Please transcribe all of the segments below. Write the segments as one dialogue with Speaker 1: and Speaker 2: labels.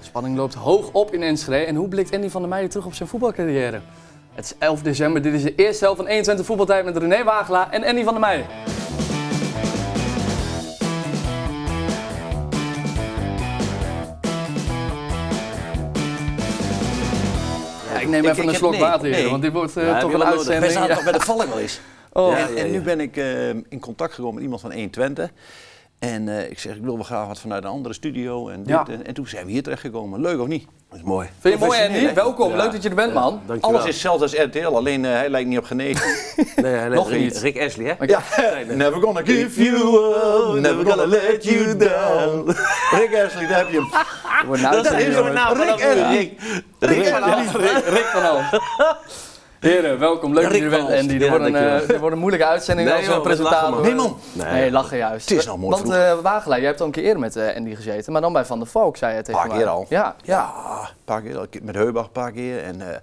Speaker 1: spanning loopt hoog op in Enschede. En hoe blikt Andy van der Meijden terug op zijn voetbalcarrière? Het is 11 december, dit is de eerste helft van 21 voetbaltijd met René Wagelaar en Andy van der Meijden. Ja, ik neem
Speaker 2: Ik-
Speaker 1: even
Speaker 2: ik
Speaker 1: een
Speaker 2: heb-
Speaker 1: slok
Speaker 2: nee,
Speaker 1: water, heren,
Speaker 2: nee.
Speaker 1: want dit wordt eh,
Speaker 3: Ja,
Speaker 1: toch
Speaker 3: we
Speaker 1: een
Speaker 3: hadden-
Speaker 1: uitzending.
Speaker 2: Wij zaten
Speaker 1: Ja.
Speaker 2: nog bij de vallen wel eens.
Speaker 1: Oh.
Speaker 2: en, en nu ben ik eh, in contact gekomen met iemand van 120. En eh, ik zeg, ik wil wel graag wat vanuit een andere studio. En, dit,
Speaker 1: Ja.
Speaker 2: en, en toen zijn we hier terechtgekomen. Leuk of niet? Dat is mooi.
Speaker 1: Vind je het mooi Andy?
Speaker 2: Professioneel, hè?
Speaker 1: Welkom, leuk dat je er bent man.
Speaker 3: Dankjewel.
Speaker 2: Alles is hetzelfde als RTL, alleen eh, hij lijkt niet op genezen.
Speaker 3: Nee, hij lijkt
Speaker 1: nog
Speaker 3: Rick-
Speaker 1: niet.
Speaker 3: Rick Ashley, hè?
Speaker 2: ja. Never gonna give you up, never gonna let you down. Rick Ashley, daar heb je hem.
Speaker 1: Dat wordt een uitzending,
Speaker 3: hele
Speaker 1: jongen.
Speaker 3: naam van
Speaker 2: Rick
Speaker 3: dat nummer.
Speaker 2: Ashley. Rick
Speaker 1: Rick,
Speaker 2: Ashley.
Speaker 1: Rick, Rick van Alst. Heren, welkom. Leuk dat
Speaker 3: Rick
Speaker 1: jullie er
Speaker 3: van
Speaker 1: bent,
Speaker 3: Alst.
Speaker 1: Andy. Dit
Speaker 3: Ja,
Speaker 1: wordt, een,
Speaker 3: dankjewel.
Speaker 1: eh, dit wordt een moeilijke uitzending
Speaker 3: Nee,
Speaker 1: als eh,
Speaker 3: joh, wat
Speaker 1: presentator.
Speaker 3: lachen,
Speaker 2: Nee man,
Speaker 3: Nee,
Speaker 1: Nee, lachen juist.
Speaker 2: Het is nou mooi
Speaker 1: Want
Speaker 2: vroeg.
Speaker 1: eh Wagelaar, jij hebt al een keer eerder met eh, Andy gezeten, maar dan bij Van der Valk, zei je tegen
Speaker 2: Paar
Speaker 1: mij.
Speaker 2: keer al.
Speaker 1: Ja.
Speaker 2: Ja, een paar keer. Een keer Met Heubach een paar keer. En eh,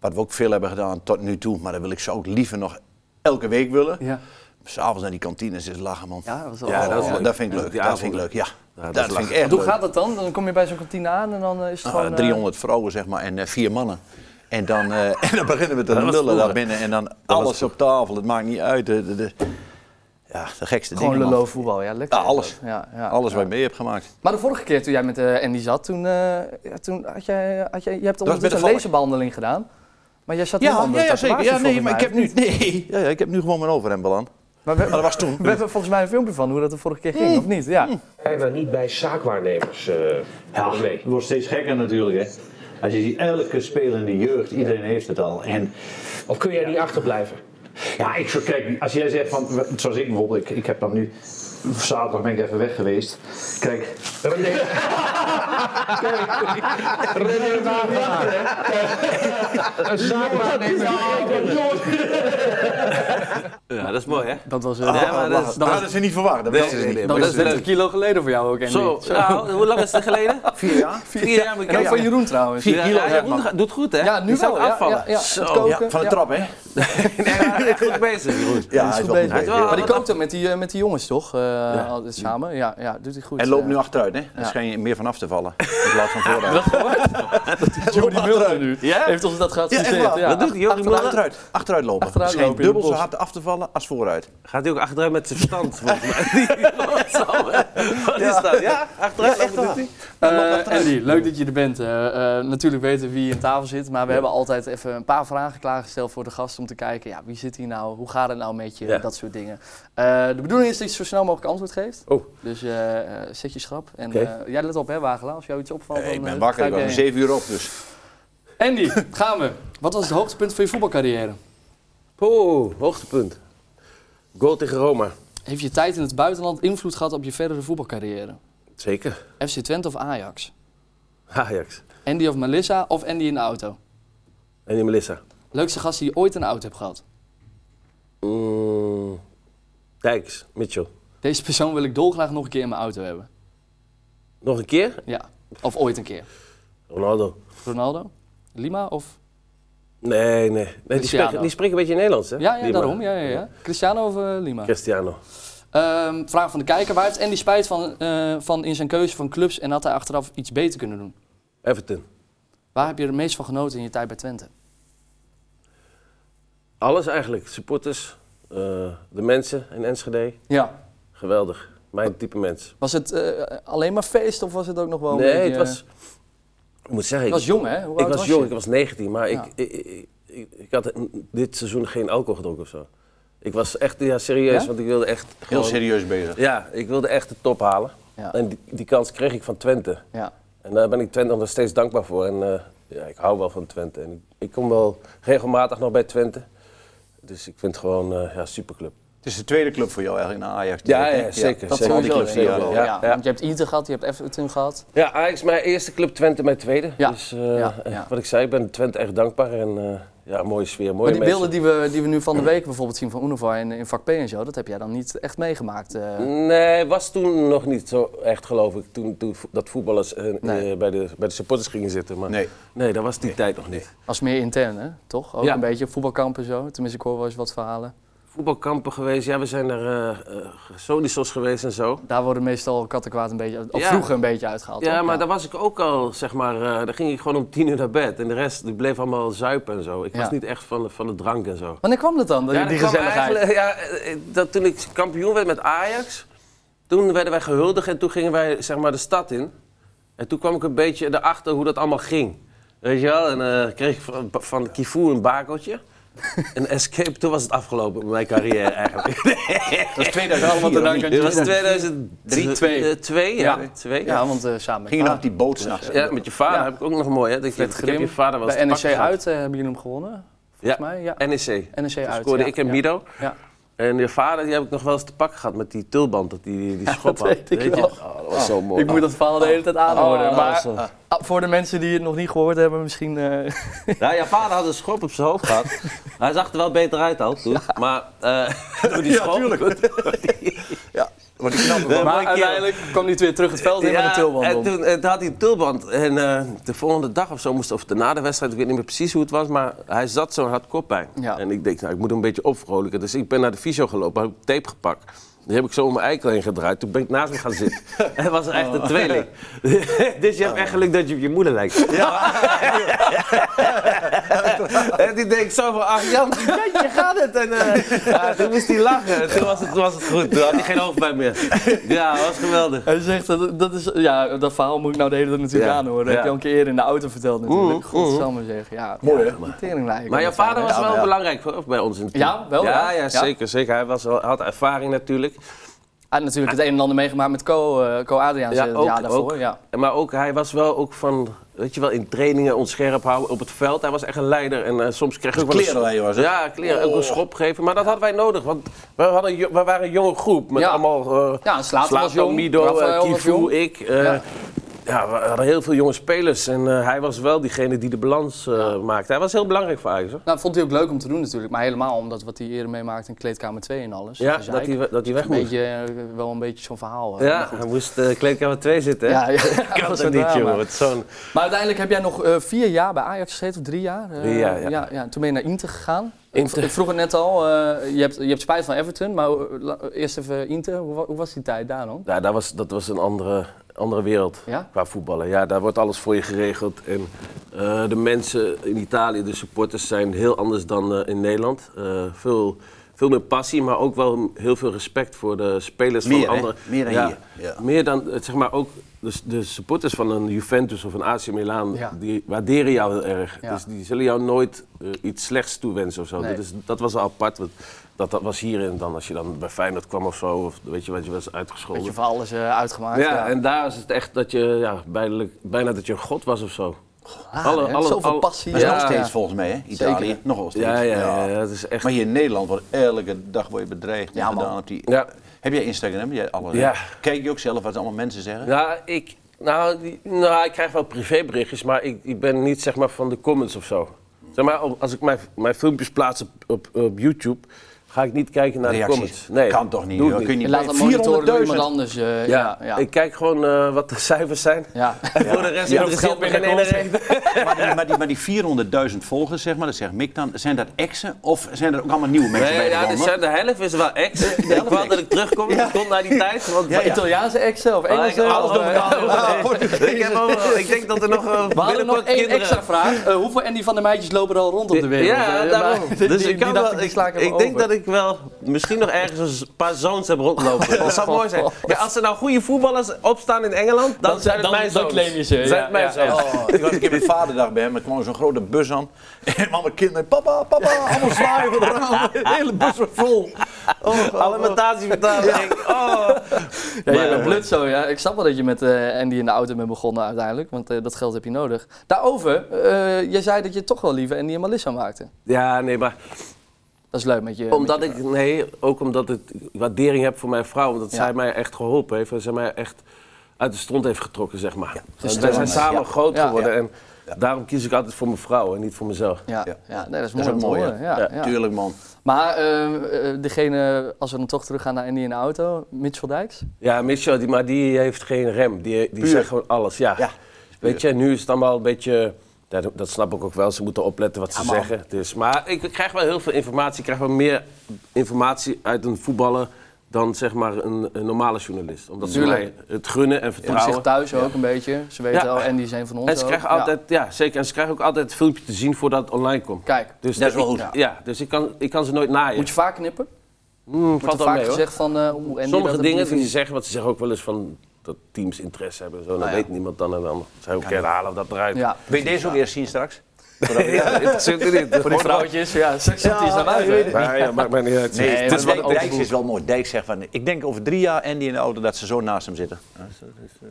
Speaker 2: wat we ook veel hebben gedaan tot nu toe, maar dat wil ik zo ook liever nog elke week willen.
Speaker 1: Ja.
Speaker 2: S'avonds naar die kantines is lachen, man.
Speaker 1: Ja, dat is wel-
Speaker 3: Ja, dat is leuk.
Speaker 2: vind ik
Speaker 3: Ja,
Speaker 2: leuk.
Speaker 3: die
Speaker 2: Dat vind ik
Speaker 3: avonden.
Speaker 2: leuk, ja.
Speaker 3: Ja,
Speaker 2: dat
Speaker 3: dat
Speaker 2: vind
Speaker 3: is
Speaker 2: ik
Speaker 3: lachen.
Speaker 2: echt
Speaker 1: Want hoe
Speaker 2: leuk.
Speaker 1: gaat dat dan? Dan kom je bij zo'n kantine aan en dan eh, is het
Speaker 2: Nou,
Speaker 1: gewoon... eh,
Speaker 2: 300 vrouwen, zeg maar, en eh, vier mannen. En dan, eh, en dan beginnen we te
Speaker 3: Dat was
Speaker 2: lullen
Speaker 3: vroeger.
Speaker 2: daar binnen. En dan alles op tafel, het maakt niet uit. De, de- de- ja, de gekste
Speaker 1: Gewoon
Speaker 2: dingen, man.
Speaker 1: lullo voetbal, ja, lekker.
Speaker 2: Ja, alles.
Speaker 1: Ja, ja.
Speaker 2: Alles wat je mee hebt gemaakt.
Speaker 1: Maar de vorige keer toen jij met eh, Andy zat, toen, eh, ja, toen had jij, had jij, je hebt
Speaker 2: bij
Speaker 1: ondertussen
Speaker 2: de
Speaker 1: een
Speaker 2: Valk.
Speaker 1: lezenbehandeling gedaan. Maar jij zat nu onder de tatoeage,
Speaker 2: Ja, nee,
Speaker 1: volgens
Speaker 2: maar ik
Speaker 1: mij,
Speaker 2: heb nu, nee, ja, ja, ik heb nu gewoon mijn overhemd aan.
Speaker 1: Maar we,
Speaker 2: Maar dat was toen.
Speaker 1: we hebben volgens mij een filmpje van hoe dat de vorige keer ging, of niet? Ja.
Speaker 4: Zijn we niet bij zaakwaarnemers? eh
Speaker 5: Ja,
Speaker 4: volgens mij?
Speaker 5: het wordt steeds gekker natuurlijk. Hè. Als je ziet, elke spelende jeugd, iedereen heeft het al. En
Speaker 4: Of kun jij niet achterblijven?
Speaker 5: ja, ik zou kijk, als jij zegt van, zoals ik bijvoorbeeld, ik, ik heb dan nu, zaterdag ben ik even weg geweest. Kijk,
Speaker 4: René. René Wagelaar. Een zaakwaarnemer.
Speaker 3: Ja, dat is mooi, hè?
Speaker 1: Dat was... eh,
Speaker 3: Ah, Ja, maar dat is...
Speaker 2: Dat hadden ze niet verwacht. Dat wisten ze
Speaker 3: nee,
Speaker 2: niet.
Speaker 3: nee,
Speaker 1: Dat
Speaker 3: maar
Speaker 1: is 30 kilo geleden voor jou ook, Andy.
Speaker 3: Zo, nou, hoe lang is het geleden?
Speaker 2: Vier jaar?
Speaker 3: Vier jaar
Speaker 1: En ook
Speaker 3: bekend.
Speaker 1: van Jeroen trouwens.
Speaker 3: Vier kilo. Ja,
Speaker 2: zeg
Speaker 3: Jeroen
Speaker 2: maar.
Speaker 3: gaat- doet goed, hè?
Speaker 1: Ja, nu
Speaker 3: Die zou
Speaker 1: wel. Ja,
Speaker 3: afvallen.
Speaker 1: ja, ja.
Speaker 3: Zo.
Speaker 1: Het koken.
Speaker 2: Ja, van de
Speaker 1: Ja.
Speaker 2: trap, hè?
Speaker 3: Nee, hij is goed bezig, Jeroen.
Speaker 2: Ja,
Speaker 1: Hij is goed
Speaker 2: wel
Speaker 1: bezig.
Speaker 2: goed
Speaker 3: Hij is wel-
Speaker 1: Maar die kookt ook met die, eh, met die jongens, toch? Eh, altijd Samen. Ja, ja, doet hij goed.
Speaker 2: En loopt
Speaker 1: Eh,
Speaker 2: nu achteruit, hè? Dan
Speaker 1: Ja.
Speaker 2: schijn je meer van af te vallen. In plaats van vooruit.
Speaker 1: Dat gehoord? Jordi Mulder nu.
Speaker 3: Ja?
Speaker 1: Heeft ons dat geadviseerd.
Speaker 2: echt waar.
Speaker 3: Dat doet hij, Jordi
Speaker 1: Achteruit.
Speaker 3: Mulder.
Speaker 2: Achteruit, achteruit lopen.
Speaker 1: Achteruit
Speaker 2: Schijnt
Speaker 1: lopen in
Speaker 2: dubbel
Speaker 1: het
Speaker 2: zo
Speaker 1: bos.
Speaker 2: hard af te vallen als vooruit.
Speaker 3: Gaat hij ook achteruit met zijn verstand, volgens mij. Die rotzal, hè? Wat is dat? Ja, achteruit. wat doet hij?
Speaker 2: Nou,
Speaker 1: Eh, Andy, leuk dat je er bent. Eh, eh, natuurlijk weten wie aan tafel zit, maar we hebben altijd even een paar vragen klaargesteld voor de gast om te kijken, ja, wie zit hier nou, hoe gaat het nou met je,
Speaker 3: Ja.
Speaker 1: dat soort dingen. Eh, de bedoeling is dat je zo snel mogelijk antwoord geeft.
Speaker 3: Oh.
Speaker 1: Dus eh, eh, zet je schrap. En
Speaker 3: Oké.
Speaker 1: eh, jij let op, hè, Wagela, als jou iets opvalt.
Speaker 2: Hey,
Speaker 1: dan,
Speaker 2: ik
Speaker 1: eh,
Speaker 2: ben wakker, ik
Speaker 1: grijp
Speaker 2: was om
Speaker 1: jij
Speaker 2: zeven uur op. Dus.
Speaker 1: in. Andy, gaan we. Wat was het hoogtepunt van je voetbalcarrière?
Speaker 3: Oh, hoogtepunt. Goal tegen Roma.
Speaker 1: Heeft je tijd in het buitenland invloed gehad op je verdere voetbalcarrière?
Speaker 3: Zeker.
Speaker 1: FC Twente of Ajax?
Speaker 3: Ajax.
Speaker 1: Andy of Melissa of Andy in de auto?
Speaker 3: En die Melissa.
Speaker 1: Leukste gast die je ooit in de auto hebt gehad?
Speaker 3: Mm, Dijks, Mitchell.
Speaker 1: Deze persoon wil ik dolgraag nog een keer in mijn auto hebben.
Speaker 3: Nog een keer?
Speaker 1: Ja, of ooit een keer.
Speaker 3: Ronaldo.
Speaker 1: Ronaldo? Lima of?
Speaker 3: Nee, nee. nee die,
Speaker 1: Cristiano.
Speaker 3: spreekt, die spreekt een beetje Nederlands, hè?
Speaker 1: Ja, ja
Speaker 3: Die
Speaker 1: daarom.
Speaker 3: man.
Speaker 1: Ja, ja, ja. Cristiano of eh, Lima?
Speaker 3: Cristiano.
Speaker 1: Ehm, vraag van de kijker. Waar heeft Andy spijt van, eh, van in zijn keuze van clubs en had hij achteraf iets beter kunnen doen?
Speaker 3: Everton.
Speaker 1: Waar heb je er het meest van genoten in je tijd bij Twente?
Speaker 3: Alles eigenlijk. Supporters, eh, de mensen in Enschede.
Speaker 1: Ja.
Speaker 3: Geweldig. Mijn type mens.
Speaker 1: Was het eh, alleen maar feest of was het ook nog wel een
Speaker 3: Nee,
Speaker 1: beetje-
Speaker 3: het was... Ik moet zeggen...
Speaker 1: Je
Speaker 3: ik-
Speaker 1: was jong, hè? Hoe
Speaker 3: ik
Speaker 1: oud
Speaker 3: was,
Speaker 1: was
Speaker 3: jong,
Speaker 1: je?
Speaker 3: ik was 19, maar
Speaker 1: Ja.
Speaker 3: ik, ik, ik- ik, ik had n- dit seizoen geen alcohol gedronken of zo. Ik was echt ja, serieus,
Speaker 1: Ja?
Speaker 3: want ik wilde echt.
Speaker 2: Heel
Speaker 3: gewoon-
Speaker 2: serieus bezig.
Speaker 3: Ja, ik wilde echt de top halen.
Speaker 1: Ja.
Speaker 3: En die, die kans kreeg ik van Twente.
Speaker 1: Ja.
Speaker 3: En daar ben ik Twente nog steeds dankbaar voor. En eh, ja, ik hou wel van Twente. En ik, ik kom wel regelmatig nog bij Twente. Dus ik vind het gewoon eh ja, superclub.
Speaker 2: Het is de tweede club voor jou eigenlijk, na Ajax.
Speaker 3: Ja,
Speaker 2: direct,
Speaker 3: ja,
Speaker 2: hè?
Speaker 3: zeker.
Speaker 1: Dat
Speaker 3: zeker.
Speaker 2: al die
Speaker 1: sowieso.
Speaker 2: clubs die
Speaker 1: denk ik
Speaker 2: je
Speaker 1: wel.
Speaker 2: wel.
Speaker 1: Ja, want je hebt Inter gehad, je hebt Everton gehad.
Speaker 3: Ja, Ajax mijn eerste club, Twente mijn tweede.
Speaker 1: Ja.
Speaker 3: Dus eh,
Speaker 1: Ja, ja.
Speaker 3: wat ik zei, ik ben Twente echt dankbaar. En eh, ja, mooie sfeer, mooie
Speaker 1: Maar die beelden
Speaker 3: mensen.
Speaker 1: die we, die we nu van de week bijvoorbeeld zien van Unova in, in vak P en zo, dat heb jij dan niet echt meegemaakt.
Speaker 3: Mm.
Speaker 1: eh.
Speaker 3: Nee, was toen nog niet zo echt, geloof ik. Toen, toen vo- dat voetballers eh,
Speaker 1: Nee.
Speaker 3: eh, bij, de, bij de supporters gingen zitten. Maar
Speaker 2: Nee.
Speaker 3: nee, dat was die tijd nog niet.
Speaker 1: Als meer intern, hè? toch? Ook
Speaker 3: Ja.
Speaker 1: een beetje op voetbalkampen zo. Tenminste, ik hoor wel eens wat verhalen.
Speaker 3: voetbalkampen geweest. Ja, we zijn naar eh eh, Solisos geweest en zo.
Speaker 1: Daar worden meestal kattenkwaad een beetje, of
Speaker 3: Ja.
Speaker 1: vroeger een beetje uitgehaald.
Speaker 3: Ja,
Speaker 1: toch?
Speaker 3: maar daar was ik ook al, zeg maar, eh, daar ging ik gewoon om tien uur naar bed. En de rest die bleef allemaal zuipen en zo. Ik
Speaker 1: Ja.
Speaker 3: was niet echt van de, van de drank en zo.
Speaker 1: Wanneer kwam dat dan, die,
Speaker 3: Ja,
Speaker 1: die
Speaker 3: dat kwam
Speaker 1: gezelligheid?
Speaker 3: eigenlijk- Ja, eh, eh, dat toen ik kampioen werd met Ajax, toen werden wij gehuldigd en toen gingen wij zeg maar de stad in. En toen kwam ik een beetje erachter hoe dat allemaal ging. Weet je wel, en eh, kreeg ik van, van Kifu een bakeltje. Een escape, toen was het afgelopen met mijn carrière eigenlijk.
Speaker 2: Dat is 2004.
Speaker 1: Allemaal te danken aan
Speaker 2: of niet?
Speaker 3: Dit was
Speaker 1: Juventus.
Speaker 3: 2003,
Speaker 1: Twee.
Speaker 3: eh, twee, ja.
Speaker 1: Ja.
Speaker 3: Twee, ja.
Speaker 1: Ja, want eh, samen met
Speaker 2: Ging je
Speaker 1: vader.
Speaker 2: nog op die boot s'nachts?
Speaker 3: Ja, met je vader
Speaker 1: Ja.
Speaker 3: heb ik ook nog mooi. Hè? Dat ik,
Speaker 1: Fred
Speaker 3: ik heb
Speaker 1: Grim.
Speaker 3: je vader wel eens
Speaker 1: Bij
Speaker 3: te
Speaker 1: NEC
Speaker 3: pakken gehad.
Speaker 1: uit eh, hebben jullie hem gewonnen,
Speaker 3: Ja.
Speaker 1: volgens mij. Ja,
Speaker 3: NEC.
Speaker 1: NEC
Speaker 3: Toen
Speaker 1: uit.
Speaker 3: scoorde
Speaker 1: ja,
Speaker 3: ik en
Speaker 1: ja.
Speaker 3: Mido. Oh,
Speaker 1: Ja.
Speaker 3: En je vader die heb ik nog wel eens te pakken gehad met die tulband, dat die, die, die schop
Speaker 1: dat
Speaker 3: had.
Speaker 1: weet ik
Speaker 3: je?
Speaker 1: wel.
Speaker 3: Oh, dat was zo mooi.
Speaker 1: Ik moet dat verhaal de hele tijd aanhoren.
Speaker 3: Oh,
Speaker 1: maar
Speaker 3: dat was,
Speaker 1: ah, voor de mensen die het nog niet gehoord hebben, misschien... eh,
Speaker 3: Ja, Nou, je vader had een schop op zijn hoofd gehad. Hij zag er wel beter uit al toen. Maar eh door die schop.
Speaker 2: Wat ik knap ervan.
Speaker 3: maar
Speaker 1: maar uiteindelijk kwam hij weer terug het veld in met een tulband
Speaker 3: en
Speaker 1: om.
Speaker 3: toen, en toen had hij een tulband. En eh, de volgende dag of zo moest, of na de wedstrijd, ik weet niet meer precies hoe het was, maar hij zat zo en had koppijn.
Speaker 1: Ja.
Speaker 3: En ik denk, nou, ik moet hem een beetje opvrolijken. Dus ik ben naar de fysio gelopen, heb ik tape gepakt. Die heb ik zo om mijn eikel heen gedraaid. Toen ben ik naast hem gaan zitten. En hij was echt een tweeling. Oh. dus je hebt echt geluk dat je op je moeder lijkt. en die denkt zo van, ach Jan, je gaat het. En eh, ja, toen moest hij lachen. En Toen was het, was het goed. Toen had hij geen hoofdpijn meer. Ja, dat was geweldig.
Speaker 1: Hij zegt, dat, dat is, ja, dat verhaal moet ik nou de hele tijd natuurlijk
Speaker 3: Ja,
Speaker 1: aanhoren. Dat heb
Speaker 3: ja. Mm-hmm.
Speaker 1: je al een keer in de auto verteld natuurlijk. Godsamme zeg. Ja, Mooi hè?
Speaker 3: Maar jouw vader was wel
Speaker 2: ja.
Speaker 3: belangrijk hoor, bij ons in het team.
Speaker 1: Ja, wel,
Speaker 3: Ja,
Speaker 1: ja.
Speaker 3: ja,
Speaker 1: Ja.
Speaker 3: zeker, zeker. Hij was wel, had ervaring natuurlijk.
Speaker 1: Hij had natuurlijk het een en ander meegemaakt met Co, eh Co Adriaans
Speaker 3: Ja,
Speaker 1: ja,
Speaker 3: ook,
Speaker 1: jaar daarvoor.
Speaker 3: ook.
Speaker 1: Ja.
Speaker 3: Maar ook, hij was wel ook van, weet je wel, in trainingen ons scherp houden op het veld. Hij was echt een leider en eh, soms kreeg ik ook wel een
Speaker 2: klerenleider was het?
Speaker 3: Ja, kleren,
Speaker 1: Oh.
Speaker 3: ook een schop geven. Maar dat hadden wij nodig, want we, hadden, jo- we waren een jonge groep. Met
Speaker 1: Ja.
Speaker 3: allemaal eh
Speaker 1: Ja, Slater was jong,
Speaker 3: Mido, eh,
Speaker 1: Rafael was jong.
Speaker 3: Kivu, ik. eh,
Speaker 1: Ja.
Speaker 3: ja. we hadden heel veel jonge spelers. En eh, hij was wel diegene die de balans eh, maakte. Hij was heel belangrijk voor Ajax. hoor.
Speaker 1: Nou, vond hij ook leuk om te doen natuurlijk. Maar helemaal omdat wat hij eerder meemaakte in kleedkamer 2 en alles.
Speaker 3: Ja,
Speaker 1: Dus
Speaker 3: dat
Speaker 1: hij-
Speaker 3: hij, we- dat hij weg
Speaker 1: een
Speaker 3: moest.
Speaker 1: beetje, eh, wel een beetje zo'n verhaal. eh.
Speaker 3: Ja, hij moest eh kleedkamer 2 zitten. hè?
Speaker 1: Ja, ja.
Speaker 3: Ik kan
Speaker 1: Dat
Speaker 3: dat,
Speaker 1: soort
Speaker 3: niet,
Speaker 1: drama.
Speaker 3: jongen. Het is zo'n...
Speaker 1: Maar uiteindelijk heb jij nog eh, vier jaar bij Ajax gezeten, of drie jaar? Eh,
Speaker 3: Drie jaar, ja.
Speaker 1: ja, Toen ben je naar Inter gegaan.
Speaker 3: Inter.
Speaker 1: Ik vroeg het net al, eh, je, hebt, je hebt spijt van Everton, maar eh, la- eerst even Inter. Hoe, wa- hoe was die tijd daar dan?
Speaker 3: Ja, dat was, dat was een andere, andere wereld
Speaker 1: Ja?
Speaker 3: qua voetballen. Ja, daar wordt alles voor je geregeld. En eh, de mensen in Italië, de supporters, zijn heel anders dan eh, in Nederland. Eh, veel, veel meer passie, maar ook wel heel veel respect voor de spelers
Speaker 2: Meer,
Speaker 3: van
Speaker 2: hè?
Speaker 3: andere...
Speaker 2: Meer dan
Speaker 3: ja,
Speaker 2: hier. Ja.
Speaker 3: Meer dan, eh, zeg maar, ook de, de supporters van een Juventus of een AC Milan,
Speaker 1: Ja.
Speaker 3: die waarderen jou heel erg.
Speaker 1: Ja.
Speaker 3: Dus die zullen jou nooit eh, iets slechts toewensen of zo.
Speaker 1: Nee.
Speaker 3: Dit is, dat was wel apart. want Dat, dat was hier en dan als je dan bij Feyenoord kwam of zo, of weet je wat je was uitgescholden.
Speaker 1: Weet je, van alles eh, uitgemaakt.
Speaker 3: Ja, en daar is het echt dat je ja, bijna, bijna dat je een god was of zo.
Speaker 1: Raar,
Speaker 3: alle-
Speaker 1: Ah, hè?
Speaker 3: alle-
Speaker 1: Zoveel
Speaker 3: alle-
Speaker 1: passie. eh,
Speaker 2: Dat is
Speaker 1: Ja.
Speaker 2: nog steeds volgens mij, hè? Italië.
Speaker 1: Zeker.
Speaker 2: Nog wel steeds.
Speaker 3: Ja, ja, ja, ja, dat is echt.
Speaker 2: Maar hier in Nederland wordt elke dag word je bedreigd. en
Speaker 1: Ja, man.
Speaker 2: gedaan op die...
Speaker 3: Ja.
Speaker 2: Heb jij Instagram? Heb jij alles? hè?
Speaker 3: Ja.
Speaker 2: Kijk je ook zelf wat allemaal mensen zeggen?
Speaker 3: Ja, ik, nou, die- nou, ik krijg wel privéberichtjes, maar ik, ik ben niet zeg maar van de comments of zo. Zeg maar, op- als ik mijn, mijn filmpjes plaats op, op, op YouTube, ga ik niet kijken naar
Speaker 2: Reacties.
Speaker 3: de comments. Nee,
Speaker 2: Kan toch niet?
Speaker 3: doe ik
Speaker 2: joh? Kun je
Speaker 1: Je
Speaker 2: niet
Speaker 1: laat dat monitoren door iemand
Speaker 2: 400.000.
Speaker 1: anders. eh,
Speaker 3: Ja,
Speaker 1: ja, ja.
Speaker 3: ik kijk gewoon eh, wat de cijfers zijn.
Speaker 1: Ja.
Speaker 3: En voor de rest
Speaker 1: Ja,
Speaker 3: interesseert
Speaker 1: geld
Speaker 3: me geen ene
Speaker 1: binnenkomt.
Speaker 3: reet.
Speaker 2: Maar die, maar die, maar die 400.000 volgers, zeg maar, dat zegt Mick dan, zijn dat exen of zijn er ook allemaal nieuwe mensen
Speaker 3: Nee,
Speaker 2: bij
Speaker 3: ja, de,
Speaker 2: gekomen?
Speaker 3: zijn- de helft is wel ex. Ik wou dat ik terugkom, ik kom naar die tijd. Want
Speaker 1: Maar Italiaanse exen of Engelse?
Speaker 3: ik,
Speaker 1: of, eh,
Speaker 3: ik, heb overal- ik denk dat er nog eh,
Speaker 1: we hadden nog
Speaker 3: binnenkort
Speaker 1: één
Speaker 3: kinderen-
Speaker 1: extra vraag. Eh, hoeveel Andy van der Meidjes lopen er al rond op de wereld?
Speaker 3: Ja,
Speaker 1: Eh,
Speaker 3: daarom.
Speaker 1: maar-
Speaker 3: Dus
Speaker 1: die-
Speaker 3: ik, kan
Speaker 1: die dacht
Speaker 3: wel,
Speaker 1: die
Speaker 3: ik,
Speaker 1: sla
Speaker 3: ik
Speaker 1: even
Speaker 3: denk
Speaker 1: over.
Speaker 3: dat ik wel misschien nog ergens een paar zoons heb rondlopen. Dat zou mooi zijn. Ja, als er nou goede voetballers opstaan in Engeland, dan, zijn het
Speaker 1: Oh. dan-
Speaker 3: mijn
Speaker 1: dan
Speaker 3: zoons.
Speaker 1: claim je ze,
Speaker 3: Dan
Speaker 1: ja,
Speaker 3: Zijn het mijn
Speaker 1: ja.
Speaker 3: zoons.
Speaker 2: Oh, ik was een keer met vaderdag bij hem, er kwam zo'n grote bus aan. En allemaal kinderen, papa, papa, allemaal zwaaien voor de raam. De hele bus was vol.
Speaker 1: Oh.
Speaker 3: Alimentatie betalen. denk ik, Oh.
Speaker 1: Ja, jij bent blut zo, eh, ja. Ik snap wel dat je met eh, Andy in de auto bent begonnen uiteindelijk, want eh, dat geld heb je nodig. Daarover, eh, jij zei dat je toch wel liever Andy en Melissa maakte.
Speaker 3: Ja, nee, maar
Speaker 1: Dat is leuk met je.
Speaker 3: Omdat ik, nee, ook omdat ik waardering heb voor mijn vrouw. Omdat
Speaker 1: Ja.
Speaker 3: zij mij echt geholpen heeft. En zij mij echt uit de stront heeft getrokken, zeg maar.
Speaker 1: is
Speaker 3: we zijn
Speaker 1: belangrijk,
Speaker 3: samen
Speaker 2: ja.
Speaker 3: groot
Speaker 1: dus Ja.
Speaker 3: geworden. En daarom kies ik altijd voor mijn vrouw en niet voor mezelf.
Speaker 1: Ja, ja.
Speaker 2: Ja.
Speaker 1: nee, dat is
Speaker 2: Dat
Speaker 1: mooi
Speaker 2: is
Speaker 1: om
Speaker 2: ook
Speaker 1: te
Speaker 2: mooi,
Speaker 1: horen.
Speaker 2: hè?
Speaker 1: Ja, ja.
Speaker 2: Tuurlijk, man.
Speaker 1: Maar eh, eh, degene, als we dan toch teruggaan naar Andy in de auto, Mitchell Dijks.
Speaker 3: Ja, Michel, die, maar die heeft geen rem. Die, die
Speaker 2: Puur.
Speaker 3: zegt gewoon alles, ja.
Speaker 2: Ja.
Speaker 3: Weet je, nu is het allemaal een beetje Dat, dat snap ik ook wel. Ze moeten opletten wat ze zeggen. Dus, maar ik krijg wel heel veel informatie. Ik krijg wel meer informatie uit een voetballer dan zeg maar een, een normale journalist. Omdat ze
Speaker 1: Tuurlijk.
Speaker 3: mij het gunnen en
Speaker 1: Voelen
Speaker 3: vertrouwen.
Speaker 1: zich thuis ook een beetje. Ze weten
Speaker 3: Ja.
Speaker 1: al, Andy is een van ons
Speaker 3: en ze
Speaker 1: ook.
Speaker 3: krijgen
Speaker 1: Ja.
Speaker 3: altijd, ja. zeker. En ze krijgen ook altijd het filmpje te zien voordat het online komt.
Speaker 1: Kijk,
Speaker 3: Dus
Speaker 2: Dat is wel
Speaker 3: ik-
Speaker 2: goed.
Speaker 3: Ja, dus ik kan, ik kan ze nooit naaien.
Speaker 1: moet je vaak knippen?
Speaker 3: Hmm,
Speaker 1: Wordt
Speaker 3: valt
Speaker 1: er
Speaker 3: wel
Speaker 1: vaak
Speaker 3: mee, hoor.
Speaker 1: gezegd van... eh, oeh, Andy,
Speaker 3: Sommige
Speaker 1: dat heb
Speaker 3: dingen
Speaker 1: je
Speaker 3: die ze
Speaker 1: niet. Nou
Speaker 3: zeggen, want ze zeggen ook wel eens van dat teams interesse hebben. en Zo, dat
Speaker 2: ja.
Speaker 3: weet niemand dan en dan. Zou ik herhalen of dat eruit.
Speaker 1: Ja,
Speaker 2: Wil je deze ook eerst zien straks?
Speaker 3: dat zit er niet.
Speaker 1: voor die vrouwtjes, ja, seks ja, is naar buiten.
Speaker 3: Maar ja, maakt mij niet uit.
Speaker 2: Nee,
Speaker 1: dat
Speaker 2: het
Speaker 1: is
Speaker 2: is
Speaker 1: wel een
Speaker 2: Dijks
Speaker 1: overboek.
Speaker 2: is wel mooi. Dijks zegt van, ik denk over drie jaar Andy in de auto dat ze zo naast hem zitten. Ja, dat is, eh,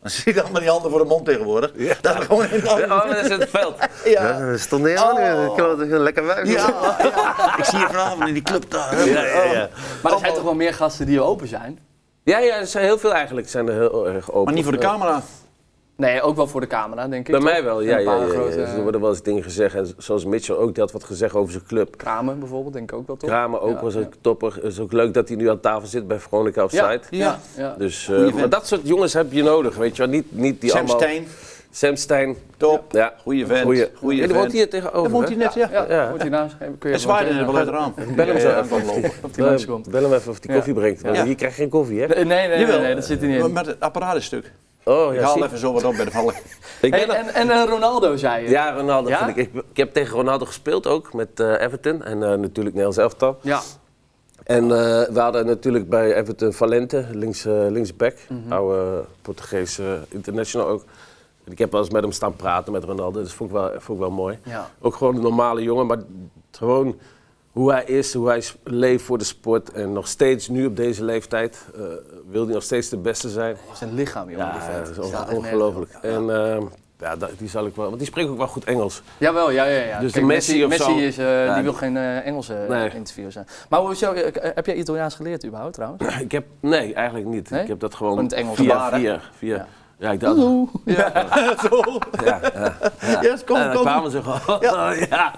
Speaker 2: Dan zie je allemaal die handen voor de mond tegenwoordig. Dat is gewoon in de auto.
Speaker 3: Oh, dat is het veld.
Speaker 2: Ja. Oh.
Speaker 6: Ja, stond niet aan. Ik kan het lekker weg.
Speaker 2: Ja, ja. ik zie je vanavond in die club daar. Ja, ja, ja.
Speaker 1: Maar er zijn toch wel meer gasten die open zijn?
Speaker 3: Ja, ja, er zijn heel veel eigenlijk zijn er heel erg open.
Speaker 2: Maar niet voor de camera.
Speaker 1: Nee, ook wel voor de camera, denk ik.
Speaker 3: Bij
Speaker 1: toch?
Speaker 3: mij wel,
Speaker 1: En
Speaker 3: ja.
Speaker 1: een
Speaker 3: ja,
Speaker 1: paar
Speaker 3: ja, ja.
Speaker 1: grote
Speaker 3: Dus er worden wel eens dingen gezegd. En zoals Mitchell ook, die had wat gezegd over zijn club.
Speaker 1: kramen bijvoorbeeld, denk ik ook wel, toch?
Speaker 3: Kramer ook was een topper. Het is ook leuk dat hij nu aan tafel zit bij Veronica
Speaker 1: Ja,
Speaker 3: Offside.
Speaker 1: ja, ja.
Speaker 3: Dus, eh, maar dat soort jongens heb je nodig, weet je wel. Niet, niet die
Speaker 2: Sam
Speaker 3: allemaal...
Speaker 2: Steen,
Speaker 3: Sam Stein.
Speaker 2: top.
Speaker 3: Ja.
Speaker 2: Goeie vent.
Speaker 3: Goeie.
Speaker 2: Goeie
Speaker 3: Ja, die
Speaker 2: vent.
Speaker 3: woont hier tegenover,
Speaker 2: Daar woont hij
Speaker 3: hè?
Speaker 2: net, ja.
Speaker 1: Ja,
Speaker 3: Ja.
Speaker 1: Moet je naast, kun je
Speaker 2: Het
Speaker 1: even
Speaker 2: zwaaide net
Speaker 1: tegen-
Speaker 2: wel uit het raam.
Speaker 3: Bel hem zo
Speaker 2: Ja,
Speaker 3: even.
Speaker 2: lopen.
Speaker 1: Of die langs
Speaker 3: Bel hem-
Speaker 1: komt.
Speaker 3: eh, Bel hem even of die
Speaker 1: Ja.
Speaker 3: koffie brengt. Want
Speaker 2: Ja.
Speaker 3: hier krijg je geen koffie, hè?
Speaker 1: Eh, Nee, nee, nee,
Speaker 2: Jawel.
Speaker 1: nee, dat zit er niet in.
Speaker 2: Met het apparaat is stuk.
Speaker 3: Oh,
Speaker 2: Ik
Speaker 3: ja, zie.
Speaker 2: haal even zo wat op bij de vallen.
Speaker 3: Ik ben
Speaker 1: Hey,
Speaker 3: er-
Speaker 1: en en eh, Ronaldo, zei je.
Speaker 3: Ja, Ronaldo.
Speaker 1: Ja?
Speaker 3: Vind ik, ik, ik heb tegen Ronaldo gespeeld ook, met eh, Everton. En eh, natuurlijk Nederlands elftal.
Speaker 1: Ja.
Speaker 3: En eh, we hadden natuurlijk bij Everton Valente, links, eh, linksback.
Speaker 1: Mhm.
Speaker 3: Oude Portugese international ook. En Ik heb wel eens met hem staan praten, met Ronaldo. Dat vond ik wel, vond ik wel mooi.
Speaker 1: Ja.
Speaker 3: Ook gewoon een normale jongen, maar gewoon hoe hij is, hoe hij s- leeft voor de sport. En nog steeds, nu op deze leeftijd, eh, wil hij nog steeds de beste zijn.
Speaker 1: Zijn lichaam, jongen, Oh, die
Speaker 3: Ja,
Speaker 1: vent.
Speaker 3: dat is
Speaker 1: Staat echt
Speaker 3: onge-
Speaker 1: nergens
Speaker 3: ongelooflijk.
Speaker 1: op.
Speaker 3: En eh, ja, dat- die zal ik wel, want die spreekt ook wel goed Engels.
Speaker 1: Jawel, ja, ja, ja.
Speaker 3: Dus de Messi of
Speaker 1: Messi
Speaker 3: zo.
Speaker 1: Is, eh,
Speaker 3: Ja.
Speaker 1: die wil geen eh, Engelse eh,
Speaker 3: Nee.
Speaker 1: interview zijn. Maar hoe is jouw- eh, heb jij Italiaans geleerd überhaupt trouwens?
Speaker 3: Ik heb, nee, eigenlijk niet.
Speaker 1: Nee?
Speaker 3: Ik heb dat gewoon
Speaker 1: Gewoon het Engels
Speaker 3: via,
Speaker 1: gebaren.
Speaker 3: via, via.
Speaker 1: Ja.
Speaker 3: Ja. ik dacht, ja,
Speaker 2: Zo.
Speaker 3: ja, ja.
Speaker 2: Yes,
Speaker 3: En
Speaker 2: kom,
Speaker 3: dan
Speaker 2: kom.
Speaker 3: kwamen ze gewoon. Ja, ja.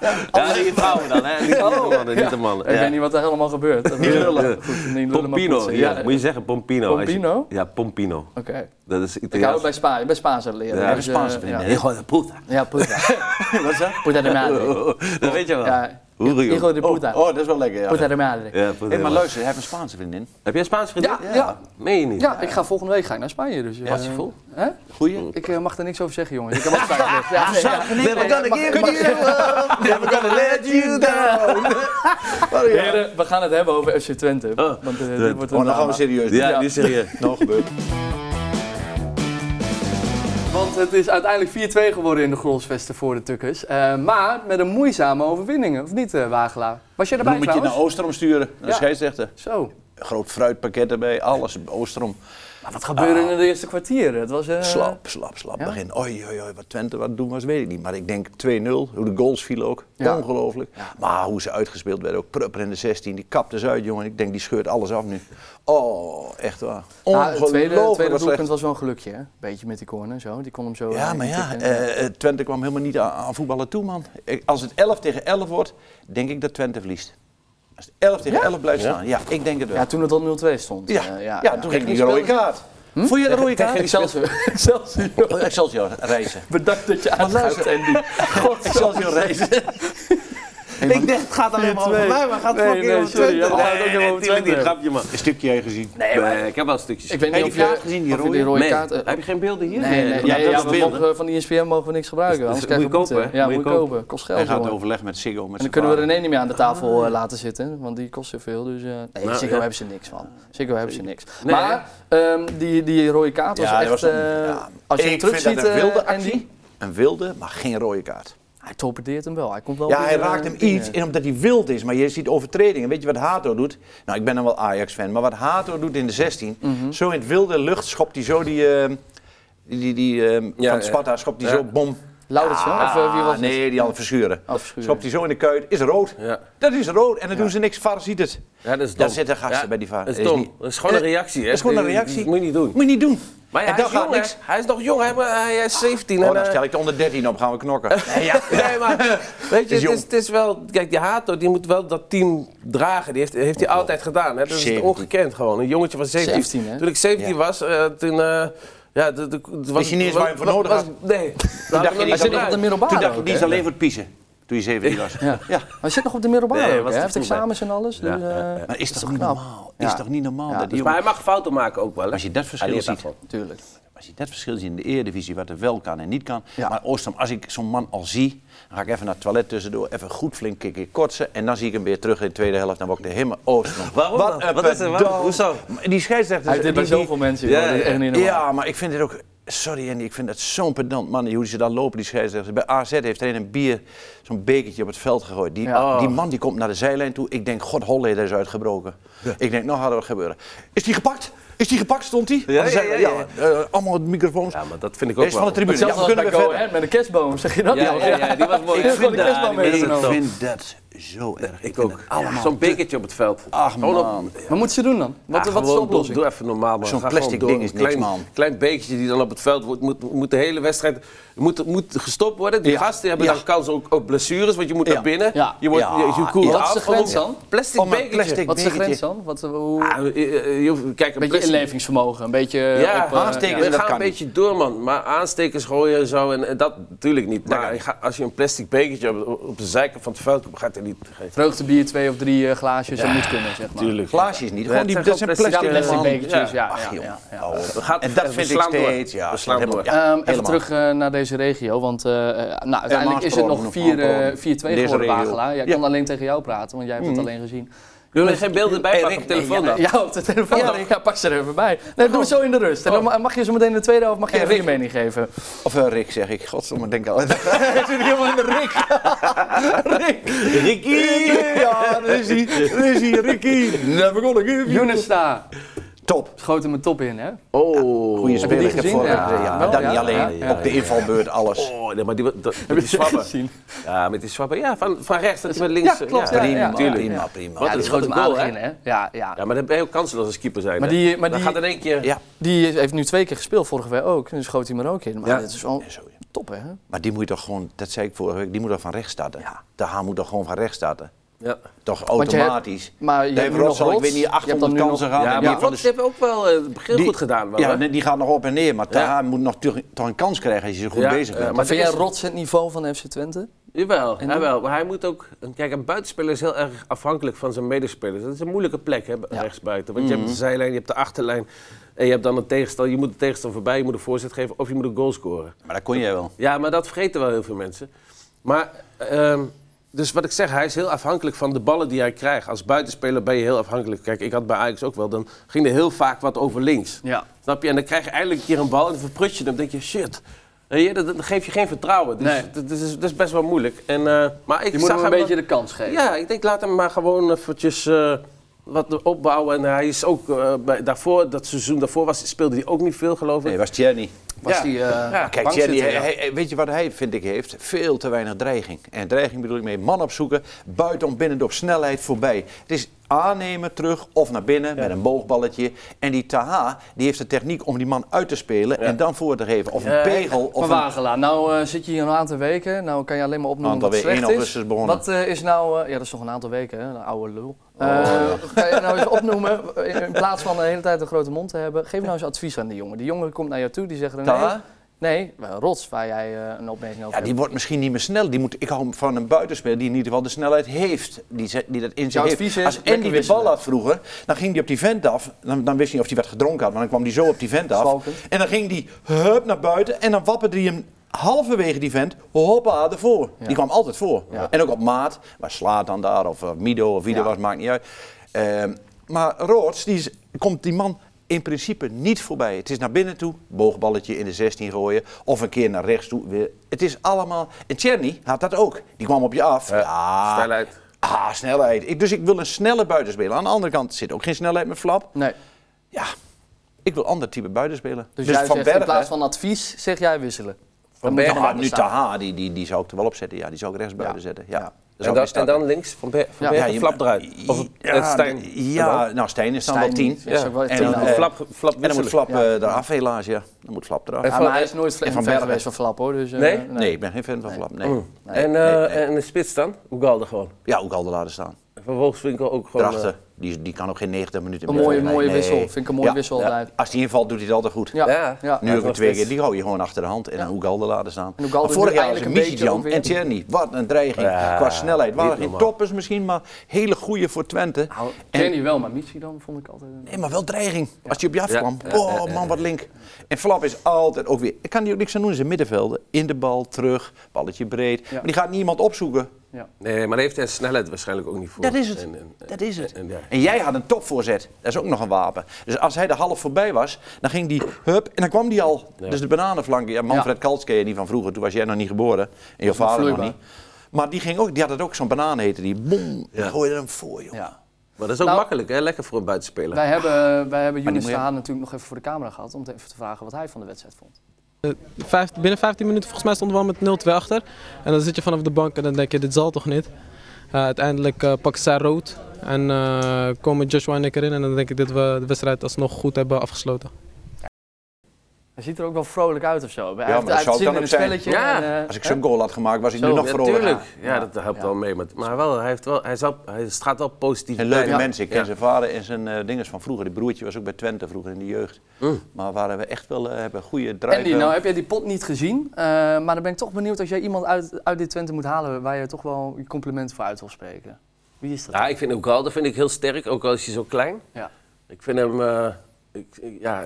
Speaker 3: die vrouwen dan, hè?
Speaker 2: Oh.
Speaker 3: Niet, niet de mannen, niet de mannen.
Speaker 1: Ik
Speaker 3: Ja. Eh,
Speaker 1: weet niet wat er helemaal gebeurt. Dat
Speaker 2: Niet lullen.
Speaker 1: Goed, niet lullen, maar
Speaker 3: Pompino,
Speaker 1: poetsen,
Speaker 3: ja, moet je zeggen Pompino. als je-
Speaker 1: Pompino?
Speaker 3: Ja, Pompino.
Speaker 1: Oké.
Speaker 3: Dat is
Speaker 1: Ik hou
Speaker 3: Italiaans.
Speaker 1: het bij, Spa bij Spaans leren.
Speaker 3: Ja,
Speaker 1: Dus, eh,
Speaker 2: Spaans
Speaker 1: ja.
Speaker 2: vrienden. Hijo de puta.
Speaker 1: Ja, puta.
Speaker 2: Wat is dat?
Speaker 1: Puta de madre.
Speaker 3: Dat weet je wel.
Speaker 1: Ja,
Speaker 3: Hoe doe je?
Speaker 1: hijo de
Speaker 2: Oh,
Speaker 1: puta.
Speaker 2: oh, dat is wel lekker, ja.
Speaker 1: Puta de madre.
Speaker 3: Ja, puta.
Speaker 2: Hey, maar luister, hij heeft een Spaanse vriendin.
Speaker 3: Heb jij Spaans vriendin?
Speaker 1: Ja, ja.
Speaker 3: Meen je niet?
Speaker 1: Ja, ik ga volgende week ga ik naar Spanje. Dus, eh,
Speaker 3: Wat is je vol?
Speaker 1: Hè?
Speaker 2: Goeie.
Speaker 1: Ik eh, mag er niks over zeggen, jongens. Ik heb ook Spanje geleerd. Ja, nee, ja.
Speaker 2: Never gonna give you up, never gonna let you down.
Speaker 1: Heren, we gaan het hebben over FC Twente.
Speaker 3: Oh,
Speaker 1: want eh, dit
Speaker 3: Twente.
Speaker 1: wordt een
Speaker 2: Oh, dan gaan
Speaker 1: drama.
Speaker 2: we serieus doen.
Speaker 3: Ja,
Speaker 1: Ja.
Speaker 3: nu serieus.
Speaker 2: Nou gebeurt.
Speaker 1: Want het is uiteindelijk 4-2 geworden in de Grolsvesten voor de Tukkers. Eh, maar met een moeizame overwinning, of niet, eh Wagelaar? Was je erbij
Speaker 2: Dan moet je nou?
Speaker 1: trouwens?
Speaker 2: naar Oostrom sturen, naar de
Speaker 1: Ja.
Speaker 2: scheidsrechter.
Speaker 1: Zo.
Speaker 2: Groot fruitpakket erbij, alles. Oostrom.
Speaker 1: Maar wat gebeurde in het eerste kwartier? Het was... eh,
Speaker 2: Slap, slap, slap.
Speaker 1: Ja?
Speaker 2: Begin. Oei, oei, oei, wat Twente wat doen was, weet ik niet. Maar ik denk 2-0. Hoe de goals vielen ook.
Speaker 1: Ja.
Speaker 2: Ongelooflijk. Maar hoe ze uitgespeeld werden ook. Prupper in de 16. Die kapte ze uit, jongen. Ik denk, die scheurt alles af nu. Oh, echt waar.
Speaker 1: Nou, het
Speaker 2: Ongelooflijk.
Speaker 1: tweede, het tweede
Speaker 2: wat
Speaker 1: doelpunt
Speaker 2: slecht.
Speaker 1: was wel een gelukje, hè? Beetje met die corner, zo. Die kon hem zo...
Speaker 2: Ja,
Speaker 1: eh,
Speaker 2: maar ja,
Speaker 1: intikken.
Speaker 2: eh, Twente kwam helemaal niet aan, aan voetballen toe, man. Ik- Als het 11 tegen 11 wordt, denk ik dat Twente verliest. Als het 11 tegen 11 blijft staan. Ja, ik denk het wel.
Speaker 1: ja, toen het al 0-2 stond.
Speaker 2: Ja,
Speaker 1: Eh,
Speaker 2: ja, toen
Speaker 1: Ik
Speaker 2: ging die rode kaart. Vond je de
Speaker 1: Tegen
Speaker 2: rode kaart?
Speaker 1: Excelsior. Excelsior.
Speaker 2: Oh, Excelsior reizen.
Speaker 1: Bedankt dat je aanschuift, Andy. God,
Speaker 2: Excelsior reizen. ik dacht, het gaat alleen maar over mij, maar gaat
Speaker 1: Nee, nee, sorry. ja, we gaan het ook even over Twente
Speaker 3: die
Speaker 1: hebben.
Speaker 3: grapje, man.
Speaker 2: Een stukje heb je gezien.
Speaker 3: Nee, maar ik heb wel stukjes.
Speaker 1: Ik weet niet
Speaker 2: Heb je
Speaker 1: of
Speaker 2: die kaart
Speaker 1: je
Speaker 2: gezien, die
Speaker 1: of je
Speaker 2: rode?
Speaker 1: rode
Speaker 3: Nee.
Speaker 1: kaart... eh,
Speaker 3: Heb je geen beelden hier?
Speaker 1: Nee, nee,
Speaker 2: Ja,
Speaker 1: nee,
Speaker 2: dat
Speaker 1: ja,
Speaker 2: is
Speaker 1: we
Speaker 2: beelden.
Speaker 1: mogen, van de ESPN mogen we niks gebruiken.
Speaker 3: Dus-
Speaker 1: Anders
Speaker 3: dus
Speaker 1: krijgen
Speaker 3: moet
Speaker 1: we
Speaker 3: je
Speaker 1: boete.
Speaker 3: kopen, hè?
Speaker 1: Ja, moet
Speaker 3: Moet je
Speaker 1: je kopen. Kost geld.
Speaker 2: Hij gaat
Speaker 1: jongen.
Speaker 2: overleg met Siggo, met
Speaker 1: En dan
Speaker 2: zijn
Speaker 1: kunnen we
Speaker 2: vader.
Speaker 1: René niet meer aan de tafel eh, laten zitten, want die kost zoveel. Dus, eh nee, Ziggo
Speaker 3: ja.
Speaker 1: hebben ze niks van. Ziggo hebben ze niks.
Speaker 3: Nee,
Speaker 1: maar ehm, die, die rode kaart was
Speaker 2: Ja,
Speaker 1: echt...
Speaker 2: dat was een-
Speaker 1: eh,
Speaker 2: ja.
Speaker 1: Als je
Speaker 2: Ik
Speaker 1: hem terug
Speaker 2: vind dat
Speaker 1: ziet,
Speaker 2: een wilde
Speaker 1: eh, Andy,
Speaker 2: actie. Een wilde, maar geen rode kaart.
Speaker 1: Hij torpedeert hem wel. Hij komt wel
Speaker 2: Ja,
Speaker 1: weer,
Speaker 2: hij
Speaker 1: eh,
Speaker 2: raakt hem
Speaker 1: dingen.
Speaker 2: iets in omdat hij wild is, maar je ziet overtredingen. Weet je wat Hato doet? Nou, ik ben dan wel Ajax-fan, maar wat Hato doet in de 16,
Speaker 1: Mhm.
Speaker 2: zo in het wilde lucht schopt hij zo die, ehm, die, die, die, ehm,
Speaker 3: Ja,
Speaker 2: van Sparta, schopt hij zo bom. Ah,
Speaker 1: Laudertsen, of eh, wie was het?
Speaker 2: nee, die al verschuren.
Speaker 1: Oh, Verschuren.
Speaker 2: Schopt hij zo in de kuit, is rood.
Speaker 3: Ja.
Speaker 2: Dat is rood en dan doen ze niks, VAR ziet het.
Speaker 3: Ja, dat is dom.
Speaker 2: Daar zitten gasten bij die VAR.
Speaker 3: Dat is
Speaker 2: Dat is
Speaker 3: dom.
Speaker 2: niet- Eh,
Speaker 3: Dat is gewoon een reactie, hè?
Speaker 2: Dat is gewoon een
Speaker 3: Die- die-
Speaker 2: reactie.
Speaker 3: die Moet je niet doen.
Speaker 2: Moet je niet doen.
Speaker 3: Maar ja,
Speaker 2: en
Speaker 3: hij,
Speaker 2: dan
Speaker 3: is
Speaker 2: gaat
Speaker 3: jong,
Speaker 2: niks.
Speaker 3: hè? hij is nog jong, hij, maar hij is 17.
Speaker 2: Oh,
Speaker 3: en,
Speaker 2: dan
Speaker 3: eh,
Speaker 2: stel ik de onder 13 op, gaan we knokken. Nee, ja.
Speaker 3: Nee, maar weet je,
Speaker 2: Is
Speaker 3: het
Speaker 2: jong.
Speaker 3: is, het is wel... Kijk, die Hato, die moet wel dat team dragen. Die heeft, heeft
Speaker 2: Oh,
Speaker 3: hij altijd gedaan. Hè? Dat is
Speaker 2: 17.
Speaker 3: ongekend gewoon. Een jongetje van 17.
Speaker 1: 17, hè?
Speaker 3: Toen ik 17 was, eh, toen eh, Ja, het- het- het was-
Speaker 2: Wist je niet eens waar je hem voor
Speaker 3: was-
Speaker 2: nodig
Speaker 3: was-
Speaker 2: had?
Speaker 3: Nee.
Speaker 2: dacht je,
Speaker 1: Hij
Speaker 2: die
Speaker 1: zit
Speaker 2: zat
Speaker 1: nog op de middelbare
Speaker 2: Toen dacht
Speaker 1: ook,
Speaker 2: ik, die
Speaker 1: hè?
Speaker 2: is alleen voor het piezen. Toen je 17 was.
Speaker 1: Ja.
Speaker 2: Ja.
Speaker 1: Hij zit nog op de middelbare
Speaker 3: Nee,
Speaker 1: ook,
Speaker 3: was
Speaker 1: hè?
Speaker 3: te
Speaker 1: Hij heeft
Speaker 3: vroeg, hè?
Speaker 1: examen en alles. Dus, eh,
Speaker 2: Maar is toch
Speaker 1: toch
Speaker 2: niet
Speaker 1: knap?
Speaker 2: normaal? Is
Speaker 1: Ja.
Speaker 2: toch niet normaal
Speaker 1: Ja,
Speaker 2: dat die
Speaker 3: Maar hij
Speaker 2: jongen...
Speaker 3: mag fouten maken ook wel. hè?
Speaker 2: Als je dat
Speaker 3: Hij
Speaker 2: verschil
Speaker 3: leert
Speaker 2: ziet,
Speaker 3: daarvan.
Speaker 1: Tuurlijk.
Speaker 2: als je dat verschil ziet in de eredivisie, wat er wel kan en niet kan.
Speaker 1: Ja.
Speaker 2: Maar Oostrom, als ik zo'n man al zie, dan ga ik even naar het toilet tussendoor, even goed flink een keer kortsen. En dan zie ik hem weer terug in de tweede helft, dan word ik de helemaal Oostrom.
Speaker 3: Waarom
Speaker 2: Wat,
Speaker 3: dan?
Speaker 2: een
Speaker 3: Wat is er? Waarom?
Speaker 2: pedant.
Speaker 3: Hoezo?
Speaker 2: Maar Die scheidsrechter...
Speaker 1: Hij heeft dit bij
Speaker 2: die-
Speaker 1: zoveel mensen.
Speaker 3: Ja,
Speaker 1: Ja,
Speaker 3: ja.
Speaker 1: echt niet normaal.
Speaker 2: Ja, maar ik vind het ook... Sorry Andy, ik vind dat zo'n pedant man, hoe ze daar lopen, die scheidsrechters. Bij AZ heeft er een een bier, zo'n bekertje op het veld gegooid. Die,
Speaker 1: Ja. Oh.
Speaker 2: die man die komt naar de zijlijn toe. Ik denk, god, Holleder is uitgebroken. Ik denk, nou gaat er wat gebeuren. Is die gepakt? Is die gepakt, stond die?
Speaker 3: ja,
Speaker 2: Aan de zijlijn,
Speaker 3: ja, ja.
Speaker 2: eh, allemaal microfoons.
Speaker 3: Ja, maar dat vind ik
Speaker 2: Hij
Speaker 3: ook
Speaker 2: is van de
Speaker 3: wel.
Speaker 2: tribune. Ja,
Speaker 1: Zelfs
Speaker 2: we
Speaker 1: als
Speaker 2: kunnen
Speaker 1: bij
Speaker 2: weer
Speaker 1: Go
Speaker 2: verder.
Speaker 1: Ahead met een kerstboom, zeg je dat?
Speaker 3: Ja,
Speaker 1: nog?
Speaker 3: ja, ja, die was mooi.
Speaker 1: Ik vind
Speaker 3: Ja,
Speaker 1: de kerstboom
Speaker 3: die mensen
Speaker 1: meegenomen.
Speaker 2: Ik vind dat zo erg.
Speaker 3: Ik
Speaker 2: vind
Speaker 3: ook.
Speaker 2: het allemaal
Speaker 3: Zo'n
Speaker 2: te-
Speaker 3: bekertje op het veld.
Speaker 2: Ach
Speaker 3: Gewoon op-
Speaker 2: man.
Speaker 1: Maar moet je doen dan? Wat,
Speaker 3: Ja,
Speaker 1: wat is de
Speaker 3: gewoon
Speaker 1: oplossing?
Speaker 3: Doe, doe even normaal, man.
Speaker 2: Zo'n
Speaker 3: Ga gewoon
Speaker 2: plastic
Speaker 3: door.
Speaker 2: ding is
Speaker 3: Een
Speaker 2: niks,
Speaker 3: klein,
Speaker 2: man.
Speaker 3: Klein bekertje die dan op het veld wordt, moet, moet de hele wedstrijd moet, moet gestopt worden. Die
Speaker 2: Ja.
Speaker 3: gasten hebben
Speaker 2: Ja.
Speaker 3: dan kans ook op blessures, want je moet
Speaker 2: Ja.
Speaker 3: naar binnen.
Speaker 1: Ja.
Speaker 3: Je, wordt,
Speaker 2: Ja.
Speaker 3: je, je koelt
Speaker 2: Ja.
Speaker 3: af.
Speaker 1: Wat is de grens
Speaker 3: Waarom?
Speaker 1: dan?
Speaker 3: Plastic
Speaker 2: Om een Oh,
Speaker 3: bekertje.
Speaker 2: plastic-
Speaker 1: Wat is de
Speaker 2: bekertje.
Speaker 1: grens dan? Wat, hoe...
Speaker 3: Ah, je- je- je hoeft- kijk, een
Speaker 1: Een beetje
Speaker 3: plastic-
Speaker 1: inlevingsvermogen, een beetje
Speaker 3: Ja,
Speaker 1: op, eh,
Speaker 2: aansteken.
Speaker 1: ja.
Speaker 3: We
Speaker 2: dat
Speaker 3: gaan
Speaker 2: kan
Speaker 3: een beetje door, man. Maar aanstekers gooien en zo, en, en dat natuurlijk niet. Maar je gaat- als je een plastic bekertje op, op de zijkant van het veld komt, gaat het niet.
Speaker 1: Vreugdebier, twee of drie eh, glaasjes, dat moet kunnen, zeg maar.
Speaker 3: Tuurlijk.
Speaker 2: Glaasjes niet, gewoon die,
Speaker 3: het
Speaker 2: dat
Speaker 3: zijn
Speaker 2: zijn
Speaker 3: gewoon
Speaker 1: Ja,
Speaker 2: plastic,
Speaker 1: plastic
Speaker 2: man.
Speaker 1: bekertjes, ja.
Speaker 3: Ja.
Speaker 1: ja,
Speaker 2: Ach
Speaker 1: ja,
Speaker 2: joh,
Speaker 1: ja.
Speaker 2: ouwe.
Speaker 3: gaat-
Speaker 2: en dat
Speaker 3: we
Speaker 2: vind ik
Speaker 3: slaan door.
Speaker 2: steeds, ja.
Speaker 3: We slaan
Speaker 2: helemaal-
Speaker 3: door.
Speaker 2: ja,
Speaker 1: Ehm, even
Speaker 2: helemaal.
Speaker 1: terug eh, naar deze regio, want eh, eh, nou, uiteindelijk is het
Speaker 2: Maassproken
Speaker 1: nog
Speaker 2: of
Speaker 1: 4-2
Speaker 2: Maassproken. Deze
Speaker 1: geworden,
Speaker 2: regio.
Speaker 1: Wagelaar. Jij
Speaker 2: Ja.
Speaker 1: kan alleen tegen jou praten, want jij hebt het alleen gezien.
Speaker 3: Jullie hebben geen beelden bij pakken op de telefoon dan? Oh.
Speaker 1: Ja, op de telefoon. Ja, pak ze er even bij. Nee, doe het zo in de rust. En dan ma- mag je zo meteen in de tweede helft mag je
Speaker 2: Hey,
Speaker 1: even je
Speaker 2: Rick.
Speaker 1: mening geven.
Speaker 2: Of eh, Rick zeg ik, godverdomme, denk al.
Speaker 1: Hij zit helemaal in de Rick.
Speaker 2: Ricky! Ja, daar is hij, daar is hij, Ricky! Never gonna give you.
Speaker 1: Junesta
Speaker 2: Top.
Speaker 1: schoot hem een top in, hè?
Speaker 3: Oh.
Speaker 2: Goeie
Speaker 1: Heb je
Speaker 2: speler.
Speaker 1: die
Speaker 2: Ik heb
Speaker 1: gezien?
Speaker 2: vorige
Speaker 1: Ja.
Speaker 2: ja, ja,
Speaker 1: Wel,
Speaker 2: dat
Speaker 1: ja.
Speaker 2: niet
Speaker 1: Ja,
Speaker 2: alleen.
Speaker 1: ja.
Speaker 2: Op de invalbeurt alles.
Speaker 3: Oh, nee, maar die, dat, met
Speaker 1: Heb
Speaker 3: die
Speaker 1: je het
Speaker 3: zwabben.
Speaker 1: gezien?
Speaker 3: Ja, met die zwabben. Ja, van, van rechts dat hij met links.
Speaker 1: Ja, klopt, ja.
Speaker 3: Ja,
Speaker 2: Prima, prima,
Speaker 3: Ja.
Speaker 2: prima.
Speaker 3: Wat
Speaker 1: Ja, die
Speaker 3: een-
Speaker 1: schoot
Speaker 3: wat
Speaker 1: hem
Speaker 3: een goal,
Speaker 1: aardig in,
Speaker 3: hè?
Speaker 1: hè? Ja, ja.
Speaker 3: Ja, maar dan ben je ook kansloos als keeper zijn.
Speaker 1: Maar
Speaker 3: hè?
Speaker 1: die- maar
Speaker 3: dan
Speaker 1: die-
Speaker 3: gaat in één keer...
Speaker 2: Ja,
Speaker 1: Die heeft nu twee keer gespeeld vorige week ook. En dus schoot hij maar ook in. Maar
Speaker 3: Ja.
Speaker 1: dit is wel
Speaker 2: zo, ja.
Speaker 1: top, hè?
Speaker 2: maar die moet je toch gewoon, dat zei ik vorige week, die moet toch van rechts starten? De Haan moet toch gewoon van rechts starten?
Speaker 3: Ja.
Speaker 2: Toch
Speaker 1: je hebt-
Speaker 2: automatisch.
Speaker 1: maar je
Speaker 2: Dave
Speaker 1: hebt nu nog
Speaker 2: Rotzel, ik
Speaker 1: Rots.
Speaker 2: weet niet,
Speaker 1: Je hebt
Speaker 2: 800
Speaker 1: dan nu nog-
Speaker 2: kansen gehad.
Speaker 3: Ja,
Speaker 2: en
Speaker 3: maar
Speaker 2: die
Speaker 3: ja,
Speaker 2: heeft van de-
Speaker 3: heeft ook wel eh, het begin goed gedaan. Wel,
Speaker 2: Ja,
Speaker 3: hè?
Speaker 2: nee, die gaat nog op en neer, maar Taha
Speaker 3: Ja.
Speaker 2: moet nog toch, toch een kans krijgen als je zo goed
Speaker 3: Ja,
Speaker 2: bezig
Speaker 3: eh,
Speaker 2: bent.
Speaker 1: Maar
Speaker 3: Maar
Speaker 1: vind
Speaker 3: er
Speaker 1: jij
Speaker 3: is-
Speaker 1: rots het niveau van FC Twente?
Speaker 3: Jawel, jawel, maar hij moet ook... Kijk, een buitenspeler is heel erg afhankelijk van zijn medespelers. Dat is een moeilijke plek, hè, rechtsbuiten.
Speaker 1: Mm.
Speaker 3: Want je hebt de zijlijn, je hebt de achterlijn... en je hebt dan een tegenstander. Je moet de tegenstander voorbij, je moet een voorzet geven... of je moet een goal scoren.
Speaker 2: maar dat kon jij wel.
Speaker 3: Ja, maar dat vergeten wel heel veel mensen. Maar, ehm, dus wat ik zeg, hij is heel afhankelijk van de ballen die hij krijgt. Als buitenspeler ben je heel afhankelijk. Kijk, ik had bij Ajax ook wel, dan ging er heel vaak wat over links.
Speaker 1: Ja.
Speaker 3: Snap je? En dan krijg je eindelijk een keer een bal en dan verprut je hem. Dan denk je, shit. Weet je, dat, dat geeft je geen vertrouwen. Dus
Speaker 1: Nee.
Speaker 3: dat, dat is, dat is best wel moeilijk. En, eh, maar ik
Speaker 1: Je moet
Speaker 3: zag
Speaker 1: hem een
Speaker 3: wel-
Speaker 1: beetje de kans geven.
Speaker 3: ja, ik denk laat hem maar gewoon eventjes eh, wat opbouwen. En hij is ook eh, bij, daarvoor, dat seizoen daarvoor was, speelde hij ook niet veel, geloof ik.
Speaker 2: Nee, was Tjerny.
Speaker 1: Was
Speaker 3: Ja.
Speaker 1: die, eh,
Speaker 3: Ja,
Speaker 2: Kijk,
Speaker 1: bank
Speaker 2: Tjerny,
Speaker 1: zitten,
Speaker 2: hij-
Speaker 1: ja.
Speaker 2: hij- weet je wat hij, vind ik, heeft? Veel te weinig dreiging. En dreiging bedoel ik mee man opzoeken, buiten om binnen door snelheid voorbij. Het is aannemen terug of naar binnen met een boogballetje. En die Taha, die heeft de techniek om die man uit te spelen en dan voor te geven. Of een
Speaker 3: Ja,
Speaker 2: pegel. Of
Speaker 1: Maar
Speaker 2: een,
Speaker 1: Wagelaar, Eh, nou eh, zit je hier een aantal weken. Nou kan je alleen maar opnoemen
Speaker 2: Aantal
Speaker 1: wat
Speaker 2: weken,
Speaker 1: slecht
Speaker 2: 1 augustus
Speaker 1: is.
Speaker 2: begonnen.
Speaker 1: Wat eh, is nou... eh, ja, dat is nog een aantal weken, hè? Een oude lul.
Speaker 2: Oh,
Speaker 1: Eh, Kan je nou eens opnoemen, eh, in plaats van de hele tijd een grote mond te hebben. Geef nou eens advies aan die jongen. Die jongen komt naar jou toe, die zegt... Nee,
Speaker 2: Taha?
Speaker 1: nee eh, Rots, waar jij eh, een opmerking over
Speaker 2: ja, die
Speaker 1: hebt.
Speaker 2: wordt misschien niet meer snel. Die moet, ik hou van een buitenspeler die in ieder geval de snelheid heeft. Die, ze- die dat in zich
Speaker 1: Jouw
Speaker 2: heeft.
Speaker 1: advies is,
Speaker 2: Als
Speaker 1: lekker
Speaker 2: Andy de
Speaker 1: wisselen.
Speaker 2: bal had vroeger, dan ging die op die vent af. Dan, dan wist hij niet of hij wat gedronken had, want dan kwam die zo op die vent af.
Speaker 1: Zwalkend.
Speaker 2: En dan ging die hup naar buiten en dan wapperde hij hem halverwege die vent hoppa ervoor. Die kwam altijd voor.
Speaker 1: Ja.
Speaker 2: En ook op maat. Maar slaat dan daar of eh, Mido of wie er
Speaker 1: Ja.
Speaker 2: was, maakt niet uit. Ehm, maar Roods, die is- komt die man in principe niet voorbij. Het is naar binnen toe, boogballetje in de 16 gooien. Of een keer naar rechts toe. weer. Het is allemaal... En Tjerny had dat ook. Die kwam op je af. Ja,
Speaker 3: snelheid.
Speaker 2: Ah, snelheid. Ik, dus ik wil een snelle buitenspeler. Aan de andere kant zit ook geen snelheid met Flap.
Speaker 1: Nee.
Speaker 2: Ja, ik wil ander type buitenspeler.
Speaker 1: Dus, jij zegt, in
Speaker 2: Bergen-
Speaker 1: plaats van advies zeg jij wisselen. Van
Speaker 2: Nou, nu Taha, die, die, die zou ik er wel op zetten. Ja, die zou ik rechts buiten zetten. Ja.
Speaker 3: En
Speaker 2: zou
Speaker 3: dan,
Speaker 2: ik
Speaker 3: en
Speaker 2: weer starten.
Speaker 3: dan links van, Ber van
Speaker 1: Ja.
Speaker 3: Bergen,
Speaker 1: Ja,
Speaker 2: je-
Speaker 3: flap eruit. Of
Speaker 2: ja,
Speaker 3: eh, Stijn.
Speaker 2: Ja, nou Stijn is dan wel tien.
Speaker 1: Ja. Is ook wel
Speaker 2: En
Speaker 1: tien. Nou,
Speaker 2: dan,
Speaker 1: Ja.
Speaker 2: eh,
Speaker 3: flap, flap
Speaker 2: En dan moet
Speaker 3: wisselen.
Speaker 2: Flap eh, eraf helaas, ja. Dan moet Flap eraf.
Speaker 1: Ja, maar hij is nooit fan
Speaker 2: Van
Speaker 1: fan
Speaker 2: Bergen.
Speaker 1: geweest van Flap, hoor. Dus, eh,
Speaker 3: Nee?
Speaker 2: nee, ik ben geen fan van Flap, nee.
Speaker 1: Oh.
Speaker 3: en, eh, en de spits dan? Ugalde gewoon.
Speaker 2: Ja, ook al de laten staan.
Speaker 3: Van Wolfswinkel ook gewoon. eh,
Speaker 2: Erachter. Die, die kan ook geen 90 minuten
Speaker 1: Een
Speaker 2: meer
Speaker 1: mooie-
Speaker 2: volgens mij.
Speaker 1: mooie wissel. Vind ik een mooie
Speaker 2: Ja,
Speaker 1: wissel
Speaker 2: ja.
Speaker 1: altijd.
Speaker 2: Als die invalt, doet hij het altijd goed.
Speaker 1: Ja, ja.
Speaker 3: Ja.
Speaker 2: Nu ook
Speaker 3: nog
Speaker 2: weer twee keer,
Speaker 3: steeds.
Speaker 2: die hou je gewoon achter de hand. En dan Ugalde laten staan.
Speaker 1: En Ugalde
Speaker 2: Maar vorig
Speaker 1: nu
Speaker 2: jaar was het
Speaker 1: eindelijk een beetje ook
Speaker 2: Michijan
Speaker 1: weer.
Speaker 2: en Tjerni. Wat een dreiging
Speaker 3: Ja,
Speaker 2: qua snelheid. Waren
Speaker 3: niet
Speaker 2: geen
Speaker 3: normaal.
Speaker 2: toppers misschien, maar hele goede voor Twente. En-
Speaker 1: Kenny wel, maar Michi dan vond ik altijd... eh, een-
Speaker 2: Nee, maar wel dreiging. Als die op je afkwam.
Speaker 3: Ja, ja,
Speaker 2: oh man, wat link. En Flap is altijd ook weer... Ik kan die ook niks aan doen in zijn middenvelden. In de bal, terug, balletje breed. Maar die gaat niemand opzoeken.
Speaker 3: eh, Nee, maar daar heeft hij snelheid waarschijnlijk ook niet voor.
Speaker 2: Dat is het.
Speaker 3: En- en-
Speaker 2: dat is het.
Speaker 3: en- ja.
Speaker 2: En jij had een topvoorzet. Dat is ook nog een wapen. Dus als hij de half voorbij was, dan ging die hup en dan kwam die al. Dus de bananenflank. Ja, Manfred Kaltz ken je niet van vroeger. Toen was jij nog niet geboren. En je
Speaker 1: nog
Speaker 2: vader nog
Speaker 1: vloeibaar.
Speaker 2: niet. Maar die, ging ook, die had het ook zo'n banaan heten. Die boem, ja. gooide hem voor, joh.
Speaker 1: Ja.
Speaker 3: Maar dat is ook
Speaker 1: Nou-
Speaker 3: makkelijk, hè? Lekker voor een buitenspeler.
Speaker 1: Wij hebben, wij hebben Younes
Speaker 2: moet
Speaker 1: de
Speaker 2: je-
Speaker 1: Haan natuurlijk nog even voor de camera gehad om te- even te vragen wat hij van de wedstrijd vond.
Speaker 7: Vijf- binnen 15 minuten volgens mij stonden we al met 0-2 achter. En dan zit je vanaf de bank en dan denk je, dit zal toch niet. Eh, uiteindelijk eh pakken zij rood en eh, komen Joshua en ik erin. En dan denk ik dat we de wedstrijd alsnog goed hebben afgesloten.
Speaker 1: Hij ziet er ook wel vrolijk uit of zo. Hij
Speaker 2: maar
Speaker 1: heeft,
Speaker 2: dat
Speaker 1: hij
Speaker 2: zou
Speaker 1: heeft
Speaker 2: het
Speaker 1: zin
Speaker 2: dan
Speaker 1: in een
Speaker 2: ook zijn.
Speaker 1: spelletje.
Speaker 3: Ja,
Speaker 1: en, eh,
Speaker 2: Als ik
Speaker 1: hè?
Speaker 2: zo'n goal had gemaakt, was ik nu
Speaker 1: Zo.
Speaker 2: nog
Speaker 1: Ja,
Speaker 2: vrolijker.
Speaker 3: Tuurlijk. Ja,
Speaker 1: Ja.
Speaker 3: dat helpt
Speaker 1: Ja.
Speaker 3: wel mee. Maar, maar wel, hij, heeft wel, hij, zal, hij straalt wel positief
Speaker 2: En leuke
Speaker 1: Ja.
Speaker 2: mensen. Ik ken
Speaker 3: Ja.
Speaker 2: zijn vader en zijn eh dinges van vroeger. Die broertje was ook bij Twente vroeger in de jeugd. Maar waar we echt wel eh, hebben goede drive.
Speaker 1: Andy, nou heb jij die pot niet gezien, eh, maar dan ben ik toch benieuwd als jij iemand uit, uit dit Twente moet halen waar je toch wel je compliment voor uit wil spreken. Wie is dat?
Speaker 3: Ja, ik vind Ugalde vind ik heel sterk, ook al is hij zo klein.
Speaker 1: Ja.
Speaker 3: Ik vind hem, eh, ik, ik- ja,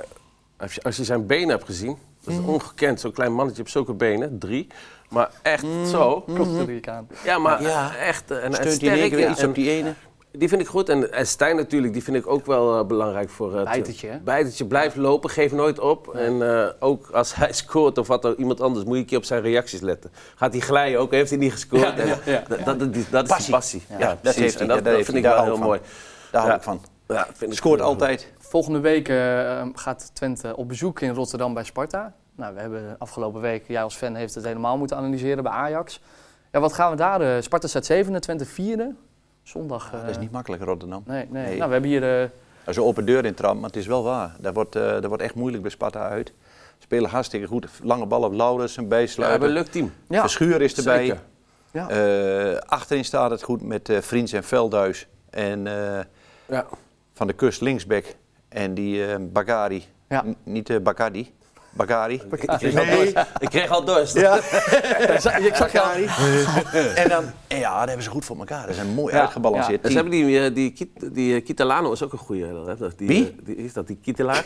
Speaker 3: als je, als je zijn benen hebt gezien, dat
Speaker 2: Mhm.
Speaker 3: is ongekend. Zo'n klein mannetje op zulke benen, drie. Maar echt
Speaker 2: Mhm.
Speaker 3: zo.
Speaker 1: Costa Ricaan.
Speaker 3: Ja, maar
Speaker 2: Ja.
Speaker 3: echt. eh, En, en
Speaker 2: Steunt hij in één
Speaker 3: sterk.
Speaker 2: keer
Speaker 3: ja.
Speaker 2: weer iets
Speaker 3: En
Speaker 2: op die ene?
Speaker 3: die vind ik goed. En, en Stijn natuurlijk, die vind ik ook wel eh, belangrijk voor... eh,
Speaker 1: Bijtertje, hè?
Speaker 3: Bijtertje, blijf lopen, geef nooit op. En eh, ook als hij scoort of wat dan iemand anders, moet je een keer op zijn reacties letten. Gaat hij glijden ook, heeft hij niet gescoord. En Dat, dat, dat, dat is
Speaker 2: Passie.
Speaker 3: die passie.
Speaker 2: Ja,
Speaker 3: Ja,
Speaker 2: dat
Speaker 3: precies.
Speaker 2: heeft hij,
Speaker 3: en dat,
Speaker 2: ja,
Speaker 3: dat
Speaker 2: daar
Speaker 3: vind ik
Speaker 2: heeft hij,
Speaker 3: wel
Speaker 2: daar
Speaker 3: heel
Speaker 2: hou
Speaker 3: mooi.
Speaker 2: Daar hou
Speaker 3: Ja.
Speaker 2: ik van.
Speaker 3: Ja, vind ik
Speaker 2: Scoort
Speaker 3: wel.
Speaker 2: altijd.
Speaker 1: Volgende week eh, gaat Twente op bezoek in Rotterdam bij Sparta. Nou, we hebben afgelopen week, jij als fan heeft het helemaal moeten analyseren bij Ajax. Ja, wat gaan we daar? eh, Sparta staat zevende, Twente vierde. Zondag.
Speaker 2: Ah, Dat is
Speaker 1: eh,
Speaker 2: niet makkelijk, Rotterdam.
Speaker 1: Nee, nee.
Speaker 2: Nee.
Speaker 1: Nou, we hebben hier eh,
Speaker 2: Dat is een open deur in tram, maar het is wel waar. Dat wordt, eh, dat wordt echt moeilijk bij Sparta uit. Spelen hartstikke goed. Lange bal op Laurens, een
Speaker 3: Ja, we hebben
Speaker 2: bijsluiter.
Speaker 3: een leuk team.
Speaker 1: ja,
Speaker 2: Verschuur is erbij.
Speaker 3: Zeker.
Speaker 1: ja.
Speaker 2: Eh, achterin staat het goed met eh Vriends en Veldhuis. En eh,
Speaker 3: Ja.
Speaker 2: van de kust linksback. En die eh Bagari.
Speaker 1: Ja.
Speaker 2: N- niet eh Bagari. Bagari.
Speaker 3: Ik, kreeg al dorst. ik kreeg al dorst.
Speaker 1: ik zag jou.
Speaker 2: en dan, en ja, dat hebben ze goed voor elkaar. Dat is een mooi uitgebalanceerd
Speaker 3: En ze
Speaker 2: team.
Speaker 3: hebben die, eh, die, Kit- die eh, Kitalano is ook een goeie. hè, dat- Die,
Speaker 2: Wie?
Speaker 3: eh, die- is dat die Kitelaar?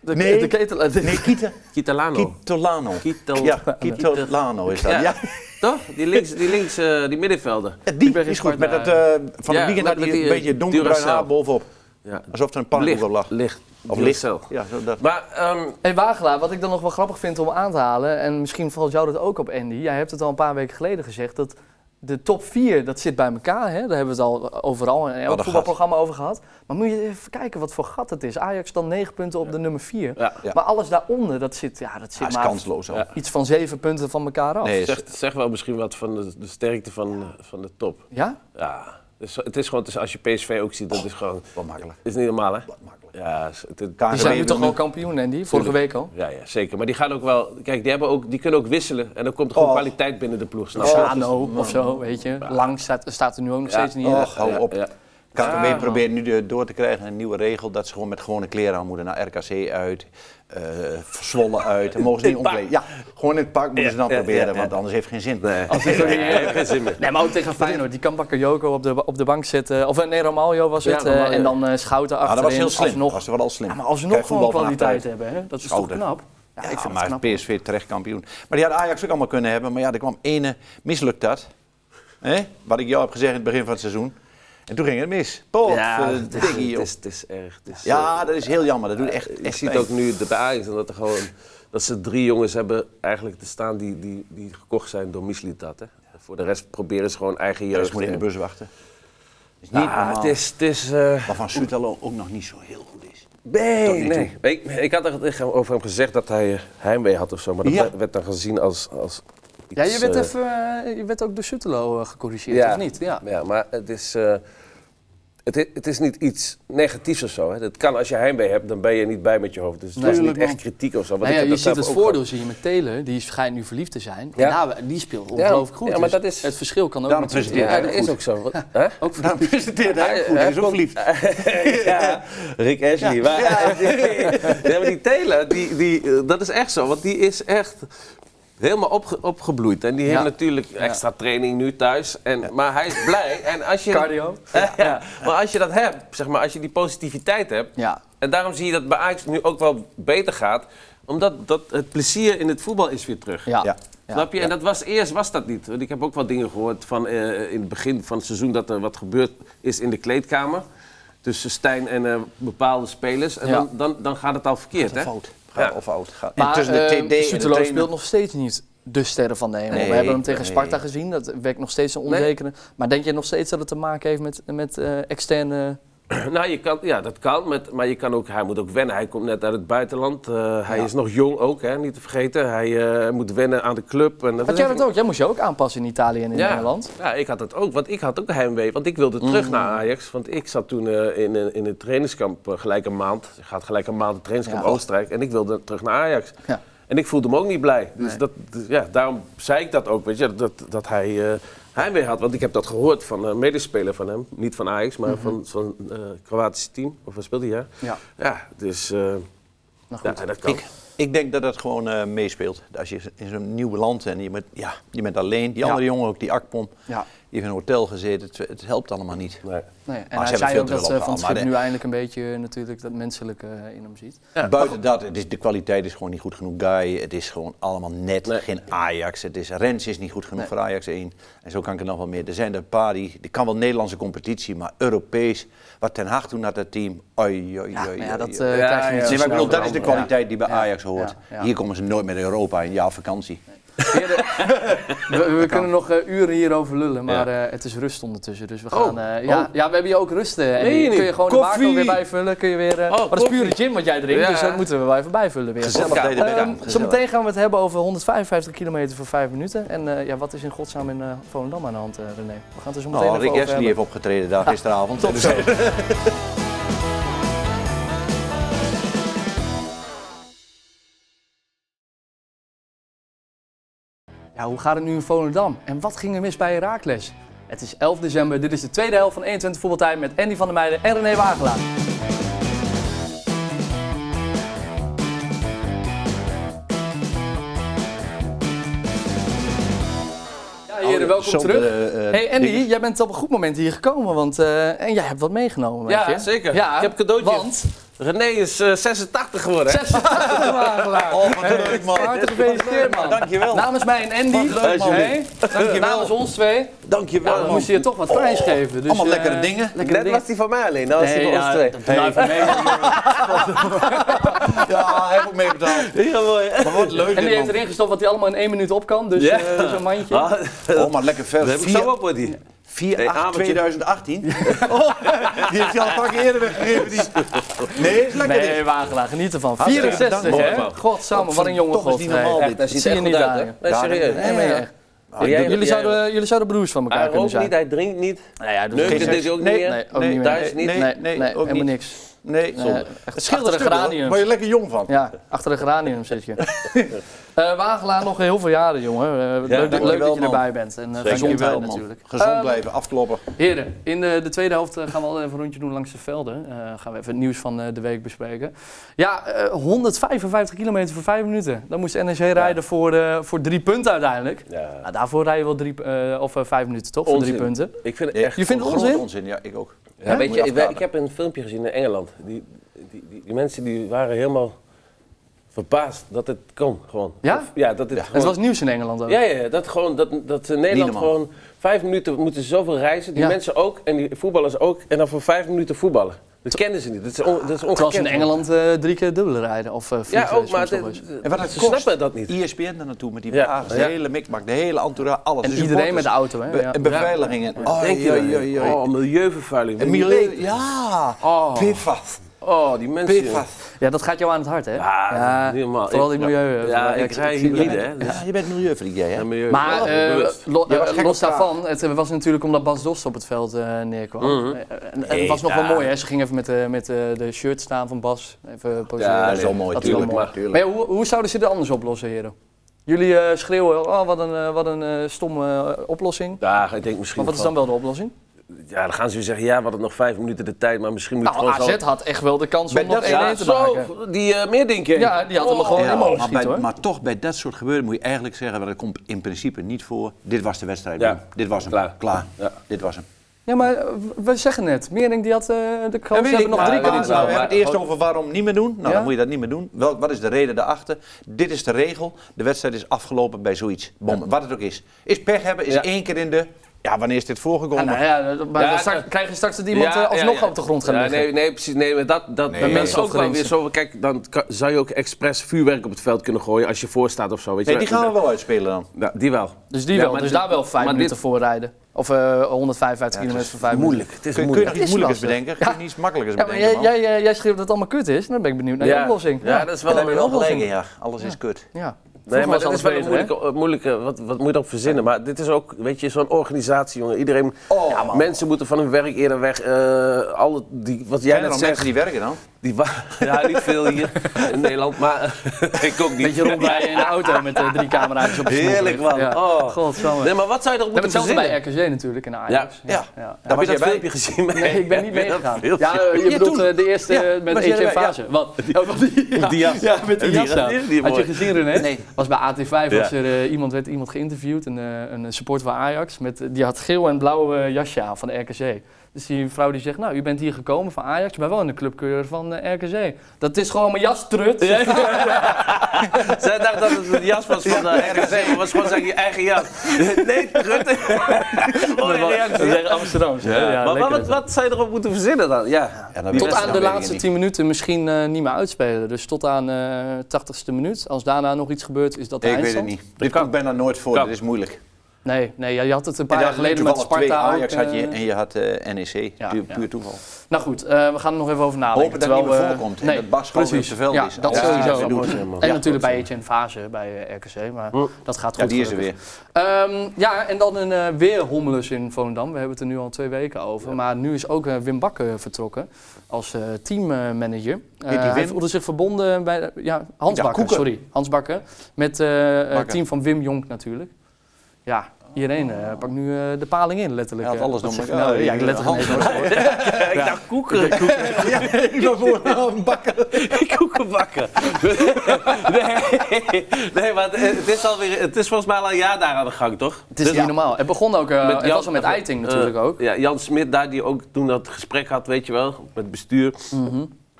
Speaker 1: De,
Speaker 2: Nee.
Speaker 1: de ketel. de-
Speaker 2: Nee, Kita,
Speaker 3: Kitalano.
Speaker 2: Kitolano.
Speaker 3: Kitol-
Speaker 2: Ja, Kitolano is dat.
Speaker 3: Ja.
Speaker 2: Ja.
Speaker 3: Toch? Die links, die, links eh, die middenvelden.
Speaker 2: Die is goed. Met dat, eh, van het
Speaker 3: Ja,
Speaker 2: weekend
Speaker 3: met-
Speaker 2: had hij
Speaker 3: met
Speaker 2: een
Speaker 3: die, eh,
Speaker 2: beetje donkerbruin
Speaker 3: Duracell.
Speaker 2: haar bovenop.
Speaker 3: Ja.
Speaker 2: Alsof er een pannenkoek op lag.
Speaker 3: licht.
Speaker 2: Of
Speaker 3: licht.
Speaker 2: licht.
Speaker 3: Zo.
Speaker 2: Ja, zo dat.
Speaker 3: Maar ehm,
Speaker 1: Hey Wagelaar, wat ik dan nog wel grappig vind om aan te halen, en misschien valt jou dat ook op Andy, jij hebt het al een paar weken geleden gezegd, dat de top 4, dat zit bij elkaar, hè? daar hebben we het al overal in
Speaker 2: Wat
Speaker 1: elk
Speaker 2: een
Speaker 1: voetbalprogramma over gehad. Maar moet je even kijken wat voor gat het is. Ajax dan 9 punten op de nummer 4,
Speaker 3: Ja.
Speaker 2: Ja.
Speaker 1: maar alles daaronder, dat zit, ja, dat
Speaker 2: Hij
Speaker 1: zit
Speaker 2: is
Speaker 1: maar
Speaker 2: kansloos Oh, al.
Speaker 1: iets van 7 punten van elkaar af.
Speaker 2: Nee, is-
Speaker 3: zegt zeg wel misschien wat van de, de sterkte van, eh, van de top.
Speaker 1: Ja?
Speaker 3: Ja. Dus het is gewoon, dus als je PSV ook ziet, dat is gewoon...
Speaker 2: Wat makkelijk.
Speaker 3: is niet normaal, hè? Ja, is- het, het-
Speaker 1: Die
Speaker 2: KNVB
Speaker 1: zijn nu
Speaker 2: wil
Speaker 1: toch al kampioen, Andy? Vorige week al.
Speaker 3: ja, ja, zeker. Maar die gaan ook wel... Kijk, die, hebben ook, die kunnen ook wisselen. En dan komt er gewoon
Speaker 2: Och.
Speaker 3: kwaliteit binnen de ploeg.
Speaker 2: Oh,
Speaker 3: Snap je?
Speaker 1: Sano of zo, weet je. Lang staat, staat er nu ook nog steeds niet in.
Speaker 2: Och, hou op.
Speaker 3: ja.
Speaker 2: KNVB probeert nu de- door te krijgen een nieuwe regel dat ze gewoon met gewone kleren aan moeten. Naar RKC uit, eh Zwolle uit. Dan mogen ze niet
Speaker 3: In het pak.
Speaker 2: omkleden. Ja, gewoon in het pak moeten ze dan
Speaker 3: ja, ja,
Speaker 2: proberen,
Speaker 3: ja.
Speaker 2: want anders heeft het geen zin. Ah,
Speaker 1: Als het er niet in-
Speaker 3: eh, Geen zin meer.
Speaker 1: Nee, maar ook tegen Feyenoord. Die kan Bakker Joko op de, op de bank zetten. Of eh, nee, Romaglio was
Speaker 3: Ja,
Speaker 1: het. eh,
Speaker 3: Romaglio.
Speaker 1: en dan eh Schouten
Speaker 2: Ah,
Speaker 1: achterin.
Speaker 2: dat was heel slim.
Speaker 1: Alsnog.
Speaker 2: Dat was wel al slim.
Speaker 1: Ja, maar
Speaker 2: Kijk,
Speaker 1: alsnog gewoon
Speaker 2: voetbal vanaf
Speaker 1: kwaliteit
Speaker 2: tijd.
Speaker 1: hebben. Hè? Dat is
Speaker 2: Schouder.
Speaker 1: toch knap? Ja, ik vind
Speaker 2: maar
Speaker 1: het knap.
Speaker 2: PSV terecht kampioen. Maar die had Ajax ook allemaal kunnen hebben. Maar ja, er kwam ene mislukt dat. Hè? Wat ik jou heb gezegd in het begin van het seizoen. En toen ging het mis. Pot, ja,
Speaker 3: het is- het is- het is erg. Het is, eh,
Speaker 2: ja, dat is heel jammer. Dat doet echt,
Speaker 3: Je
Speaker 2: echt
Speaker 3: ziet
Speaker 2: pijn.
Speaker 3: ook nu de bij Ajax dat, er gewoon, dat ze drie jongens hebben eigenlijk te staan die, die, die gekocht zijn door Mislitat. Hè. Voor de rest proberen ze gewoon eigen
Speaker 2: Ja,
Speaker 3: jeugd.
Speaker 2: dus moet in de bus wachten. Is niet
Speaker 3: Ah,
Speaker 2: normaal.
Speaker 3: het is... Het is eh,
Speaker 2: Waarvan Soetalo ook nog niet zo heel goed is.
Speaker 3: nee,
Speaker 2: nu toe.
Speaker 3: nee. Ik, ik had er tegen- over hem gezegd dat hij eh, heimwee had of zo, maar dat
Speaker 2: Ja.
Speaker 3: werd- werd dan gezien als... als
Speaker 1: Ja, je
Speaker 3: iets,
Speaker 1: werd,
Speaker 3: eh,
Speaker 1: even, eh, je werd ook door Sutelo eh, gecorrigeerd,
Speaker 3: Ja.
Speaker 1: of niet? Ja.
Speaker 3: Ja, maar het is... eh, het, i- het is niet iets negatiefs of zo. Hè. Dat kan als je heimwee hebt, dan ben je niet bij met je hoofd. Dus het
Speaker 1: Nee.
Speaker 3: is niet
Speaker 1: Tuurlijk, man.
Speaker 3: echt kritiek of zo. Want
Speaker 1: Nou ja,
Speaker 3: ik heb
Speaker 1: je
Speaker 3: dat
Speaker 1: ziet
Speaker 3: zelf
Speaker 1: het
Speaker 3: ook gehad.
Speaker 1: voordeel zie je met Telen, die schijnt nu verliefd te zijn.
Speaker 3: Ja.
Speaker 1: En daar- die speelt ongelooflijk goed.
Speaker 3: ja, maar
Speaker 1: Dus
Speaker 3: dat is-
Speaker 1: Het verschil kan ook
Speaker 2: Daarom
Speaker 1: natuurlijk-
Speaker 2: presenteert
Speaker 3: Ja,
Speaker 2: hij
Speaker 3: dat
Speaker 2: goed.
Speaker 3: is ook zo. Wat, hè?
Speaker 1: Ook voor
Speaker 2: Nou, presenteert hij ook goed. Hij is ook verliefd.
Speaker 3: ja, Rick Ashley. waar- Nee, maar die Taylor, die, die, eh, dat is echt zo. Want die is echt helemaal opge- opgebloeid. En die heeft
Speaker 1: Ja.
Speaker 3: natuurlijk extra training nu thuis. En, Maar hij is blij. En als je
Speaker 1: Cardio.
Speaker 3: Ja, ja. Maar als je dat hebt, zeg maar, als je die positiviteit hebt...
Speaker 1: Ja.
Speaker 3: En daarom zie je dat bij Ajax nu ook wel beter gaat. Omdat dat, het plezier in het voetbal is weer terug.
Speaker 1: Ja.
Speaker 2: Ja.
Speaker 3: Snap je? En dat was, eerst was dat niet. Want ik heb ook wel dingen gehoord van eh, in het begin van het seizoen dat er wat gebeurd is in de kleedkamer. Tussen Stijn en eh, bepaalde spelers. En
Speaker 1: Ja.
Speaker 3: dan, dan, dan gaat het al verkeerd, hè?
Speaker 2: Fout. Gaat
Speaker 3: Ja.
Speaker 2: of fout. Gaat.
Speaker 1: Maar
Speaker 2: en tussen de
Speaker 1: eh,
Speaker 2: TD en de
Speaker 1: Soetelo
Speaker 2: trainer.
Speaker 1: speelt nog steeds niet de sterren van de hemel.
Speaker 2: Nee,
Speaker 1: We hebben hem tegen
Speaker 2: nee.
Speaker 1: Sparta gezien, dat werkt nog steeds een onzekere. Maar denk je nog steeds dat het te maken heeft met, met eh, externe...
Speaker 3: Nou, je kan, ja, dat kan. Met, maar je kan ook, hij moet ook wennen. Hij komt net uit het buitenland. Eh, hij is nog jong ook, hè, niet te vergeten. Hij eh, moet wennen aan de club. En
Speaker 1: Had jij dat ook? Jij moest je ook aanpassen in Italië en in
Speaker 3: Ja.
Speaker 1: Nederland.
Speaker 3: Ja, ik had dat ook. Want ik had ook heimwee. Want ik wilde
Speaker 1: Mm.
Speaker 3: terug naar Ajax. Want ik zat toen eh, in, een- in het trainingskamp eh, gelijk een maand. Je gaat gelijk een maand het trainingskamp
Speaker 1: Ja.
Speaker 3: Oostenrijk. En ik wilde terug naar Ajax.
Speaker 1: Ja.
Speaker 3: En ik voelde hem ook niet blij. Dus
Speaker 1: Nee.
Speaker 3: dat, dus ja, daarom zei ik dat ook, weet je, dat, dat hij eh, heimwee had. Want ik heb dat gehoord van een medespeler van hem. Niet van Ajax, maar van, van eh, het Kroatische team. Of wat speelde hij, ja?
Speaker 1: Mhm. Ja.
Speaker 3: Ja, dus eh,
Speaker 1: Nou goed.
Speaker 3: ja, dat kan.
Speaker 2: Ik, ik denk dat dat gewoon eh, meespeelt. Als je in zo'n nieuw land en je bent, ja, je bent alleen. Die
Speaker 1: Ja.
Speaker 2: andere jongen ook, die Akpom,
Speaker 1: Ja.
Speaker 2: die heeft in een hotel gezeten. Het, het helpt allemaal niet.
Speaker 3: Nee.
Speaker 1: Nee, en
Speaker 2: Maar
Speaker 1: hij
Speaker 2: ze hebben
Speaker 1: zei
Speaker 2: veel
Speaker 1: ook
Speaker 2: te
Speaker 1: dat
Speaker 2: veel
Speaker 1: ze van het
Speaker 2: opgehaald,
Speaker 1: schip
Speaker 2: maar
Speaker 1: nu
Speaker 2: de-
Speaker 1: eindelijk een beetje eh, natuurlijk dat menselijke eh, in hem ziet.
Speaker 2: Buiten dat, het is de kwaliteit is gewoon niet goed genoeg. Guy, het is gewoon allemaal net. Geen Ajax. Het is, Rens is niet goed genoeg voor Ajax 1. En zo kan ik er nog wel meer. Er zijn er een paar die, die kan wel Nederlandse competitie, maar Europees. Wat Ten Hag toen had dat team. Oei, oei,
Speaker 1: Ja,
Speaker 2: oei,
Speaker 1: maar ja,
Speaker 2: oei,
Speaker 1: dat
Speaker 2: oei.
Speaker 1: eh, krijg je niet zo
Speaker 2: Nee, maar
Speaker 3: ja.
Speaker 2: Dus ik
Speaker 1: snel
Speaker 2: bedoel, dat is de
Speaker 1: veranderd.
Speaker 2: kwaliteit die bij Ajax hoort.
Speaker 1: ja, ja.
Speaker 2: Hier komen ze nooit met Europa in. Ja, op vakantie.
Speaker 1: We, we kunnen nog eh, uren hierover lullen, maar eh, het is rust ondertussen. Dus we gaan. eh, ja, ja, we hebben hier ook rust. eh, en
Speaker 3: Meen je
Speaker 1: die kun je
Speaker 3: niet?
Speaker 1: gewoon de
Speaker 3: Koffie!
Speaker 1: bako weer bijvullen. Kun je weer, eh,
Speaker 3: Oh,
Speaker 1: maar dat is pure
Speaker 3: koffie.
Speaker 1: gin wat jij drinkt,
Speaker 3: Ja.
Speaker 1: dus dat moeten we wel even bijvullen weer.
Speaker 2: Gezellig
Speaker 3: Vodka.
Speaker 2: deed het
Speaker 1: Ehm,
Speaker 2: aan. Gezellig.
Speaker 1: zometeen gaan we het hebben over 155 kilometer voor 5 minuten. En eh, ja, wat is in godsnaam in eh Volendam aan de hand, eh, René? We gaan het er zo meteen
Speaker 2: Nou,
Speaker 1: even
Speaker 2: Rick
Speaker 1: over
Speaker 2: Ashley
Speaker 1: hebben.
Speaker 2: heeft opgetreden daar gisteravond. Tot zo.
Speaker 1: Ja, hoe gaat het nu in Volendam? En wat ging er mis bij Herakles? Het is 11 december, dit is de tweede helft van 21 voetbaltijd met Andy van der Meijden en René Wagelaar. Ja,
Speaker 2: Oh,
Speaker 1: heren, welkom terug. hey Andy, jij bent op een goed moment hier gekomen, want eh, en jij hebt wat meegenomen.
Speaker 3: Ja,
Speaker 1: weet je?
Speaker 3: zeker.
Speaker 1: Ja,
Speaker 3: Ik heb een cadeautje.
Speaker 1: Want
Speaker 3: René is eh, 86 geworden, hè?
Speaker 1: 86 Wagelaar.
Speaker 2: Oh, wat leuk man.
Speaker 1: Hartelijk gefeliciteerd, man.
Speaker 2: Dankjewel.
Speaker 1: Namens mij en Andy.
Speaker 2: Wat leuk, man.
Speaker 1: Hey, Namens ons twee. Ja,
Speaker 2: Dankjewel
Speaker 1: dan
Speaker 2: man. Oh.
Speaker 1: moest je toch wat prijs geven. Dus,
Speaker 2: Allemaal
Speaker 1: eh,
Speaker 2: lekkere dingen.
Speaker 1: Lekkere dingen.
Speaker 3: die van mij alleen, nou was
Speaker 1: Nee, ja, dat blijft mee.
Speaker 2: Ja, heb ik mee betaald.
Speaker 3: Heel mooi.
Speaker 2: Maar wat leuk
Speaker 1: En die
Speaker 2: dit
Speaker 1: heeft
Speaker 2: man.
Speaker 1: erin gestopt wat hij allemaal in één minuut op kan. Dus
Speaker 3: Ja.
Speaker 1: eh, zo'n mandje.
Speaker 3: Ah,
Speaker 2: Oh, maar lekker
Speaker 3: dat
Speaker 2: vers.
Speaker 3: heb ik zo
Speaker 2: 4
Speaker 3: op, hoor, die.
Speaker 2: 4
Speaker 3: Nee,
Speaker 2: 8
Speaker 3: avondje.
Speaker 2: 2018.
Speaker 1: Oh.
Speaker 2: Die heeft hij al een pak eerder weggegeven. die- Nee, is lekker dit.
Speaker 1: Nee, Wagelaar, geniet ervan.
Speaker 2: Hartstikke
Speaker 1: 64,
Speaker 2: dank,
Speaker 1: hè?
Speaker 2: man.
Speaker 1: Godsamme, wat een jongen,
Speaker 2: Toch is
Speaker 1: god.
Speaker 2: die normaal,
Speaker 1: Nee,
Speaker 2: dit.
Speaker 3: Daar
Speaker 1: dat
Speaker 3: ziet
Speaker 1: zie
Speaker 3: er
Speaker 1: je
Speaker 3: echt
Speaker 1: niet
Speaker 3: goed uit, hè?
Speaker 1: daar.
Speaker 3: Nee, serieus.
Speaker 1: Nee, meen je echt. oh, Jullie zouden, jullie zouden broers van elkaar
Speaker 3: Hij
Speaker 1: kunnen
Speaker 3: rookt
Speaker 1: zijn.
Speaker 3: niet, hij drinkt niet.
Speaker 1: Nou ja, dat
Speaker 3: Neukt
Speaker 1: is
Speaker 3: dit
Speaker 1: geen-
Speaker 3: hij ook
Speaker 2: Nee,
Speaker 3: niet? hè?
Speaker 1: Nee, ook
Speaker 2: nee,
Speaker 1: niet
Speaker 3: thuis
Speaker 1: meer.
Speaker 3: niet?
Speaker 1: Nee,
Speaker 2: Nee,
Speaker 1: nee,
Speaker 2: nee,
Speaker 1: nee,
Speaker 2: ook
Speaker 1: helemaal
Speaker 2: niet.
Speaker 1: niks.
Speaker 2: Nee,
Speaker 1: Nee,
Speaker 2: zonde.
Speaker 1: echt
Speaker 2: Het scheelt
Speaker 1: achter
Speaker 2: een
Speaker 1: de
Speaker 2: stuk, hoor.
Speaker 1: gradiums.
Speaker 2: Word je lekker jong van.
Speaker 1: Ja, achter de geranium zit je. Eh, Wagelaar, nog heel veel jaren, jongen. Eh, leuk, dat-
Speaker 2: dankjewel,
Speaker 1: leuk dat je
Speaker 2: man.
Speaker 1: erbij bent. En eh, gezond
Speaker 2: Dankjewel,
Speaker 1: wel,
Speaker 2: man.
Speaker 1: natuurlijk.
Speaker 2: Gezond
Speaker 1: Ehm,
Speaker 2: blijven, afkloppen.
Speaker 1: Heren, in de, de tweede helft eh, gaan we al even een rondje doen langs de velden. Eh, gaan we even het nieuws van eh, de week bespreken. Ja, eh, 155 kilometer voor vijf minuten. Dan moest NEC rijden voor, eh, voor drie punten uiteindelijk.
Speaker 3: Ja.
Speaker 1: Nou, daarvoor rij je wel drie, eh, of, eh, vijf minuten, toch? Voor drie
Speaker 3: Onzin.
Speaker 1: punten.
Speaker 3: Ik vind het echt...
Speaker 1: Je vindt het
Speaker 2: Groot
Speaker 1: onzin?
Speaker 2: onzin, ja, ik ook.
Speaker 3: Ja, weet
Speaker 2: Moet
Speaker 3: je,
Speaker 2: je
Speaker 3: ik,
Speaker 2: afraden.
Speaker 3: ik heb een filmpje gezien in Engeland. Die, die, die, die mensen die waren helemaal verbaasd dat het kon, gewoon.
Speaker 1: Ja?
Speaker 3: Of- ja, dat het gewoon...
Speaker 1: Het was nieuws in Engeland ook.
Speaker 3: Ja, ja, ja, dat, gewoon, dat, dat in Nederland
Speaker 2: normaal.
Speaker 3: gewoon vijf minuten moeten ze zoveel reizen. Die
Speaker 1: Ja.
Speaker 3: mensen ook en die voetballers ook. En dan voor vijf minuten voetballen. Dat kennen ze niet. Dat is, on, dat is ongekend.
Speaker 1: Terwijl ze in Engeland eh, drie keer dubbel rijden. Of eh,
Speaker 3: Ja,
Speaker 1: vliegen,
Speaker 3: ook, maar
Speaker 1: soms nog
Speaker 3: het,
Speaker 1: eens.
Speaker 2: En wat het
Speaker 3: ze
Speaker 2: kost.
Speaker 3: snappen dat niet.
Speaker 2: ESPN er naartoe met die
Speaker 3: Ja.
Speaker 2: wagens, de
Speaker 3: Ja.
Speaker 2: hele mikmak, de hele entourage, alles.
Speaker 1: En
Speaker 2: De
Speaker 1: iedereen met de
Speaker 2: supporters,
Speaker 1: auto, hè?
Speaker 2: be-
Speaker 1: Ja.
Speaker 2: en beveiligingen. Oh,
Speaker 3: Denk je
Speaker 2: ja,
Speaker 3: dan?
Speaker 2: ja, ja.
Speaker 3: Oh, milieuvervuiling.
Speaker 2: En milieu, ja.
Speaker 3: Oh.
Speaker 2: Piffa.
Speaker 3: Oh, die mensen.
Speaker 2: PFAS.
Speaker 1: Ja, dat gaat jou aan het hart, hè?
Speaker 3: Ja, niet normaal.
Speaker 1: Vooral
Speaker 3: Ik-
Speaker 1: die milieu. eh,
Speaker 3: Ja,
Speaker 1: vooral.
Speaker 3: ik rij
Speaker 1: zie-
Speaker 3: hybride, hè. Dus,
Speaker 2: Ja, je bent milieuvriend, jij, hè?
Speaker 3: ja, milieu.
Speaker 1: Maar
Speaker 3: Oh,
Speaker 1: eh,
Speaker 3: bewust.
Speaker 1: lo-
Speaker 2: Jij was
Speaker 1: eh,
Speaker 2: gek
Speaker 1: los
Speaker 2: op elkaar.
Speaker 1: daarvan, het was natuurlijk omdat Bas Dost op het veld eh, neerkwam. Eh, en, en het was nog
Speaker 3: Ja.
Speaker 1: wel mooi, hè? Ze ging even met, de- met eh, de shirt staan van Bas. Even poseren.
Speaker 2: Ja, dat is wel
Speaker 1: Dat
Speaker 2: mooi,
Speaker 1: wel
Speaker 2: tuurlijk.
Speaker 1: mooi.
Speaker 2: Maar,
Speaker 1: Maar
Speaker 2: tuurlijk.
Speaker 1: ja, hoe, hoe zouden ze dit anders oplossen, heren? Jullie eh, schreeuwen, oh, wat een, eh, wat een eh, stomme eh, oplossing.
Speaker 3: Ja, ik denk misschien.
Speaker 1: Maar wat is dan wel de oplossing?
Speaker 3: gewoon- Ja, dan gaan ze weer zeggen, ja, we hadden nog vijf minuten de tijd, maar misschien moet het
Speaker 1: Nou,
Speaker 3: gewoon
Speaker 1: AZ
Speaker 3: zo...
Speaker 1: had echt wel de kans
Speaker 2: Bij
Speaker 1: om nog 1-1
Speaker 2: dat-
Speaker 1: te maken.
Speaker 3: Zo, die eh, Oh. Meerdink.
Speaker 1: Ja, die had hem er gewoon
Speaker 2: Ja,
Speaker 1: helemaal op
Speaker 2: maar,
Speaker 1: schieten,
Speaker 2: bij-
Speaker 1: hoor.
Speaker 2: maar toch, bij dat soort gebeuren moet je eigenlijk zeggen, want dat komt in principe niet voor. Dit was de wedstrijd.
Speaker 3: Ja.
Speaker 2: Wim. Dit was hem.
Speaker 3: Klaar.
Speaker 2: Klaar.
Speaker 3: Ja.
Speaker 2: Dit was hem.
Speaker 1: Ja, maar eh, we zeggen net, Meering die had eh, de kans. Ze hebben nog
Speaker 2: maar-
Speaker 1: drie
Speaker 2: maar-
Speaker 1: kansen.
Speaker 2: maar We
Speaker 3: maar-
Speaker 2: hebben het eerst over waarom niet meer doen. Nou,
Speaker 1: Ja?
Speaker 2: dan moet je dat niet meer doen. Wel, wat is de reden daarachter? Dit is de regel. De wedstrijd is afgelopen bij zoiets. Bom, Wat het ook is. Is pech hebben, is
Speaker 3: Ja.
Speaker 2: één keer in de... Ja, wanneer is dit
Speaker 1: Ja,
Speaker 2: voorgekomen?
Speaker 1: nou ja, maar
Speaker 3: Ja,
Speaker 1: dan straks-
Speaker 3: dat-
Speaker 1: krijg je straks dat iemand eh, alsnog op de grond gaat
Speaker 3: ja,
Speaker 1: liggen.
Speaker 3: Nee, nee, precies. Nee, maar dat, dat, dat
Speaker 1: mensen
Speaker 3: mensen ook wel
Speaker 1: opgelinkt
Speaker 3: weer zo. Kijk, dan ka- zou je ook expres vuurwerk op het veld kunnen gooien als je voor staat of zo. Weet
Speaker 2: Nee,
Speaker 3: je
Speaker 2: die gaan we wel uitspelen dan.
Speaker 3: Ja, die wel.
Speaker 1: Dus die
Speaker 3: Ja,
Speaker 1: wel.
Speaker 3: maar
Speaker 1: Dus
Speaker 3: dit-
Speaker 1: daar wel vijf
Speaker 3: maar
Speaker 1: minuten
Speaker 3: dit-
Speaker 1: voor rijden. Of eh 155 km voor vijf minuten.
Speaker 3: Het
Speaker 2: Kun,
Speaker 3: is
Speaker 2: kun je
Speaker 3: moeilijk.
Speaker 2: nog
Speaker 1: Het
Speaker 2: iets
Speaker 1: is
Speaker 2: moeilijkers
Speaker 1: lastig.
Speaker 2: bedenken? Kun je niet iets makkelijkers
Speaker 1: Ja, maar
Speaker 2: bedenken?
Speaker 1: jij,
Speaker 2: man?
Speaker 1: jij, jij, jij schreeuwt dat het allemaal kut is. Dan ben ik benieuwd naar de oplossing.
Speaker 3: Ja, dat is wel
Speaker 2: Daar heb je
Speaker 3: een
Speaker 2: wel gelijk in,
Speaker 3: oplossing.
Speaker 2: ja. Alles is kut.
Speaker 1: Ja.
Speaker 3: Nee,
Speaker 1: Vroeger
Speaker 3: maar
Speaker 1: was
Speaker 3: dat
Speaker 1: alles
Speaker 3: is wel een
Speaker 1: beter,
Speaker 3: moeilijke, eh, moeilijke wat, wat moet je dan verzinnen? Maar dit is ook, weet je, zo'n organisatie, jongen. Iedereen, Ja, maar- mensen moeten van hun werk eerder weg. eh alle, die, wat jij
Speaker 2: Zijn er
Speaker 3: net
Speaker 2: nog
Speaker 3: zegt,
Speaker 2: mensen die werken dan?
Speaker 3: die wa- ja, niet veel hier in Nederland, maar ik ook niet.
Speaker 1: Beetje rondrijden in de auto met eh, drie camera's op je smoel.
Speaker 2: Heerlijk, man.
Speaker 1: Ja.
Speaker 3: Oh.
Speaker 1: Godsamme.
Speaker 3: Nee, maar wat zou je erop
Speaker 1: We
Speaker 3: moeten
Speaker 1: hebben hetzelfde
Speaker 3: verzinnen?
Speaker 1: bij RKC natuurlijk in de Ajax.
Speaker 3: Ja,
Speaker 2: ja.
Speaker 3: Heb
Speaker 2: was
Speaker 3: je dat
Speaker 2: jij bij.
Speaker 3: filmpje gezien?
Speaker 1: Nee, ik ben niet
Speaker 3: dat
Speaker 1: meegegaan.
Speaker 3: filmpje?
Speaker 1: Ja, eh, je
Speaker 2: Ja,
Speaker 1: bedoelt
Speaker 2: toen.
Speaker 1: eh, de eerste
Speaker 2: Ja,
Speaker 1: eh, met
Speaker 2: was jij
Speaker 1: Etienne
Speaker 2: erbij? Ja.
Speaker 1: Fase. Wat? Oh, wat die, ja.
Speaker 3: Die jas.
Speaker 1: Ja, met die
Speaker 3: Die
Speaker 1: jas.
Speaker 3: jas,
Speaker 1: ja.
Speaker 3: die is niet
Speaker 1: Had je
Speaker 3: mooi.
Speaker 1: gezien, René?
Speaker 2: Nee.
Speaker 1: Was bij AT5 was
Speaker 3: Ja.
Speaker 1: er, eh, iemand, werd iemand geïnterviewd, een, eh, een supporter van Ajax. Met, eh, die had geel en blauw eh, jasje aan van de RKC. Dus die vrouw die zegt, nou, u bent hier gekomen van Ajax, maar wel in de clubkeur van eh, RKC. Dat is gewoon mijn jas, trut.
Speaker 3: Zij dacht dat het een jas was van eh, de RKC, maar het was gewoon zijn eigen jas. Nee, Rutte. Mooie
Speaker 1: Dat
Speaker 3: reactie.
Speaker 1: is echt Amsterdam. Ja. Ja,
Speaker 3: maar
Speaker 1: lekker
Speaker 3: wat,
Speaker 1: is dat.
Speaker 3: wat zou je erop moeten verzinnen dan? Ja.
Speaker 2: Ja, dan
Speaker 1: Tot
Speaker 2: weet ik-
Speaker 1: aan de
Speaker 2: dan weet ik het
Speaker 1: laatste
Speaker 2: niet.
Speaker 1: 10 minuten misschien eh, niet meer uitspelen. Dus tot aan de 80ste minuut. Als daarna nog iets gebeurt, is dat de
Speaker 2: Ik weet het
Speaker 1: eindstand.
Speaker 2: niet. Dit komt bijna nooit voor,
Speaker 3: Kan.
Speaker 2: dit is moeilijk.
Speaker 1: Nee, nee, ja, je had het een paar
Speaker 2: En
Speaker 1: jaar
Speaker 2: dan
Speaker 1: geleden met
Speaker 2: toevallig twee
Speaker 1: Sparta
Speaker 2: Ajax
Speaker 1: ook,
Speaker 2: had je
Speaker 1: eh,
Speaker 2: en je had eh, NEC.
Speaker 1: Ja,
Speaker 2: puur,
Speaker 1: ja.
Speaker 2: puur toeval.
Speaker 1: Nou goed, eh, we gaan er nog even over nadenken.
Speaker 2: Hopen dat het
Speaker 1: terwijl
Speaker 2: niet meer
Speaker 1: we-
Speaker 2: voorkomt en dat Bas gewoon weer op zijn veld
Speaker 1: ja,
Speaker 2: is.
Speaker 1: Dat
Speaker 2: Ja,
Speaker 1: sowieso.
Speaker 2: dat zou mooi zijn, man.
Speaker 1: en
Speaker 2: Ja, Hm.
Speaker 1: natuurlijk bij Etienne Fase bij eh, RKC, maar dat gaat goed.
Speaker 2: Ja, die is er
Speaker 1: gelukkig.
Speaker 2: weer.
Speaker 1: Ehm, ja, en dan een, eh, weer hommelus in Volendam. We hebben het er nu al twee weken over. Maar nu is ook eh, Wim Bakker vertrokken als eh, teammanager. Eh,
Speaker 2: die
Speaker 1: hij
Speaker 2: Wim?
Speaker 1: voelde zich verbonden bij ja, Hans
Speaker 2: Ja,
Speaker 1: Bakker.
Speaker 2: Koeken.
Speaker 1: Sorry, Hans Bakker. Met eh, eh, het
Speaker 2: Bakker.
Speaker 1: team van Wim Jonk natuurlijk. Ja, iedereen eh pakt nu eh, de paling in, letterlijk.
Speaker 2: Hij had
Speaker 1: eh.
Speaker 2: alles
Speaker 1: Wat
Speaker 2: door
Speaker 1: zeg ik
Speaker 2: elkaar.
Speaker 1: nou? Ja,
Speaker 2: Ja,
Speaker 1: ik letterlijk
Speaker 2: Hans
Speaker 1: ineens wat voor.
Speaker 3: Ik dacht koeken. Koekenbakken. nee, nee, maar het, het is alweer, het is volgens mij al een jaar daar aan de gang, toch?
Speaker 2: Dus
Speaker 3: Dus-
Speaker 1: Het is niet normaal. Het begon ook, eh, het
Speaker 3: Jan-
Speaker 1: was al met
Speaker 3: eh,
Speaker 1: Eiting natuurlijk
Speaker 3: eh,
Speaker 1: ook.
Speaker 3: Ja, Jan Smit daar, die ook toen dat gesprek had, weet je wel, met het bestuur.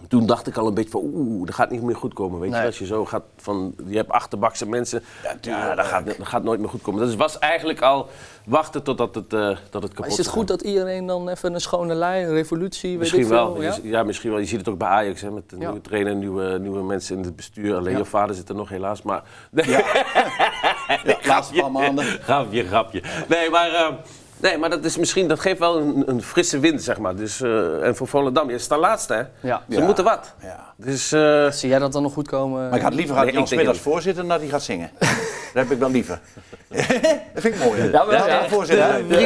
Speaker 3: Toen dacht ik al een beetje van, oeh, dat gaat niet meer goed komen, weet je
Speaker 1: Mhm. Nee.
Speaker 3: wel. Als je zo gaat van, je hebt achterbakse mensen, ja, dat, gaat, dat gaat nooit meer goed komen. Dus het was eigenlijk al wachten totdat het, eh, dat het kapot
Speaker 1: Maar is het
Speaker 3: ging.
Speaker 1: goed dat iedereen dan even een schone lijn, een revolutie, weet
Speaker 3: Misschien
Speaker 1: ik veel,
Speaker 3: wel.
Speaker 1: ja?
Speaker 3: Je- Ja, misschien wel. Je ziet het ook bij Ajax, hè, met de
Speaker 1: Ja.
Speaker 3: nieuwe trainer, nieuwe, nieuwe mensen in het bestuur. Alleen je vader zit er nog helaas, maar...
Speaker 2: Ja, laatste paar maanden.
Speaker 3: grapje, grapje. Nee, maar, eh, nee, maar dat, is misschien, dat geeft wel een, een frisse wind, zeg maar. Dus, eh, en voor Volendam, je staat laatste, hè?
Speaker 1: Ja.
Speaker 3: Ze moeten wat.
Speaker 2: Ja.
Speaker 3: Dus, eh,
Speaker 1: Zie jij dat dan nog goed komen?
Speaker 2: Maar ik had liever gehad
Speaker 3: Nee,
Speaker 2: Jan
Speaker 3: ik denk
Speaker 2: Smit als
Speaker 3: het
Speaker 2: voorzitter dan dat hij gaat zingen. dat heb ik dan liever. dat vind ik mooi.
Speaker 1: Ja, maar-
Speaker 2: Laat
Speaker 1: ja.
Speaker 2: hem voorzitter. uit.
Speaker 3: die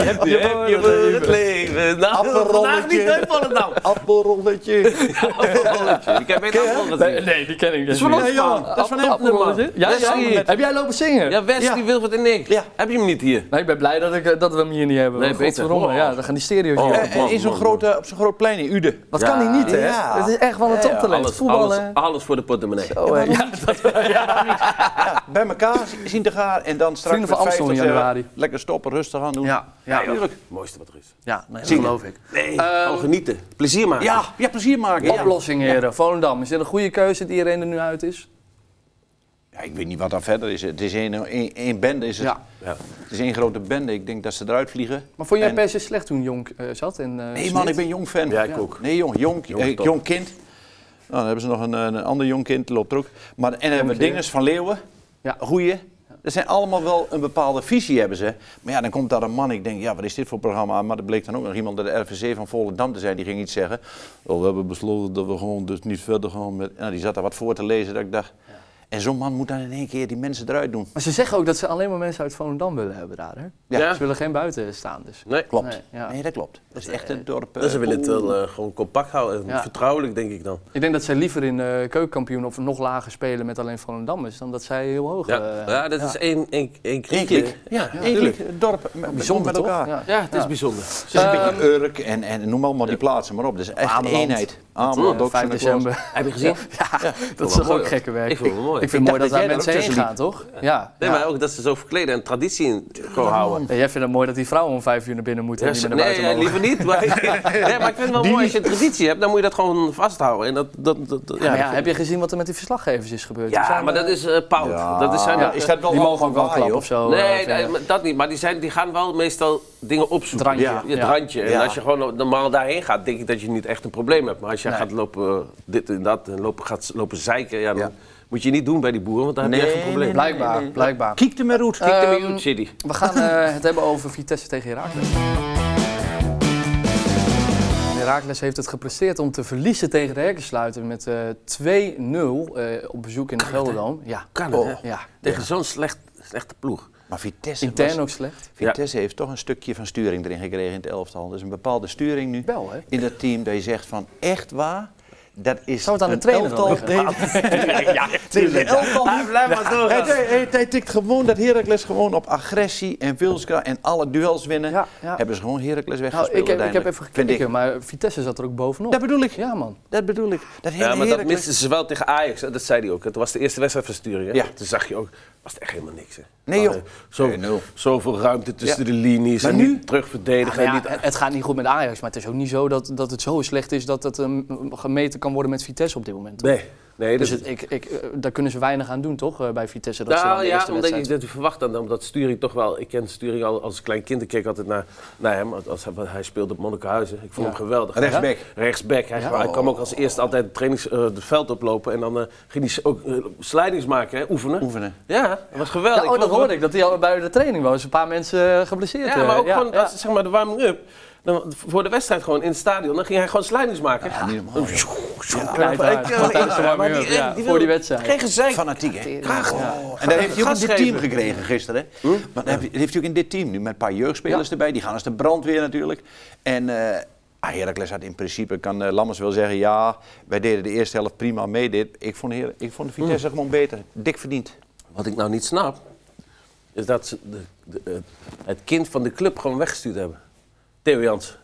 Speaker 3: heb je, heb je voor het leven. Nou, vandaag niet
Speaker 2: Appelrolletje.
Speaker 3: uit Volendam.
Speaker 2: Appelrolletje.
Speaker 3: Appelrolletje. Ik heb één appel gezien.
Speaker 1: nee, die ken ik dus
Speaker 3: van ons,
Speaker 1: niet.
Speaker 3: man.
Speaker 1: Dat is van hem. Ja,
Speaker 3: Dat
Speaker 1: ja.
Speaker 3: zie je.
Speaker 1: Heb jij lopen zingen?
Speaker 3: Ja, West, die Wilfred en ik.
Speaker 2: Ja.
Speaker 3: Heb je hem niet hier?
Speaker 1: Nee, ik ben blij dat, ik, eh, dat we hem hier niet hebben.
Speaker 3: Nee,
Speaker 1: want
Speaker 3: beter.
Speaker 1: godverdomme,
Speaker 3: Oh.
Speaker 1: Ja, dan gaan die stereo's
Speaker 3: Oh.
Speaker 1: hier.
Speaker 2: En, en in zo'n grote, op zo'n groot plein in Uden.
Speaker 1: Wat kan hij niet, hè?
Speaker 2: Ja.
Speaker 1: Het is echt wel een toptalent.
Speaker 3: Alles, alles,
Speaker 1: Voetballen.
Speaker 3: alles voor de portemonnee.
Speaker 1: Oh, eh, ja.
Speaker 2: Bij elkaar zien te gaan en dan straks
Speaker 1: Vrienden van
Speaker 2: met
Speaker 1: Amstel in
Speaker 2: 50, eh,
Speaker 1: januari.
Speaker 2: lekker stoppen, rustig aan doen.
Speaker 1: Ja, ja.
Speaker 2: Ja, tuurlijk.
Speaker 3: Mooiste wat er is.
Speaker 1: Ja, nee, dat
Speaker 2: Zingen.
Speaker 1: geloof ik.
Speaker 3: Nee, gewoon genieten. Plezier maken.
Speaker 2: Ja, ja, plezier maken. ja.
Speaker 1: Oplossing, heren. Volendam. Is dit een goede keuze dat iedereen er nu uit is?
Speaker 2: Ja, ik weet niet wat daar verder is. Het is één, één, één bende. Is het.
Speaker 1: Ja.
Speaker 3: Ja.
Speaker 2: het is één grote bende. Ik denk dat ze eruit vliegen.
Speaker 1: Maar vond jij
Speaker 2: En-
Speaker 1: per se slecht toen Jonk eh, zat? En, eh,
Speaker 2: Nee
Speaker 1: Smit?
Speaker 2: man, ik ben jong fan.
Speaker 3: Ja, ik ook.
Speaker 2: Nee jong, jong,
Speaker 3: Jong
Speaker 2: eh,
Speaker 3: is top.
Speaker 2: jong kind. eh, Nou, dan hebben ze nog een, een ander jong kind, loopt er ook. Maar, en dan hebben we Dinges van Leeuwen.
Speaker 1: Ja.
Speaker 2: Goeie. Dat zijn allemaal wel een bepaalde visie hebben ze. Maar ja, dan komt daar een man, ik denk, ja, wat is dit voor programma? Maar er bleek dan ook nog iemand bij de RVC van Volendam te zijn, die ging iets zeggen. Oh, we hebben besloten dat we gewoon dus niet verder gaan met... Nou, die zat daar wat voor te lezen, dat ik dacht... En zo'n man moet dan in één keer die mensen eruit doen.
Speaker 1: Maar ze zeggen ook dat ze alleen maar mensen uit Volendam willen hebben daar. Hè?
Speaker 2: Ja.
Speaker 1: Ze willen geen buiten staan. Dus.
Speaker 3: Nee,
Speaker 2: Klopt.
Speaker 1: Nee, ja.
Speaker 2: Nee, dat klopt. Dat is echt een dorp.
Speaker 3: Dus ze
Speaker 2: eh,
Speaker 3: willen het
Speaker 2: oeh.
Speaker 3: wel eh, gewoon compact houden.
Speaker 1: Ja.
Speaker 3: Vertrouwelijk, denk ik dan.
Speaker 1: Ik denk dat zij liever in eh keukenkampioen of nog lager spelen met alleen Volendammers dan dat zij heel hoog.
Speaker 3: Ja,
Speaker 1: eh,
Speaker 3: ja dat is
Speaker 1: ja.
Speaker 3: één, één, één klik.
Speaker 2: Eén klik.
Speaker 3: Ja,
Speaker 2: Ja,
Speaker 3: tuurlijk.
Speaker 2: eigenlijk het dorp met-
Speaker 1: bijzonder
Speaker 2: met elkaar.
Speaker 1: toch? Ja. eh, Ehm,
Speaker 3: ja, het is bijzonder.
Speaker 2: Het is een beetje Urk en, en noem allemaal die plaatsen maar op. Dus echt
Speaker 1: Ameland.
Speaker 2: eenheid. Ameland,
Speaker 1: Eh,
Speaker 2: ook
Speaker 1: 5
Speaker 2: zo'n
Speaker 1: december.
Speaker 3: Heb je gezien?
Speaker 1: Ja, dat is
Speaker 3: wel
Speaker 1: toch
Speaker 3: mooi.
Speaker 1: ook gekke werk.
Speaker 3: Ik vind het wel mooi.
Speaker 1: Ik vind het mooi
Speaker 2: dacht
Speaker 1: dat
Speaker 2: dat
Speaker 1: daar
Speaker 2: jij daar
Speaker 1: mensen
Speaker 2: ook
Speaker 1: heen
Speaker 2: tussen
Speaker 1: gaan, toch? Ja.
Speaker 3: Nee,
Speaker 1: ja.
Speaker 3: maar ook dat ze zo verkleden en traditie in gewoon houden.
Speaker 1: Ja, jij vindt het mooi dat die vrouwen om vijf uur naar binnen moeten
Speaker 3: Ja,
Speaker 1: en
Speaker 3: ze-
Speaker 1: niet meer naar
Speaker 3: nee,
Speaker 1: buiten
Speaker 3: ja,
Speaker 1: mogen.
Speaker 3: liever niet. Maar, nee, maar ik vind het wel mooi als je een traditie hebt, dan moet je dat gewoon vasthouden. En dat, dat, dat, dat-
Speaker 1: Ja, maar
Speaker 3: dat
Speaker 1: ja,
Speaker 3: vind
Speaker 1: heb
Speaker 3: ik-
Speaker 1: je gezien wat er met die verslaggevers is gebeurd?
Speaker 3: Ja,
Speaker 1: Die zijn,
Speaker 3: maar
Speaker 1: eh,
Speaker 3: dat is eh pout.
Speaker 2: Ja.
Speaker 3: Dat is zijn
Speaker 1: Ja.
Speaker 2: Is dat wel
Speaker 1: die mogen ook wel
Speaker 2: afgewaaid,
Speaker 1: klappen
Speaker 2: joh?
Speaker 1: of zo. eh,
Speaker 3: Nee,
Speaker 1: verder.
Speaker 3: nee, maar dat niet. Maar die, zijn, die gaan wel meestal dingen
Speaker 1: Het
Speaker 3: opzoeken.
Speaker 1: randje.
Speaker 3: Ja, het
Speaker 1: Ja.
Speaker 3: randje. En
Speaker 2: Ja.
Speaker 3: als je gewoon normaal daarheen gaat, denk ik dat je niet echt een probleem hebt. Maar als je gaat lopen eh, dit en dat en lopen, gaat lopen zeiken, ja, dan
Speaker 2: Ja.
Speaker 3: moet je niet doen bij die boeren, want dan heb je echt een probleem.
Speaker 1: Blijkbaar, blijkbaar.
Speaker 2: Kiek er maar uit.
Speaker 3: Kick them
Speaker 1: Ehm,
Speaker 3: out, City.
Speaker 1: We gaan eh, het hebben over Vitesse tegen Heracles. Heracles heeft het gepresteerd om te verliezen tegen de Herkensluiter met eh, 2-0 eh, op bezoek in de Gelderdoom. Ja,
Speaker 3: Kan het, hè?
Speaker 1: ja.
Speaker 3: Tegen zo'n slecht, slechte ploeg.
Speaker 2: Maar Vitesse, was-
Speaker 1: Intern ook slecht.
Speaker 2: Vitesse heeft toch een stukje van sturing erin gekregen in het elftal. Dus een bepaalde sturing nu
Speaker 1: Wel, hè?
Speaker 2: in dat team. Dat je zegt van echt waar, dat is
Speaker 1: Zou het aan de
Speaker 2: een
Speaker 1: trainer dan
Speaker 2: elftal. Nee, ja, tuurlijk. elftal.
Speaker 3: Ah, Blijf maar door.
Speaker 2: Hij, hij, hij- hij tikt gewoon dat Heracles gewoon op agressie en wilskracht en alle duels winnen.
Speaker 1: Ja, ja.
Speaker 2: Hebben ze gewoon Heracles
Speaker 1: Nou,
Speaker 2: weggespeeld
Speaker 1: ik, heb, ik heb
Speaker 2: uiteindelijk,
Speaker 1: even
Speaker 2: vind ik.
Speaker 1: gekeken, maar Vitesse zat er ook bovenop.
Speaker 2: Dat bedoel ik.
Speaker 1: Ja, man. Nou,
Speaker 2: Dat bedoel ik. Dat hele
Speaker 3: Ja, maar dat
Speaker 2: Heracles-
Speaker 3: misten ze wel tegen Ajax, hè? dat zei hij ook. Het was de eerste wedstrijd van Sturing. hè?
Speaker 2: Ja.
Speaker 3: Toen zag je ook, was het echt helemaal niks. Hè?
Speaker 2: Nee, joh.
Speaker 3: Maar, eh, Zo,
Speaker 2: Nee, nul.
Speaker 3: zoveel ruimte tussen
Speaker 2: Ja.
Speaker 3: de linies
Speaker 2: Maar
Speaker 3: en
Speaker 2: nu-
Speaker 3: nu terugverdedigen.
Speaker 1: Ja,
Speaker 3: en niet...
Speaker 1: het het gaat niet goed met Ajax, maar het is ook niet zo dat, dat het zo slecht is dat het ehm, gemeten kan worden met Vitesse op dit moment. toch?
Speaker 3: Nee, nee
Speaker 1: Dus
Speaker 3: dus
Speaker 1: het, ik, ik, eh, daar kunnen ze weinig aan doen, toch, eh, bij Vitesse? Dat ze dan
Speaker 3: nou
Speaker 1: de
Speaker 3: ja,
Speaker 1: eerste
Speaker 3: omdat je
Speaker 1: wedstrijd...
Speaker 3: dat je verwacht dan, omdat Sturing toch wel... Ik ken Sturing al als klein kind, ik keek altijd naar, naar hem. Als, als hij, hij speelde op Monnikenhuizen, ik vond hem geweldig.
Speaker 2: Rechtsback.
Speaker 3: Ja? Rechtsback. Hij, hij kwam ook als eerste altijd het trainings, eh, het veld oplopen. En dan eh, ging hij s- ook eh, slijdings maken, hè? oefenen.
Speaker 2: Oefenen.
Speaker 3: Ja, dat was geweldig.
Speaker 1: Ja, oh, dat
Speaker 3: vond hem-
Speaker 1: hoorde ik, dat hij al bij de training was. Een paar mensen eh, geblesseerd.
Speaker 3: Ja, maar
Speaker 1: eh,
Speaker 3: ook
Speaker 1: ja,
Speaker 3: gewoon,
Speaker 1: ja.
Speaker 3: als zeg maar de warming-up. Dan, voor de wedstrijd gewoon in het stadion, dan ging hij gewoon slijdings maken. Ja, eh,
Speaker 2: Niet normaal, joh.
Speaker 1: Knijt uit, want tijdens de warming-up, ja, voor die wedstrijd.
Speaker 3: Geen gezeik.
Speaker 2: Fanatiek, hè? Graag. En dat heeft hij ook in dit team
Speaker 3: Gas geven.
Speaker 2: gekregen gisteren.
Speaker 3: Hm?
Speaker 2: Hè? Maar dat heeft dat heeft hij ook in dit team nu met een paar jeugdspelers erbij. Die gaan als de brandweer natuurlijk. En eh ah, Heracles had in principe, kan eh, Lammers wel zeggen, ja, wij deden de eerste helft prima mee. Dit. Ik, vond Her ik vond de
Speaker 3: Hm.
Speaker 2: Vitesse gewoon beter. Dik verdiend.
Speaker 3: Wat ik nou niet snap, is dat ze de, de, eh, het kind van de club gewoon weggestuurd hebben. Theo Jans,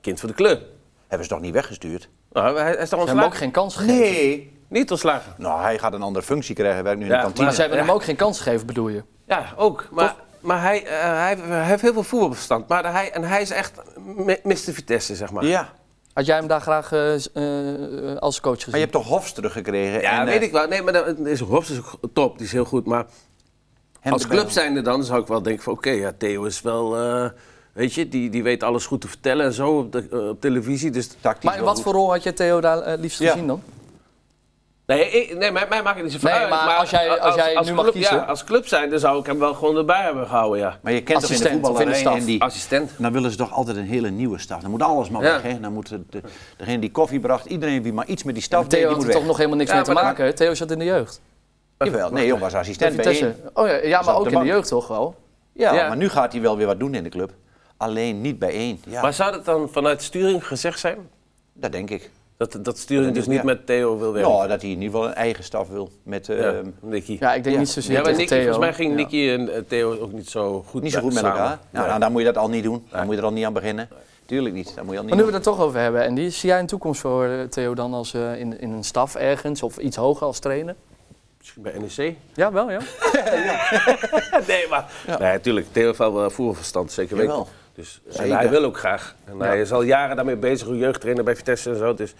Speaker 3: kind van de club.
Speaker 2: Hebben ze toch niet weggestuurd?
Speaker 3: Nou, hij, hij is toch
Speaker 1: Ze hebben
Speaker 3: ontslagen?
Speaker 1: ook geen kans gegeven.
Speaker 2: Nee.
Speaker 3: Niet ontslagen.
Speaker 2: Nou, hij gaat een andere functie krijgen. Hij werkt nu in
Speaker 3: Ja,
Speaker 2: de
Speaker 1: Maar
Speaker 2: kantine.
Speaker 1: ze hebben hem ook geen kans gegeven, bedoel je?
Speaker 3: Ja, ook. Maar, maar hij, eh, hij, hij heeft heel veel voetbalverstand. Maar hij, en hij is echt mi- Mr. Vitesse, zeg maar.
Speaker 2: Ja.
Speaker 1: Had jij hem daar graag eh, z- eh, eh, als coach
Speaker 2: Maar
Speaker 1: gezien?
Speaker 2: je hebt toch Hofs teruggekregen?
Speaker 3: Ja,
Speaker 2: en, eh,
Speaker 3: weet ik wel. Nee, maar dan is Robs is ook top, die is heel goed. Maar
Speaker 2: hem
Speaker 3: als
Speaker 2: erbij.
Speaker 3: club zijnde dan zou ik wel denken van... oké, ja, Theo is wel... eh, weet je, die, die weet alles goed te vertellen en zo op, de, eh, op televisie. Dus,
Speaker 2: Tactisch
Speaker 1: Maar in
Speaker 2: wel
Speaker 1: wat
Speaker 2: goed.
Speaker 1: voor rol had je Theo daar eh, het liefst
Speaker 2: Ja.
Speaker 1: gezien dan?
Speaker 3: nee, ik- nee mij, mij maakt het niet zoveel
Speaker 1: Nee,
Speaker 3: uit.
Speaker 1: maar als jij- als jij nu mag
Speaker 3: club,
Speaker 1: kiezen.
Speaker 3: Ja, als club zijnde zou ik hem wel gewoon erbij hebben gehouden, ja.
Speaker 2: Maar je kent toch in de
Speaker 1: Assistent of in de
Speaker 2: voetballerij
Speaker 1: staf.
Speaker 2: en die,
Speaker 3: Assistent.
Speaker 2: Dan willen ze toch altijd een hele nieuwe staf. Dan moet alles maar
Speaker 3: Ja.
Speaker 2: weg. Hè? Dan moet de, de- degene die koffie bracht, iedereen die maar iets met die staf deed,
Speaker 1: Theo
Speaker 2: die
Speaker 1: had
Speaker 2: moet
Speaker 1: er
Speaker 2: weg.
Speaker 1: toch nog helemaal niks
Speaker 3: Ja,
Speaker 1: mee te
Speaker 3: maar dat-
Speaker 1: maken. hè? Theo zat in de jeugd.
Speaker 2: Jawel, nee, joh, was
Speaker 1: Bij
Speaker 2: assistent bij
Speaker 1: Vitesse.
Speaker 2: één.
Speaker 1: Oh ja, ja maar ook
Speaker 2: op de
Speaker 1: in de
Speaker 2: bank.
Speaker 1: jeugd toch wel?
Speaker 2: Ja,
Speaker 3: Ja.
Speaker 2: maar nu gaat hij wel weer wat doen in de club. Alleen niet bij één. Ja,
Speaker 3: Maar zou dat dan vanuit Sturing gezegd zijn?
Speaker 2: dat denk ik.
Speaker 3: Dat, dat Sturing dus
Speaker 2: Ja.
Speaker 3: niet met Theo wil werken?
Speaker 2: Nou, dat hij in ieder geval een eigen staf wil. Met, eh,
Speaker 3: Ja, Nicky.
Speaker 1: Ja, ik denk
Speaker 2: Ja.
Speaker 1: niet zozeer
Speaker 3: Ja, maar
Speaker 1: tegen
Speaker 3: Nicky,
Speaker 1: Theo.
Speaker 3: volgens mij ging
Speaker 1: Ja.
Speaker 3: Nicky en eh, Theo ook niet zo goed
Speaker 2: niet zo goed met
Speaker 3: samen.
Speaker 2: elkaar. Nou,
Speaker 3: Nee.
Speaker 2: nou, dan moet je dat al niet doen. Dan moet je er al niet aan beginnen. Tuurlijk niet. Dan moet je al niet
Speaker 1: Maar nu we
Speaker 2: doen.
Speaker 1: het er toch over hebben, en die zie jij een toekomst voor eh, Theo dan als eh, in, in een staf ergens of iets hoger als trainer?
Speaker 3: Misschien bij E NEC?
Speaker 1: Ja, wel ja.
Speaker 3: Nee, maar... Nee, natuurlijk. Theo heeft wel eh, voetbalverstand, zeker weten.
Speaker 2: Jawel.
Speaker 3: Dus, en
Speaker 2: Zeker.
Speaker 3: hij wil ook graag. En hij is al jaren daarmee bezig, hoe jeugdtrainer bij Vitesse en zo. Dus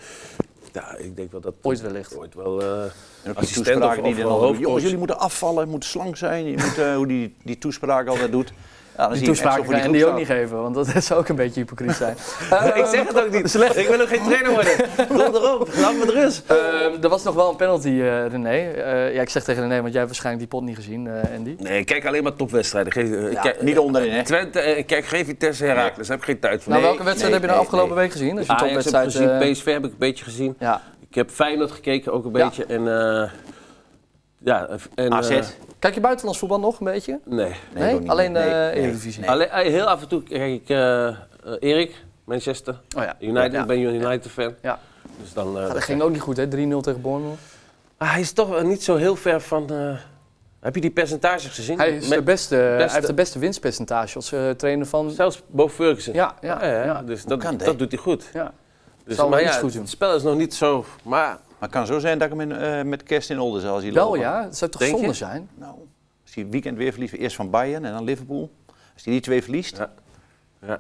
Speaker 3: ja, ik denk wel dat...
Speaker 1: Ooit wellicht.
Speaker 3: Ooit wel eh
Speaker 2: En ook die
Speaker 3: assistent of,
Speaker 2: toespraken die
Speaker 3: of
Speaker 2: hij dan
Speaker 3: wel
Speaker 2: al doet.
Speaker 3: hoofdcoach.
Speaker 2: Jongens, jullie moeten afvallen, je moet slank zijn. Je moet, eh, hoe die, die toespraak altijd doet. Ja, dan
Speaker 1: die
Speaker 2: zie je echt zo
Speaker 1: toespraken
Speaker 2: voor die
Speaker 1: en die ook
Speaker 2: groep
Speaker 1: niet
Speaker 2: staan.
Speaker 1: geven, want dat zou ook een beetje hypocriet zijn. Eh,
Speaker 3: Ik zeg het ook niet. Ik wil ook geen trainer worden. Rot erop. Laat me rust.
Speaker 1: Ehm, er was nog wel een penalty, eh, René. Eh, ja, ik zeg tegen René, want jij hebt waarschijnlijk die pot niet gezien, eh, Andy.
Speaker 3: Nee, ik kijk alleen maar topwedstrijden. Geef, eh, ik
Speaker 2: Ja,
Speaker 3: kijk-
Speaker 2: niet onderin, hè?
Speaker 3: Twente, eh, ik kijk geen Vitesse Herakles. Daar heb ik geen tijd voor.
Speaker 1: nou, welke
Speaker 2: nee,
Speaker 1: wedstrijd heb je
Speaker 2: nee,
Speaker 1: nou afgelopen
Speaker 2: nee.
Speaker 1: week gezien? Als je een
Speaker 3: Ajax heb ik
Speaker 1: topwedstrijd...
Speaker 3: gezien,
Speaker 1: eh,
Speaker 3: PSV heb ik een beetje gezien.
Speaker 1: ja,
Speaker 3: Ik heb Feyenoord gekeken ook een
Speaker 1: Ja.
Speaker 3: beetje. En, eh, ja, en,
Speaker 2: AZ?
Speaker 3: eh,
Speaker 1: Kijk je buitenlands voetbal nog een beetje?
Speaker 3: nee.
Speaker 2: Nee, ook niet.
Speaker 1: alleen
Speaker 2: Nee,
Speaker 1: eh
Speaker 2: nee.
Speaker 1: Eredivisie.
Speaker 3: Alleen, eh, heel af en toe kijk ik eh, eh, Erik, Manchester.
Speaker 1: Oh ja.
Speaker 3: United,
Speaker 1: Ja.
Speaker 3: ik ben een United fan.
Speaker 1: Ja.
Speaker 3: Dus dan, eh,
Speaker 1: Ja, dat ging ook niet goed, hè? 3-0 tegen Bournemouth.
Speaker 3: Ah, hij is toch eh, niet zo heel ver van... eh, heb je die percentages gezien?
Speaker 1: Hij, is
Speaker 3: Met-
Speaker 1: de beste, hij heeft
Speaker 3: beste-
Speaker 1: de beste winstpercentage als eh, trainer van...
Speaker 3: Zelfs boven Ferguson.
Speaker 1: Ja, ja,
Speaker 3: Ah, ja,
Speaker 1: ja.
Speaker 3: Dus dat,
Speaker 2: kan
Speaker 3: dat
Speaker 2: die?
Speaker 3: doet hij goed.
Speaker 1: Ja.
Speaker 3: Dus,
Speaker 1: Zal
Speaker 3: maar
Speaker 1: wel
Speaker 3: ja,
Speaker 1: iets goed doen.
Speaker 3: het spel is nog niet zo... Maar
Speaker 2: Maar het kan zo zijn dat ik hem in, eh, met kerst in Olden zal zien
Speaker 1: Wel
Speaker 2: lopen.
Speaker 1: ja, het zou toch
Speaker 3: Denk je?
Speaker 1: zonde zijn?
Speaker 2: Nou, als hij weekend weer verliest, eerst van Bayern en dan Liverpool. Als hij die twee verliest.
Speaker 3: Ja, dat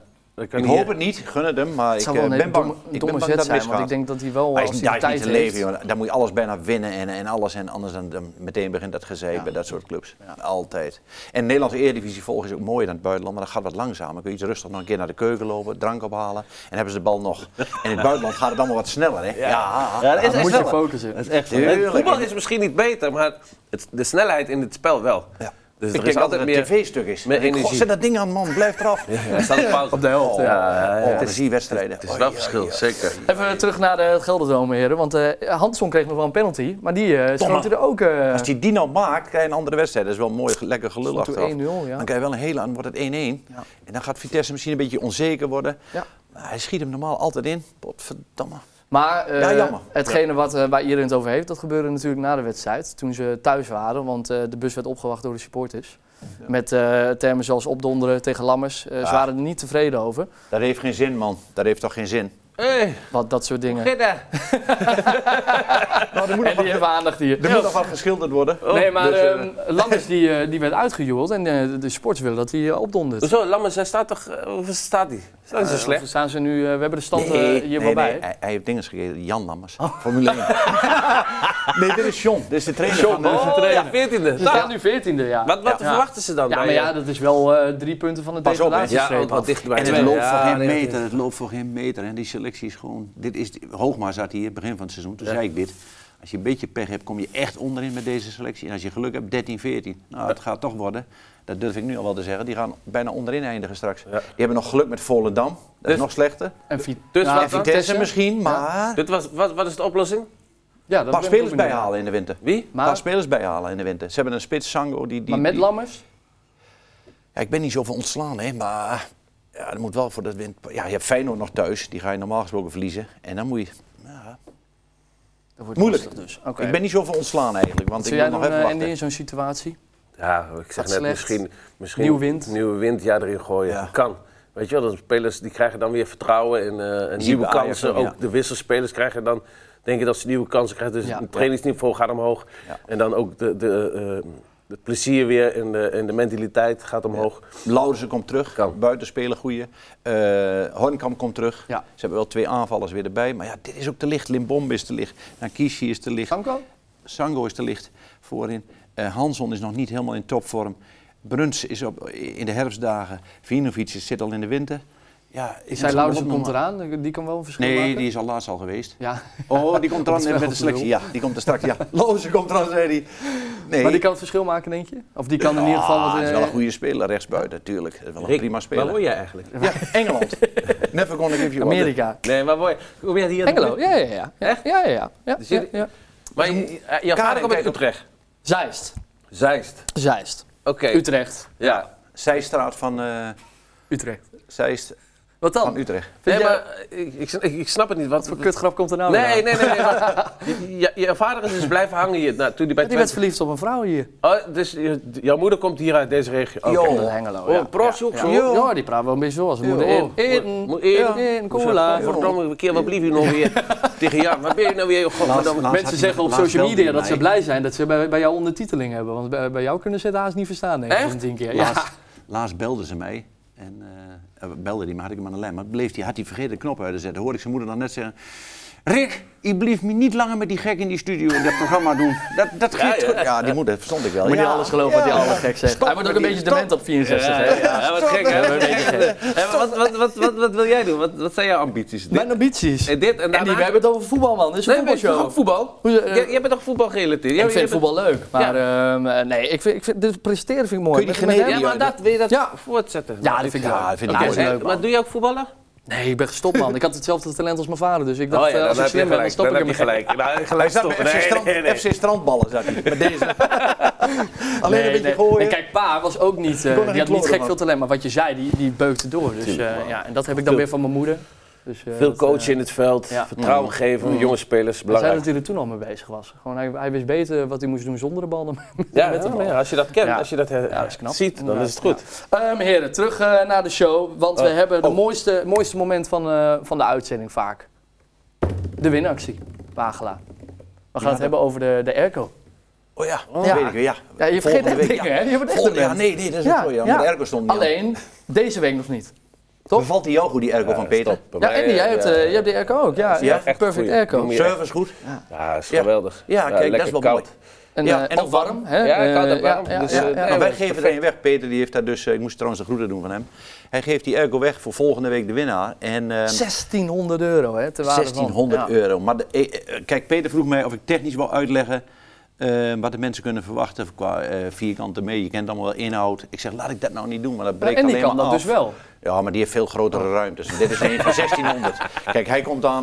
Speaker 3: kan
Speaker 2: Ik
Speaker 3: niet-
Speaker 2: hoop het niet, gun het hem, maar
Speaker 1: Het
Speaker 2: ik
Speaker 1: zou
Speaker 2: eh,
Speaker 1: wel een
Speaker 2: ben
Speaker 1: hele
Speaker 2: bang.
Speaker 1: domme,
Speaker 2: ik ben
Speaker 1: domme
Speaker 2: bang
Speaker 1: zet
Speaker 2: dat
Speaker 1: zijn,
Speaker 2: misgaat.
Speaker 1: want ik denk dat hij wel
Speaker 2: Hij
Speaker 1: als
Speaker 2: is, daar
Speaker 1: hij
Speaker 2: is
Speaker 1: de
Speaker 2: niet te
Speaker 1: tijd
Speaker 2: leven,
Speaker 1: heeft-
Speaker 2: joh. Daar moet je alles bijna winnen en, en alles. En anders dan, dan meteen begint dat gezeik bij dat soort clubs. Altijd. En Nederlandse Eredivisie volgen is ook mooier dan het buitenland, maar dat gaat wat langzamer. Kun je iets rustig nog een keer naar de keuken lopen, drank ophalen en hebben ze de bal nog. En in het buitenland gaat het allemaal wat sneller, hè? Ja,
Speaker 3: Ja, dat is
Speaker 1: Dan
Speaker 3: echt
Speaker 1: moet je
Speaker 3: sneller.
Speaker 1: focussen.
Speaker 3: Dat is echt zo.
Speaker 2: Tuurlijk.
Speaker 3: Het voetbal is misschien niet beter, maar het, de snelheid in het spel wel.
Speaker 2: Ja.
Speaker 3: Dus
Speaker 2: ik
Speaker 3: er is
Speaker 2: denk dat het
Speaker 3: altijd
Speaker 2: een
Speaker 3: meer...
Speaker 2: tv-stuk is.
Speaker 3: meer
Speaker 2: Ik denk,
Speaker 3: energie.
Speaker 2: "God, zet dat ding aan, man, blijf eraf.
Speaker 3: Ja, staat op pauze.
Speaker 1: de helft,
Speaker 2: Oh,
Speaker 3: ja, ja.
Speaker 2: oh, dat is die wedstrijden.
Speaker 3: Het is wel verschil, zeker.
Speaker 1: Even terug naar de Gelderdome, heren. Want eh Hanson kreeg nog wel een penalty, maar die eh schoot hij er ook... eh
Speaker 2: Als die die nou maakt, krijg je een andere wedstrijd. Dat is wel een mooi, lekker gelul
Speaker 1: Stond toen
Speaker 2: achteraf.
Speaker 1: 1-0, ja.
Speaker 2: Dan krijg je wel een hele, dan wordt het 1-1. En dan gaat Vitesse misschien een beetje onzeker worden.
Speaker 1: Ja.
Speaker 2: Maar hij schiet hem normaal altijd in. Potverdamme.
Speaker 1: Maar eh,
Speaker 2: Ja, jammer.
Speaker 1: hetgene wat, eh, waar iedereen het over heeft, dat gebeurde natuurlijk na de wedstrijd. Toen ze thuis waren, want eh, de bus werd opgewacht door de supporters. Met eh, termen zoals opdonderen tegen lammers. Eh, Ze
Speaker 2: Ah.
Speaker 1: waren er niet tevreden over.
Speaker 2: Dat heeft geen zin, man. Dat heeft toch geen zin?
Speaker 3: Hey,
Speaker 1: Wat, dat soort dingen.
Speaker 3: Gidda.
Speaker 2: Nou,
Speaker 1: en die hebben aandacht hier.
Speaker 2: Er moet nog wat geschilderd worden.
Speaker 1: nee, maar
Speaker 2: Dus, eh,
Speaker 1: ehm, Lammers die, eh, die werd uitgejoeld en eh, de- de sports willen dat hij eh, opdondert.
Speaker 2: Dus
Speaker 3: Hoezo, Lammers, hij staat toch... eh, Hoeveel staat hij? Staat hij zo
Speaker 1: Eh,
Speaker 3: slecht?
Speaker 1: staan ze nu, eh, we hebben de stand eh,
Speaker 2: Nee,
Speaker 1: hier
Speaker 2: nee,
Speaker 1: wel bij.
Speaker 2: nee. Hij, hij heeft dingen gegeten. Jan Lammers. Formule 1. Oh. nee, dit is John. Dit is de trainer van de-
Speaker 3: Oh, ja,
Speaker 1: Ze
Speaker 3: 14e.
Speaker 1: staan nu 14e, ja.
Speaker 3: Wat, wat
Speaker 1: Ja.
Speaker 3: verwachten ze dan?
Speaker 1: Ja,
Speaker 3: bij,
Speaker 1: maar
Speaker 3: eh,
Speaker 1: ja, dat is wel eh, drie punten van de
Speaker 2: Pas op, hè.
Speaker 1: degradatiestreep
Speaker 3: Ja, ook wel
Speaker 1: af.
Speaker 3: dichtbij.
Speaker 2: En het
Speaker 3: Tweede.
Speaker 2: loopt voor
Speaker 3: Ja,
Speaker 2: geen
Speaker 3: nee, dat
Speaker 2: meter. Het loopt voor geen meter. En die selectie is gewoon. Dit is, Hoogma zat hier begin van het seizoen. Toen zei ik dit. Als je een beetje pech hebt, kom je echt onderin met deze selectie. En als je geluk hebt, 13, 14. Nou, het gaat toch worden. Dat durf ik nu al wel te zeggen. Die gaan bijna onderin eindigen straks. Die hebben nog geluk met Volendam. Dat
Speaker 3: Dus-
Speaker 2: is nog slechter.
Speaker 1: En Vitesse.
Speaker 3: Dus
Speaker 2: En
Speaker 3: wat dan?
Speaker 1: eh,
Speaker 2: Vitesse misschien, maar...
Speaker 3: Dit was, wat, wat is de oplossing?
Speaker 1: Ja, dat Dus ben
Speaker 2: Pas
Speaker 1: ik
Speaker 2: spelers
Speaker 1: ook benieuwd.
Speaker 2: bijhalen in de winter.
Speaker 3: Wie?
Speaker 2: Pas
Speaker 1: Maar,
Speaker 2: spelers bijhalen in de winter. Ze hebben een spits, Sango. Die, die,
Speaker 1: maar met
Speaker 2: die-
Speaker 1: Lammers?
Speaker 2: Ja, ik ben niet zoveel ontslaan, hè, maar ja, dat moet wel voor dat win. Ja, je hebt Feyenoord nog thuis, die ga je normaal gesproken verliezen. En dan moet je. Ja,
Speaker 1: Dat wordt
Speaker 2: moeilijk.
Speaker 1: lastig dus.
Speaker 2: Ik ben niet zoveel ontslaan eigenlijk, want
Speaker 1: Zou
Speaker 2: ik
Speaker 1: jij eh,
Speaker 2: moet nog
Speaker 1: nog
Speaker 2: even
Speaker 1: en
Speaker 2: wachten.
Speaker 1: die in zo'n situatie?
Speaker 3: Ja, ik zeg
Speaker 1: Wat
Speaker 3: net
Speaker 1: slecht.
Speaker 3: misschien, misschien...
Speaker 1: Nieuwe wind.
Speaker 3: Nieuwe wind, ja, erin gooien.
Speaker 2: Ja.
Speaker 3: Kan. Weet je wel, de spelers die krijgen dan weer vertrouwen en, eh, en
Speaker 2: je
Speaker 3: nieuwe
Speaker 2: bij Ajax
Speaker 3: kansen.
Speaker 2: ook,
Speaker 3: Ook
Speaker 2: ja.
Speaker 3: de wisselspelers krijgen dan, denk ik dat ze nieuwe kansen krijgen. Dus
Speaker 1: Ja.
Speaker 3: het trainingsniveau gaat omhoog.
Speaker 2: Ja.
Speaker 3: En dan ook de, de, eh, het plezier weer en de, en de mentaliteit gaat omhoog.
Speaker 2: Laudersen komt terug,
Speaker 3: Kan.
Speaker 2: buitenspelen goeie. Eh Hornkamp komt terug.
Speaker 1: Ja.
Speaker 2: Ze hebben wel twee aanvallers weer erbij, maar ja, dit is ook te licht. Limbombe is te licht, Nakishi is te licht,
Speaker 1: Sanko?
Speaker 2: Sango is te licht voorin. Eh Hanson is nog niet helemaal in topvorm. Bruns is op, in de herfstdagen, Vinovic zit al in de winter. Ja,
Speaker 1: Ik
Speaker 2: is
Speaker 1: zei, Laudersen
Speaker 2: nog
Speaker 1: komt
Speaker 2: maar-
Speaker 1: eraan, Eh, die kan wel een verschil
Speaker 2: Nee,
Speaker 1: maken.
Speaker 2: die is al laatst al geweest.
Speaker 1: Ja,
Speaker 2: Oh, die komt
Speaker 1: Dat is
Speaker 2: eraan
Speaker 1: wel
Speaker 2: met de selectie. Ja, die komt er straks. Ja. Loze komt eraan, zei hij. Nee.
Speaker 1: maar die kan het verschil maken, denk je? Of die kan in ieder geval...
Speaker 2: Ah,
Speaker 1: wat,
Speaker 2: dat is
Speaker 1: eh,
Speaker 2: wel een goede speler, rechtsbuiten, natuurlijk. Dat is wel een
Speaker 3: Rick,
Speaker 2: prima
Speaker 3: Waar word
Speaker 2: speler.
Speaker 3: jij eigenlijk?
Speaker 2: Ja, Engeland. Never gonna give you up.
Speaker 1: Amerika.
Speaker 3: Nee, waar word je? Kom jij hier?
Speaker 1: Engelo, ja, ja, ja. Ja,
Speaker 3: Echt?
Speaker 1: ja, ja. ja,
Speaker 3: Dus
Speaker 1: ja,
Speaker 3: jullie-
Speaker 1: ja.
Speaker 3: Maar je, eh, je vader
Speaker 2: Karin,
Speaker 3: komt uit
Speaker 2: kijk op.
Speaker 3: Utrecht.
Speaker 1: Zeist.
Speaker 3: Zeist.
Speaker 1: Zeist.
Speaker 3: Oké.
Speaker 1: Utrecht.
Speaker 3: Ja.
Speaker 2: Zijstraat van, eh
Speaker 1: Utrecht.
Speaker 2: Zeist
Speaker 1: Wat dan?
Speaker 2: van Utrecht.
Speaker 3: Nee,
Speaker 1: jij-
Speaker 3: maar eh, ik, ik, ik snap het niet. Wat,
Speaker 1: Voor kutgrap komt er nou weer aan?
Speaker 3: Nee, nee, nee. nee, maar je, je- je vader is dus blijven hangen hier. Nou, toen die bij
Speaker 1: Die werd
Speaker 3: Twente...
Speaker 1: verliefd op een vrouw hier.
Speaker 3: Oh, dus je- jouw moeder komt hier uit deze regio. Oké.
Speaker 1: Oké, dat is Hengelo, ja.
Speaker 3: Oh, Pros ook
Speaker 1: Ja.
Speaker 3: zo.
Speaker 1: Ja, ja, die praat wel een beetje zoals een moeder.
Speaker 3: Oh,
Speaker 1: In, in,
Speaker 3: moet
Speaker 1: in,
Speaker 3: eten.
Speaker 1: in,
Speaker 3: Hoezo?
Speaker 1: cola.
Speaker 3: Godverdomme, een keer wat blief je nou weer tegen jou. Wat ben je nou weer, joh, godverdomme.
Speaker 2: Laatst had
Speaker 1: Mensen
Speaker 2: hij-
Speaker 1: zeggen op
Speaker 2: laatst
Speaker 1: social
Speaker 2: belde
Speaker 1: media
Speaker 2: hij
Speaker 1: dat ze
Speaker 2: mij.
Speaker 1: blij zijn dat ze bij, bij jou ondertiteling hebben. Want bij, bij jou kunnen ze het haast niet verstaan, denk
Speaker 3: Echt?
Speaker 1: ik. Tien keer. Ja.
Speaker 2: Laatst belden ze mij. En eh, eh, belde die, maar had ik hem aan de lijn. Maar bleef die, had hij vergeten de knop uit te zetten. Hoorde ik zijn moeder dan net zeggen. Rick, je blieft me niet langer met die gek in die studio in dat programma doen. Dat, dat gaat goed. Ja, die moet, dat verstond ik wel.
Speaker 1: Moet
Speaker 2: ja.
Speaker 1: niet alles geloven wat die oude gek zegt. Hij wordt ook een beetje dement op 64, hè?
Speaker 3: Ja, wat gek, hè?
Speaker 1: Een beetje gek.
Speaker 3: Hé, maar Wat, wat, wat, wat, wat wil jij doen? Wat, wat zijn jouw ambities? Dit,
Speaker 1: Mijn ambities.
Speaker 3: en
Speaker 1: En
Speaker 3: dit en daarna...
Speaker 1: die, we hebben het over voetbal, man. Dit is een
Speaker 3: nee, maar je
Speaker 1: voetbalshow.
Speaker 3: ook voetbal?
Speaker 1: Hoe- eh,
Speaker 3: Jij, jij bent toch voetbal gerelateerd? Jij-
Speaker 1: ik
Speaker 3: jij
Speaker 1: vind
Speaker 3: bent-
Speaker 1: voetbal leuk, maar ehm, eh, nee, ik vind, ik vind, dit presteren vind ik mooi.
Speaker 2: Kun je die
Speaker 1: Met- met
Speaker 2: generen-
Speaker 3: Ja,
Speaker 1: hem-
Speaker 3: maar dat, wil je dat
Speaker 1: Ja.
Speaker 3: voortzetten?
Speaker 1: Ja, dat vind ik,
Speaker 2: Ja, dat vind ik
Speaker 1: dat
Speaker 2: ook
Speaker 1: is
Speaker 2: leuk,
Speaker 3: En-
Speaker 1: leuk, man.
Speaker 3: maar doe je ook voetballen?
Speaker 1: Nee, ik ben gestopt, man. Ik had hetzelfde talent als mijn vader, dus ik
Speaker 3: Oh
Speaker 1: dacht, eh, als ik slim ben, dan stop ik ermee.
Speaker 3: gelijk. Nou,
Speaker 2: Hij
Speaker 3: gelijk
Speaker 2: zat bij
Speaker 3: stoppen.
Speaker 2: FC,
Speaker 3: Nee,
Speaker 2: Strand,
Speaker 3: nee, nee.
Speaker 2: FC Strandballen, zat hij. Met deze. Alleen
Speaker 1: Nee,
Speaker 2: een beetje
Speaker 1: nee.
Speaker 2: gooien.
Speaker 1: En kijk, pa was ook niet, eh, die
Speaker 2: kon er geen
Speaker 1: had niet
Speaker 2: kloren
Speaker 1: gek
Speaker 2: van.
Speaker 1: veel talent, maar wat je zei, die, die beukte door. Dus eh, ja, en dat heb ik dan weer van mijn moeder. Dus, eh,
Speaker 3: Veel
Speaker 1: dat, eh,
Speaker 3: coachen in het veld,
Speaker 1: ja.
Speaker 3: vertrouwen geven, jonge spelers,
Speaker 1: Hij zei
Speaker 3: belangrijk.
Speaker 1: dat hij er toen al mee bezig was. Gewoon, hij, hij wist beter wat hij moest doen zonder de bal dan
Speaker 3: Ja, ja, als je dat kent,
Speaker 1: Ja.
Speaker 3: als je dat, eh,
Speaker 1: dat is knap.
Speaker 3: ziet, dan
Speaker 1: Ja.
Speaker 3: is het goed.
Speaker 1: Ehm, heren, terug eh, naar de show. Want we hebben het
Speaker 2: oh.
Speaker 1: mooiste, mooiste moment van, eh, van de uitzending vaak. De winactie, Wagela. We gaan het hebben over de, de airco.
Speaker 2: Oh ja, dat
Speaker 1: Ja.
Speaker 2: weet ik weer. Ja,
Speaker 1: Ja, je vergeet
Speaker 2: Volgende
Speaker 1: echt
Speaker 2: week,
Speaker 1: dingen,
Speaker 2: ja.
Speaker 1: hè? Je wordt echt
Speaker 2: Volgende, ja,
Speaker 1: dement.
Speaker 2: nee, nee, dat is
Speaker 1: Ja,
Speaker 2: een goeie. Ja.
Speaker 1: ja.
Speaker 2: De ergo stond niet aan.
Speaker 1: Alleen, deze week nog niet.
Speaker 2: Bevalt die jou goed, die ergo van Peter?
Speaker 1: Ja, Andy, jij hebt, eh, jij hebt de airco ook. Ja,
Speaker 2: Ja,
Speaker 1: ja,
Speaker 3: echt
Speaker 1: perfect
Speaker 3: goeie.
Speaker 1: airco.
Speaker 3: Noem je-
Speaker 2: Service goed?
Speaker 3: Ja, dat is
Speaker 2: Ja.
Speaker 3: geweldig.
Speaker 2: Ja, kijk, dat
Speaker 3: lekker
Speaker 2: is wel
Speaker 3: koud.
Speaker 2: mooi.
Speaker 1: En,
Speaker 2: Ja,
Speaker 1: eh,
Speaker 2: en
Speaker 1: ook warm, hè?
Speaker 3: Ja, koud en
Speaker 1: Eh,
Speaker 3: warm.
Speaker 1: Ja, ja,
Speaker 3: Dus,
Speaker 1: ja,
Speaker 3: eh,
Speaker 1: ja.
Speaker 2: Nou,
Speaker 3: maar
Speaker 2: wij geven het een weg. Peter die heeft daar dus, eh, ik moest trouwens de groeten doen van hem. Hij geeft die ergo weg voor volgende week de winnaar. En, eh,
Speaker 1: 1600 euro, hè? Te waarde van.
Speaker 2: 1600
Speaker 1: Ja.
Speaker 2: euro. Maar de, eh, eh, kijk, Peter vroeg mij of ik technisch wou uitleggen eh, wat de mensen kunnen verwachten qua eh, vierkante mee. Je kent allemaal wel inhoud. Ik zeg, laat ik dat nou niet doen, want dat breekt
Speaker 1: en die
Speaker 2: alleen
Speaker 1: kan
Speaker 2: maar
Speaker 1: dat
Speaker 2: af.
Speaker 1: dus wel.
Speaker 2: Ja, maar die heeft veel grotere ruimtes. En dit is een van 1600. Kijk, hij komt aan.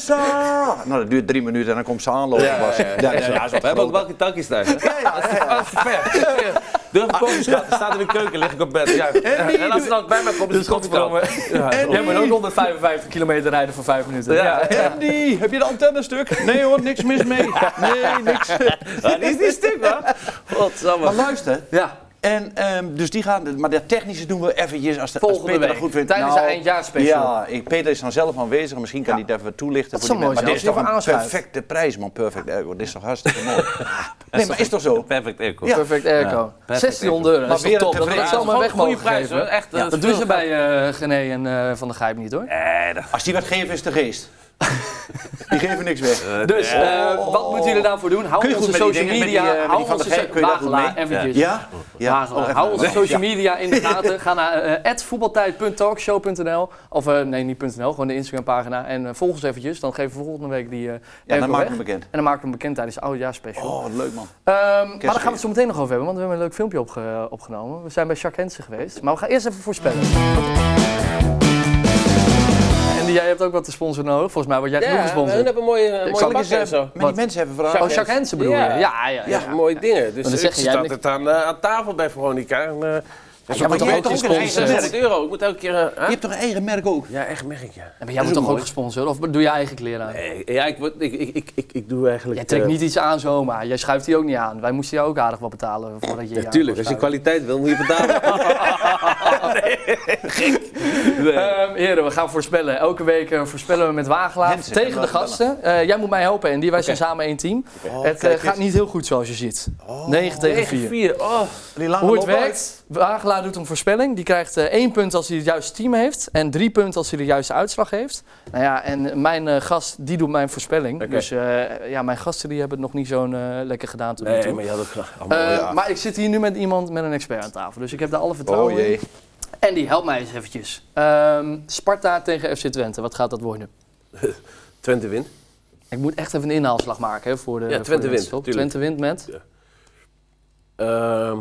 Speaker 2: Melissa! Nou, dat duurt drie minuten en dan komt ze aanlopen. pas. Dat is, dat is wat
Speaker 3: We hebben ook
Speaker 2: groter.
Speaker 3: welke takjes thuis. hè? Dat is te ver. Doe even koken, schat. Er staat in de keuken, lig ik op bed. Ja. En als ze dan bij mij komt, is het godverdomme.
Speaker 1: Dus Jij moet ook 155 kilometer rijden voor 5 minuten.
Speaker 3: Ja.
Speaker 2: Andy, heb je de antenne stuk? Nee hoor, niks mis mee. Nee, niks.
Speaker 3: Ja, die is niet stuk, man.
Speaker 2: Maar
Speaker 3: Godsamme.
Speaker 2: luister,
Speaker 1: ja.
Speaker 2: En ehm, dus die gaan, maar dat technische doen we eventjes als, de, als
Speaker 1: Volgende
Speaker 2: Peter dat
Speaker 1: week,
Speaker 2: goed vindt. Nou,
Speaker 1: tijdens de eindjaarspecial.
Speaker 2: Ja, ik, Peter is dan zelf aanwezig, misschien kan hij het even toelichten.
Speaker 1: Dat
Speaker 2: voor
Speaker 1: zou
Speaker 2: die
Speaker 1: mooi
Speaker 2: mensen.
Speaker 1: zijn, als
Speaker 2: maar
Speaker 1: hij
Speaker 2: dit is
Speaker 1: even
Speaker 2: toch een
Speaker 1: aanschuift.
Speaker 2: perfecte prijs, man. Perfect ergo, dit is toch hartstikke mooi. nee, maar is toch zo?
Speaker 3: Perfect airco.
Speaker 2: Ja.
Speaker 1: Perfect airco. 1600 euro.
Speaker 2: Maar
Speaker 1: Dat is toch
Speaker 2: weer
Speaker 1: top.
Speaker 2: een
Speaker 1: Dat we dat
Speaker 2: tevreden-
Speaker 1: zomaar weg mogen
Speaker 3: goede prijs,
Speaker 1: geven.
Speaker 3: hoor. Echt, eh,
Speaker 1: Dat
Speaker 3: veel
Speaker 1: doen ze
Speaker 3: geld.
Speaker 1: bij eh Gené en eh, Van der Gijp niet hoor.
Speaker 2: Als die wat geven, is de geest. die geven niks weg.
Speaker 1: Dus eh, wat moeten jullie daarvoor doen?
Speaker 2: Kun
Speaker 1: Hou
Speaker 2: je goed
Speaker 1: onze
Speaker 2: met die
Speaker 1: social
Speaker 2: dingen, met die, eh,
Speaker 1: media.
Speaker 2: met die
Speaker 1: Hou
Speaker 2: Van
Speaker 1: onze
Speaker 2: der Gijp, kun je daar goed
Speaker 1: Wagelaar,
Speaker 2: mee?
Speaker 1: eventjes.
Speaker 2: Ja? Ja,
Speaker 1: Wagelaar.
Speaker 2: oh, even-
Speaker 1: Hou onze
Speaker 2: nee,
Speaker 1: social
Speaker 2: ja.
Speaker 1: media in de gaten. Ga naar eh, voetbaltijd.talkshow.nl of eh, nee, niet .nl, gewoon de Instagram pagina. En eh, volg ons eventjes, dan geven we volgende week die eh
Speaker 2: Ja,
Speaker 1: airco
Speaker 2: dan maken
Speaker 1: weg.
Speaker 2: we hem bekend.
Speaker 1: En dan maken we hem bekend tijdens de oudjaarsspecial.
Speaker 2: Oh, wat leuk man.
Speaker 1: Ehm, maar daar gaan we
Speaker 2: Kerstfeest.
Speaker 1: het zo meteen nog over hebben, want we hebben een leuk filmpje opge- opgenomen. We zijn bij Jacques Hensen geweest, maar we gaan eerst even voorspellen. En die- jij hebt ook wat te sponsoren nodig, volgens mij word jij genoeg
Speaker 3: hun
Speaker 1: gesponsord.
Speaker 3: hebben mooie, mooie
Speaker 2: Zal ik eens
Speaker 3: bakken en
Speaker 2: even
Speaker 3: zo.
Speaker 2: met die mensen even vragen?
Speaker 1: Oh, Jacques Hensen bedoel je?
Speaker 3: Ja.
Speaker 1: Ja, ja, ja.
Speaker 3: Ja, mooie dingen. Dus
Speaker 1: dan
Speaker 3: ik
Speaker 1: zeg jij
Speaker 3: zat
Speaker 1: niks.
Speaker 3: het aan, eh, aan tafel bij Veronica. En, eh,
Speaker 2: Ja, maar
Speaker 1: toch
Speaker 2: jij
Speaker 1: ook
Speaker 2: hebt
Speaker 1: geen
Speaker 2: toch een eigen
Speaker 1: sponsor?
Speaker 2: merk?
Speaker 3: 100 euro. Ik moet elke keer... eh,
Speaker 2: Je
Speaker 3: huh?
Speaker 2: hebt toch een eigen merk ook?
Speaker 3: Ja, echt merk, ja.
Speaker 1: Maar jij wordt toch ook gesponsord? Of doe je eigen kleren aan?
Speaker 3: Eh, Ja, ik, word- ik, ik, ik, ik, ik doe eigenlijk...
Speaker 1: Jij trekt
Speaker 3: eh,
Speaker 1: niet iets aan zomaar. Jij schuift die ook niet aan. Wij moesten jou ook aardig wat betalen voordat je... je
Speaker 3: Natuurlijk,
Speaker 1: aan
Speaker 3: als je
Speaker 1: kon
Speaker 3: kwaliteit wil, moet je betalen. nee, gek.
Speaker 1: schuiven. Ehm, heren, we gaan voorspellen. Elke week eh, voorspellen we met Wagelaar
Speaker 2: Mensen,
Speaker 1: tegen
Speaker 2: gaan
Speaker 1: de
Speaker 2: we
Speaker 1: gasten. Eh, jij moet mij helpen, Andy. Wij zijn samen één team. het eh,
Speaker 2: kijk
Speaker 1: gaat
Speaker 2: eens.
Speaker 1: niet heel goed zoals je ziet. 9 tegen 4.
Speaker 3: 4. Oh,
Speaker 2: Die lange
Speaker 1: Hoe het
Speaker 2: loopbaan?
Speaker 1: werkt, Wagelaar doet een voorspelling. Die krijgt eh, één punt als hij het juiste team heeft. En drie punten als hij de juiste uitslag heeft. Nou ja, en mijn eh, gast, die doet mijn voorspelling. Dus eh, ja, mijn gasten die hebben het nog niet zo'n eh, lekker gedaan tot nu toe.
Speaker 3: nee, maar je had ook graag. Oh, allemaal-
Speaker 1: Eh,
Speaker 2: ja.
Speaker 1: Maar ik zit hier nu met iemand met een expert aan tafel. Dus ik heb daar alle
Speaker 2: Oh
Speaker 1: vertrouwen
Speaker 2: jee.
Speaker 1: in. En die helpt mij eens eventjes. Ehm, Sparta tegen FC Twente, wat gaat dat worden?
Speaker 3: Twente wint.
Speaker 1: Ik moet echt even een inhaalslag maken hè, voor de
Speaker 3: Twente
Speaker 1: voor de
Speaker 3: wint,
Speaker 1: wedstrijd.
Speaker 3: tuurlijk.
Speaker 1: Twente wint met
Speaker 3: Ehm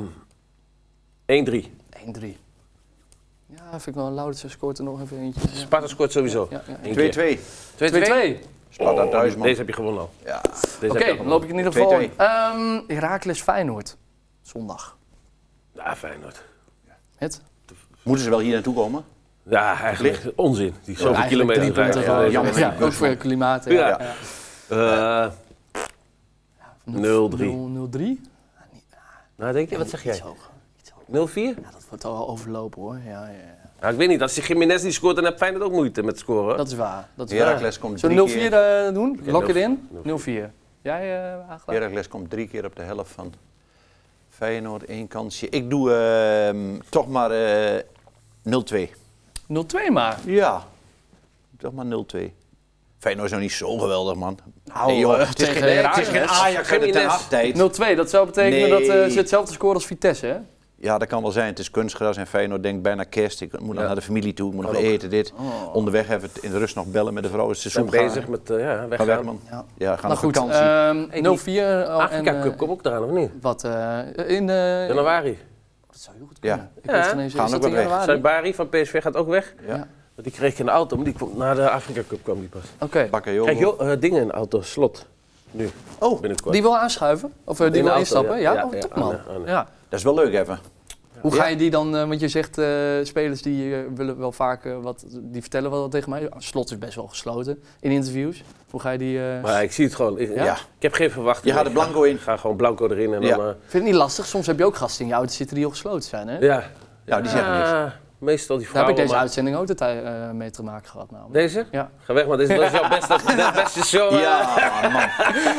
Speaker 3: 1-3.
Speaker 1: 1-3. Ja, vind ik wel een Lauritsen scoort er nog even eentje. Ja.
Speaker 3: Sparta scoort sowieso.
Speaker 1: Ja, ja.
Speaker 2: 2-2.
Speaker 1: 2-2. Oh,
Speaker 2: Sparta thuis
Speaker 3: Oh, Deze
Speaker 2: man.
Speaker 3: heb je gewonnen al.
Speaker 2: Ja.
Speaker 1: Oké,
Speaker 3: Deze heb je al
Speaker 1: dan
Speaker 3: gewonnen.
Speaker 1: loop ik in ieder geval
Speaker 2: 2-2.
Speaker 1: in. Ehm Heracles Feyenoord. Zondag.
Speaker 3: Ja, Feyenoord.
Speaker 1: Het?
Speaker 2: Moeten ze wel hier naartoe komen?
Speaker 3: Ja, eigenlijk onzin. Die zoveel
Speaker 1: Eigenlijk
Speaker 3: kilometer
Speaker 1: drie punten
Speaker 3: rijden.
Speaker 1: van.
Speaker 3: Ja,
Speaker 2: jammer.
Speaker 1: Ja, ook voor het klimaat.
Speaker 3: Ja.
Speaker 1: ja. ja.
Speaker 3: Eh,
Speaker 1: 0-3.
Speaker 3: 0-3. nou, denk je, wat zeg
Speaker 1: Iets
Speaker 3: jij?
Speaker 1: hoger.
Speaker 3: 0-4?
Speaker 1: Ja, dat wordt al wel overlopen hoor. Ja, ja, ja.
Speaker 3: Nou, ik weet niet, als die Jiménez niet scoort, dan heeft Feyenoord ook moeite met scoren. hoor.
Speaker 1: Dat is waar. Dat is waar.
Speaker 2: Heracles komt drie
Speaker 1: Zullen we 0-4
Speaker 2: keer.
Speaker 1: eh, doen? Lok
Speaker 3: 0-4.
Speaker 1: it in. 0-4. Jij eh aangelaten?
Speaker 2: Heracles komt drie keer op de helft van Feyenoord, één kansje. Ik doe ehm, toch maar eh, 0-2.
Speaker 1: 0-2 maar.
Speaker 2: Ja, toch maar 0-2. Feyenoord is nog niet zo geweldig, man.
Speaker 1: Nou,
Speaker 2: Nee, joh,
Speaker 1: eh,
Speaker 2: het is
Speaker 1: tegen
Speaker 2: geen, nee, het
Speaker 1: Heracles.
Speaker 2: is geen Ajax uit de ten
Speaker 3: Jiménez.
Speaker 2: Hag tijd.
Speaker 1: 0-2, dat zou betekenen dat eh,
Speaker 2: Nee.
Speaker 1: ze hetzelfde scoren als Vitesse, hè?
Speaker 2: Ja, dat kan wel zijn. Het is kunstgras en Feyenoord denkt bijna kerst. Ik moet nog naar de familie toe, ik moet nog eten, dit. Onderweg even in de rust nog bellen met de vrouw. Is het
Speaker 3: zijn
Speaker 2: seizoen
Speaker 3: bezig
Speaker 2: gaar.
Speaker 3: met eh ja,
Speaker 2: Ga
Speaker 3: weggaan.
Speaker 2: weg, man. Ja,
Speaker 1: Ja.
Speaker 2: gaan
Speaker 1: Nou
Speaker 2: op
Speaker 1: goed,
Speaker 2: vakantie.
Speaker 1: ehm, 0-4. al en,
Speaker 3: Afrika
Speaker 1: eh,
Speaker 3: Cup komt ook eraan, of niet?
Speaker 1: Wat, eh, in... eh,
Speaker 3: Januari.
Speaker 1: Dat zou heel goed
Speaker 2: Ja.
Speaker 1: kunnen. Ik weet het ineens,
Speaker 2: Gaan
Speaker 1: is
Speaker 2: ook
Speaker 1: dat in
Speaker 2: wel weg.
Speaker 1: januari? Oké.
Speaker 3: Saibari van PSV gaat ook weg.
Speaker 2: Ja.
Speaker 1: Ja.
Speaker 3: Want die kreeg ik in de auto, maar die kwam na de Afrika Cup kwam die pas.
Speaker 2: Bakayoko.
Speaker 3: Krijg je eh dingen in de auto, slot. Nu,
Speaker 2: Oh,
Speaker 3: binnenkort.
Speaker 1: Die wil aanschuiven? Of eh, die
Speaker 3: In de
Speaker 1: wil
Speaker 3: auto,
Speaker 1: instappen?
Speaker 3: ja.
Speaker 1: Ja,
Speaker 3: Ja,
Speaker 1: Oh,
Speaker 3: ja,
Speaker 1: top
Speaker 3: aan
Speaker 1: man.
Speaker 3: de- aan de-
Speaker 1: Ja.
Speaker 2: dat is wel leuk even.
Speaker 1: Hoe ga je die dan, eh, want je zegt eh, spelers die eh, willen wel vaak eh, wat, die vertellen wel wat tegen mij. Slot is best wel gesloten in interviews. Hoe ga je die... eh,
Speaker 3: Maar ik zie het gewoon. Ik,
Speaker 1: Ja?
Speaker 3: ja. ik heb geen verwachting.
Speaker 2: Je gaat er blanco in.
Speaker 3: Ik ga gewoon blanco erin en
Speaker 2: Ja.
Speaker 3: dan... eh,
Speaker 1: Ik vind het niet lastig, soms heb je ook gasten in je auto zitten die al gesloten zijn. Hè?
Speaker 3: ja.
Speaker 2: Nou, die zeggen niks.
Speaker 3: Ah, Meestal die
Speaker 1: Daar heb
Speaker 3: vrouwen.
Speaker 1: ik deze
Speaker 3: maar-
Speaker 1: uitzending ook dat hij, eh, mee te maken gehad namelijk.
Speaker 3: Deze?
Speaker 1: Ja.
Speaker 3: Ga weg, maar dit is, dat is jouw beste, de beste show. eh.
Speaker 2: Ja,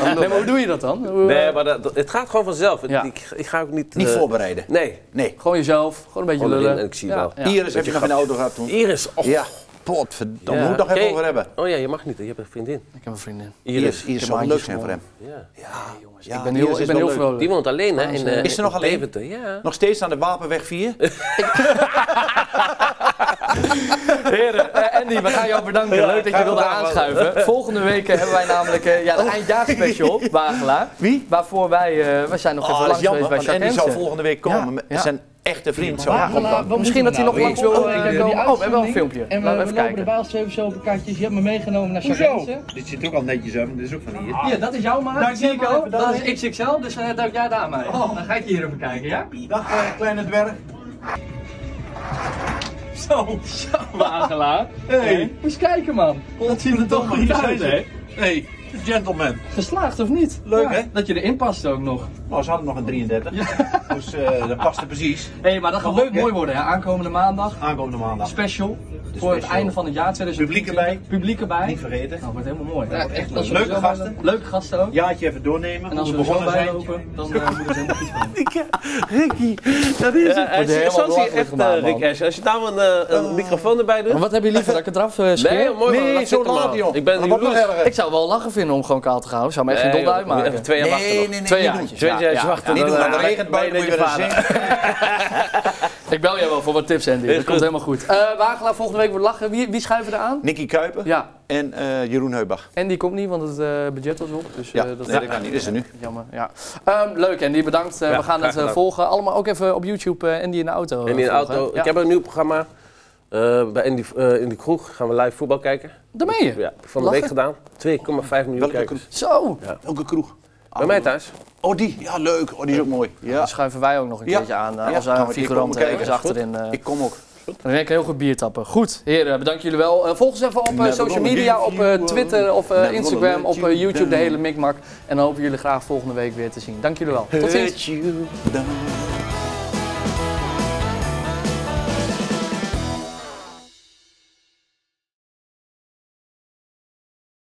Speaker 2: man.
Speaker 1: Nee, maar hoe doe je dat dan? Hoe, eh,
Speaker 3: Nee, maar dat, dat- het gaat gewoon vanzelf. Het-
Speaker 1: Ja.
Speaker 3: Ik, ik ga ook niet...
Speaker 2: Niet
Speaker 3: eh,
Speaker 2: voorbereiden.
Speaker 3: Nee.
Speaker 2: Nee.
Speaker 1: Gewoon jezelf, gewoon een beetje
Speaker 3: Gewoon erin
Speaker 1: lullen.
Speaker 3: en ik zie wel.
Speaker 1: Ja.
Speaker 2: Iris heb je nog in de auto gehad toen.
Speaker 3: Iris. Och.
Speaker 2: Ja, potverdamme.
Speaker 3: Ja.
Speaker 2: Moet het nog even
Speaker 3: Oké.
Speaker 2: over hebben.
Speaker 3: Oh ja, je mag niet. hè. Je hebt een vriendin.
Speaker 1: Ik heb een vriendin.
Speaker 2: Iris, Iris zou wel leuk zijn voor hem.
Speaker 3: Ja.
Speaker 2: Ja,
Speaker 1: ik ben
Speaker 2: Iris
Speaker 1: heel,
Speaker 2: Ah, is dus
Speaker 1: ik ben
Speaker 2: wel
Speaker 1: heel
Speaker 2: leuk.
Speaker 1: vrolijk.
Speaker 3: Die woont alleen, hè? In, eh,
Speaker 2: Is ze nog
Speaker 3: in
Speaker 2: alleen?
Speaker 3: Deventer, Ja.
Speaker 2: Nog steeds aan de Wapenweg 4?
Speaker 1: Heren, eh, Andy, we gaan jou bedanken. Leuk dat je wilde aanschuiven. Volgende week eh, hebben wij namelijk eh, ja, de eindjaarspecial, Wagelaar.
Speaker 2: Wie?
Speaker 1: Waarvoor wij, eh, wij zijn nog
Speaker 2: Oh,
Speaker 1: even
Speaker 2: dat is
Speaker 1: langs
Speaker 2: jammer,
Speaker 1: geweest bij
Speaker 2: want Andy zou
Speaker 1: Jacques
Speaker 2: volgende week komen. met
Speaker 1: ja.
Speaker 2: Zijn echte vriend zou komen dan.
Speaker 1: Misschien dat hij nog langs wil eh, komen. Oh, we hebben wel een filmpje.
Speaker 8: En we,
Speaker 1: Laten Eh, we
Speaker 8: we
Speaker 1: even
Speaker 8: lopen
Speaker 1: kijken.
Speaker 8: erbij als twee persoonkaartjes. Je hebt me meegenomen naar Sargensen.
Speaker 9: Dit zit er ook al netjes uit, want dit is ook van hier.
Speaker 8: Ja, dat is jouw maat.
Speaker 9: Dank je, Nico.
Speaker 8: Dat is XXL, dus eh, duik jij daar maar in.
Speaker 9: Oh.
Speaker 8: Dan ga ik hier even kijken, ja?
Speaker 9: Dag, eh, kleine dwerg.
Speaker 8: Zo, zo. Wagelaar. Hey. Moet eens kijken, man. Dat ziet er toch
Speaker 9: Hier
Speaker 8: goed
Speaker 9: zijn
Speaker 8: uit, hè?
Speaker 9: ze. Hey, gentleman.
Speaker 8: Geslaagd of niet?
Speaker 9: Leuk,
Speaker 8: Ja,
Speaker 9: hè?
Speaker 8: Dat je erin past ook nog.
Speaker 9: Nou, ze hadden nog een 33. Dus eh, dat paste precies.
Speaker 8: Hé, hey, maar dat gaat
Speaker 9: Mag ook,
Speaker 8: leuk
Speaker 9: hè?
Speaker 8: mooi worden, hè? Aankomende maandag.
Speaker 9: Aankomende maandag.
Speaker 8: Special. Voor het
Speaker 9: special.
Speaker 8: einde van het jaar 2020.
Speaker 9: Publiek erbij.
Speaker 8: Publiek erbij.
Speaker 9: Niet vergeten.
Speaker 8: Nou, wordt helemaal mooi.
Speaker 9: wordt echt leuk.
Speaker 8: dat is
Speaker 9: Leuke
Speaker 8: sowieso-
Speaker 9: gasten.
Speaker 8: Leuke gasten ook.
Speaker 9: Jaartje even doornemen.
Speaker 8: En als
Speaker 9: hoe
Speaker 8: we
Speaker 9: we
Speaker 8: er zo bij
Speaker 9: begonnen zijn.
Speaker 8: lopen, dan eh, moeten we helemaal goed van.
Speaker 3: Ja, en
Speaker 1: Wordt helemaal
Speaker 3: zo zie je
Speaker 1: belachelijk
Speaker 3: echt,
Speaker 1: gemaakt,
Speaker 3: eh, Rick
Speaker 1: man.
Speaker 3: Ash. Als je daar een, eh, een microfoon erbij doet...
Speaker 1: Maar wat heb je liever dat ik het eraf eh, scheer?
Speaker 3: Nee, mooi man.
Speaker 2: Nee,
Speaker 3: laat
Speaker 2: zo
Speaker 3: zitten,
Speaker 2: laat,
Speaker 3: man.
Speaker 2: joh.
Speaker 3: Ik ben
Speaker 2: Dat wordt nog
Speaker 3: jaloers.
Speaker 2: erger.
Speaker 1: Ik zou het wel lachen vinden om gewoon kaal te gaan. houden. Zou me echt geen
Speaker 3: Nee,
Speaker 1: dol
Speaker 3: joh,
Speaker 1: uitmaken.
Speaker 3: Even twee jaar wachten
Speaker 2: Nee,
Speaker 3: nog.
Speaker 2: nee, nee.
Speaker 1: Twee
Speaker 2: niet
Speaker 1: jaartjes.
Speaker 2: doen.
Speaker 3: Twee jaar
Speaker 1: ja,
Speaker 3: wachten.
Speaker 2: Niet
Speaker 3: dan,
Speaker 2: doen, want
Speaker 3: eh,
Speaker 2: de regent
Speaker 3: ben je
Speaker 2: buiten moet je
Speaker 3: net je
Speaker 2: weer
Speaker 3: vader.
Speaker 2: eens zien.
Speaker 1: Ik bel jou wel voor wat tips, Andy. Dat komt helemaal goed. Eh Wagelaar, volgende week wordt lachen. Wie, wie schuiven er aan?
Speaker 2: Nicky Kuiper
Speaker 1: Ja,
Speaker 2: en eh, Jeroen Heubach.
Speaker 1: en die komt niet, want het eh, budget was op. Dus,
Speaker 2: Ja,
Speaker 1: eh,
Speaker 2: dat, nee, dat kan niet. Is er nu.
Speaker 1: Jammer, ja. Ehm, leuk, Andy. Bedankt. Eh, we gaan
Speaker 3: graag
Speaker 1: het eh,
Speaker 3: gedaan.
Speaker 1: volgen. Allemaal ook even op YouTube eh, Andy in de auto. eh,
Speaker 3: En in de
Speaker 1: volgen.
Speaker 3: auto.
Speaker 1: Ja.
Speaker 3: Ik heb een nieuw programma. eh, bij Andy, eh, in de kroeg gaan we live voetbal kijken.
Speaker 1: Daar ben je.
Speaker 3: Ja, heb ik van de week
Speaker 1: Lachen.
Speaker 3: gedaan. 2,5 miljoen
Speaker 2: Welke
Speaker 3: kijkers.
Speaker 1: Zo.
Speaker 2: Elke kroeg.
Speaker 3: Bij mij thuis.
Speaker 2: Oh, die. Ja, leuk. Oh, die is ook mooi. Ja.
Speaker 1: Dan schuiven wij ook nog een
Speaker 2: Ja.
Speaker 1: keertje aan. eh,
Speaker 2: Ja,
Speaker 1: als
Speaker 2: gaan we
Speaker 1: uh,
Speaker 2: die
Speaker 1: figuranten
Speaker 2: komen
Speaker 1: ergens
Speaker 2: kijken.
Speaker 1: achterin. eh
Speaker 2: Ik kom ook.
Speaker 1: dan denk ik heel goed bier tappen. Goed, heren. Bedankt jullie wel. Eh, volg ons even op eh,
Speaker 2: Never
Speaker 1: social
Speaker 2: gonna
Speaker 1: media.
Speaker 2: give
Speaker 1: Op
Speaker 2: you
Speaker 1: eh,
Speaker 2: up.
Speaker 1: Twitter of eh,
Speaker 2: Never
Speaker 1: Instagram.
Speaker 2: gonna
Speaker 1: Op
Speaker 2: let
Speaker 1: eh,
Speaker 2: you
Speaker 1: YouTube. De
Speaker 2: down.
Speaker 1: hele mikmak. En dan hopen jullie graag volgende week weer te zien. Dank jullie wel. Tot ziens.
Speaker 2: Let you down.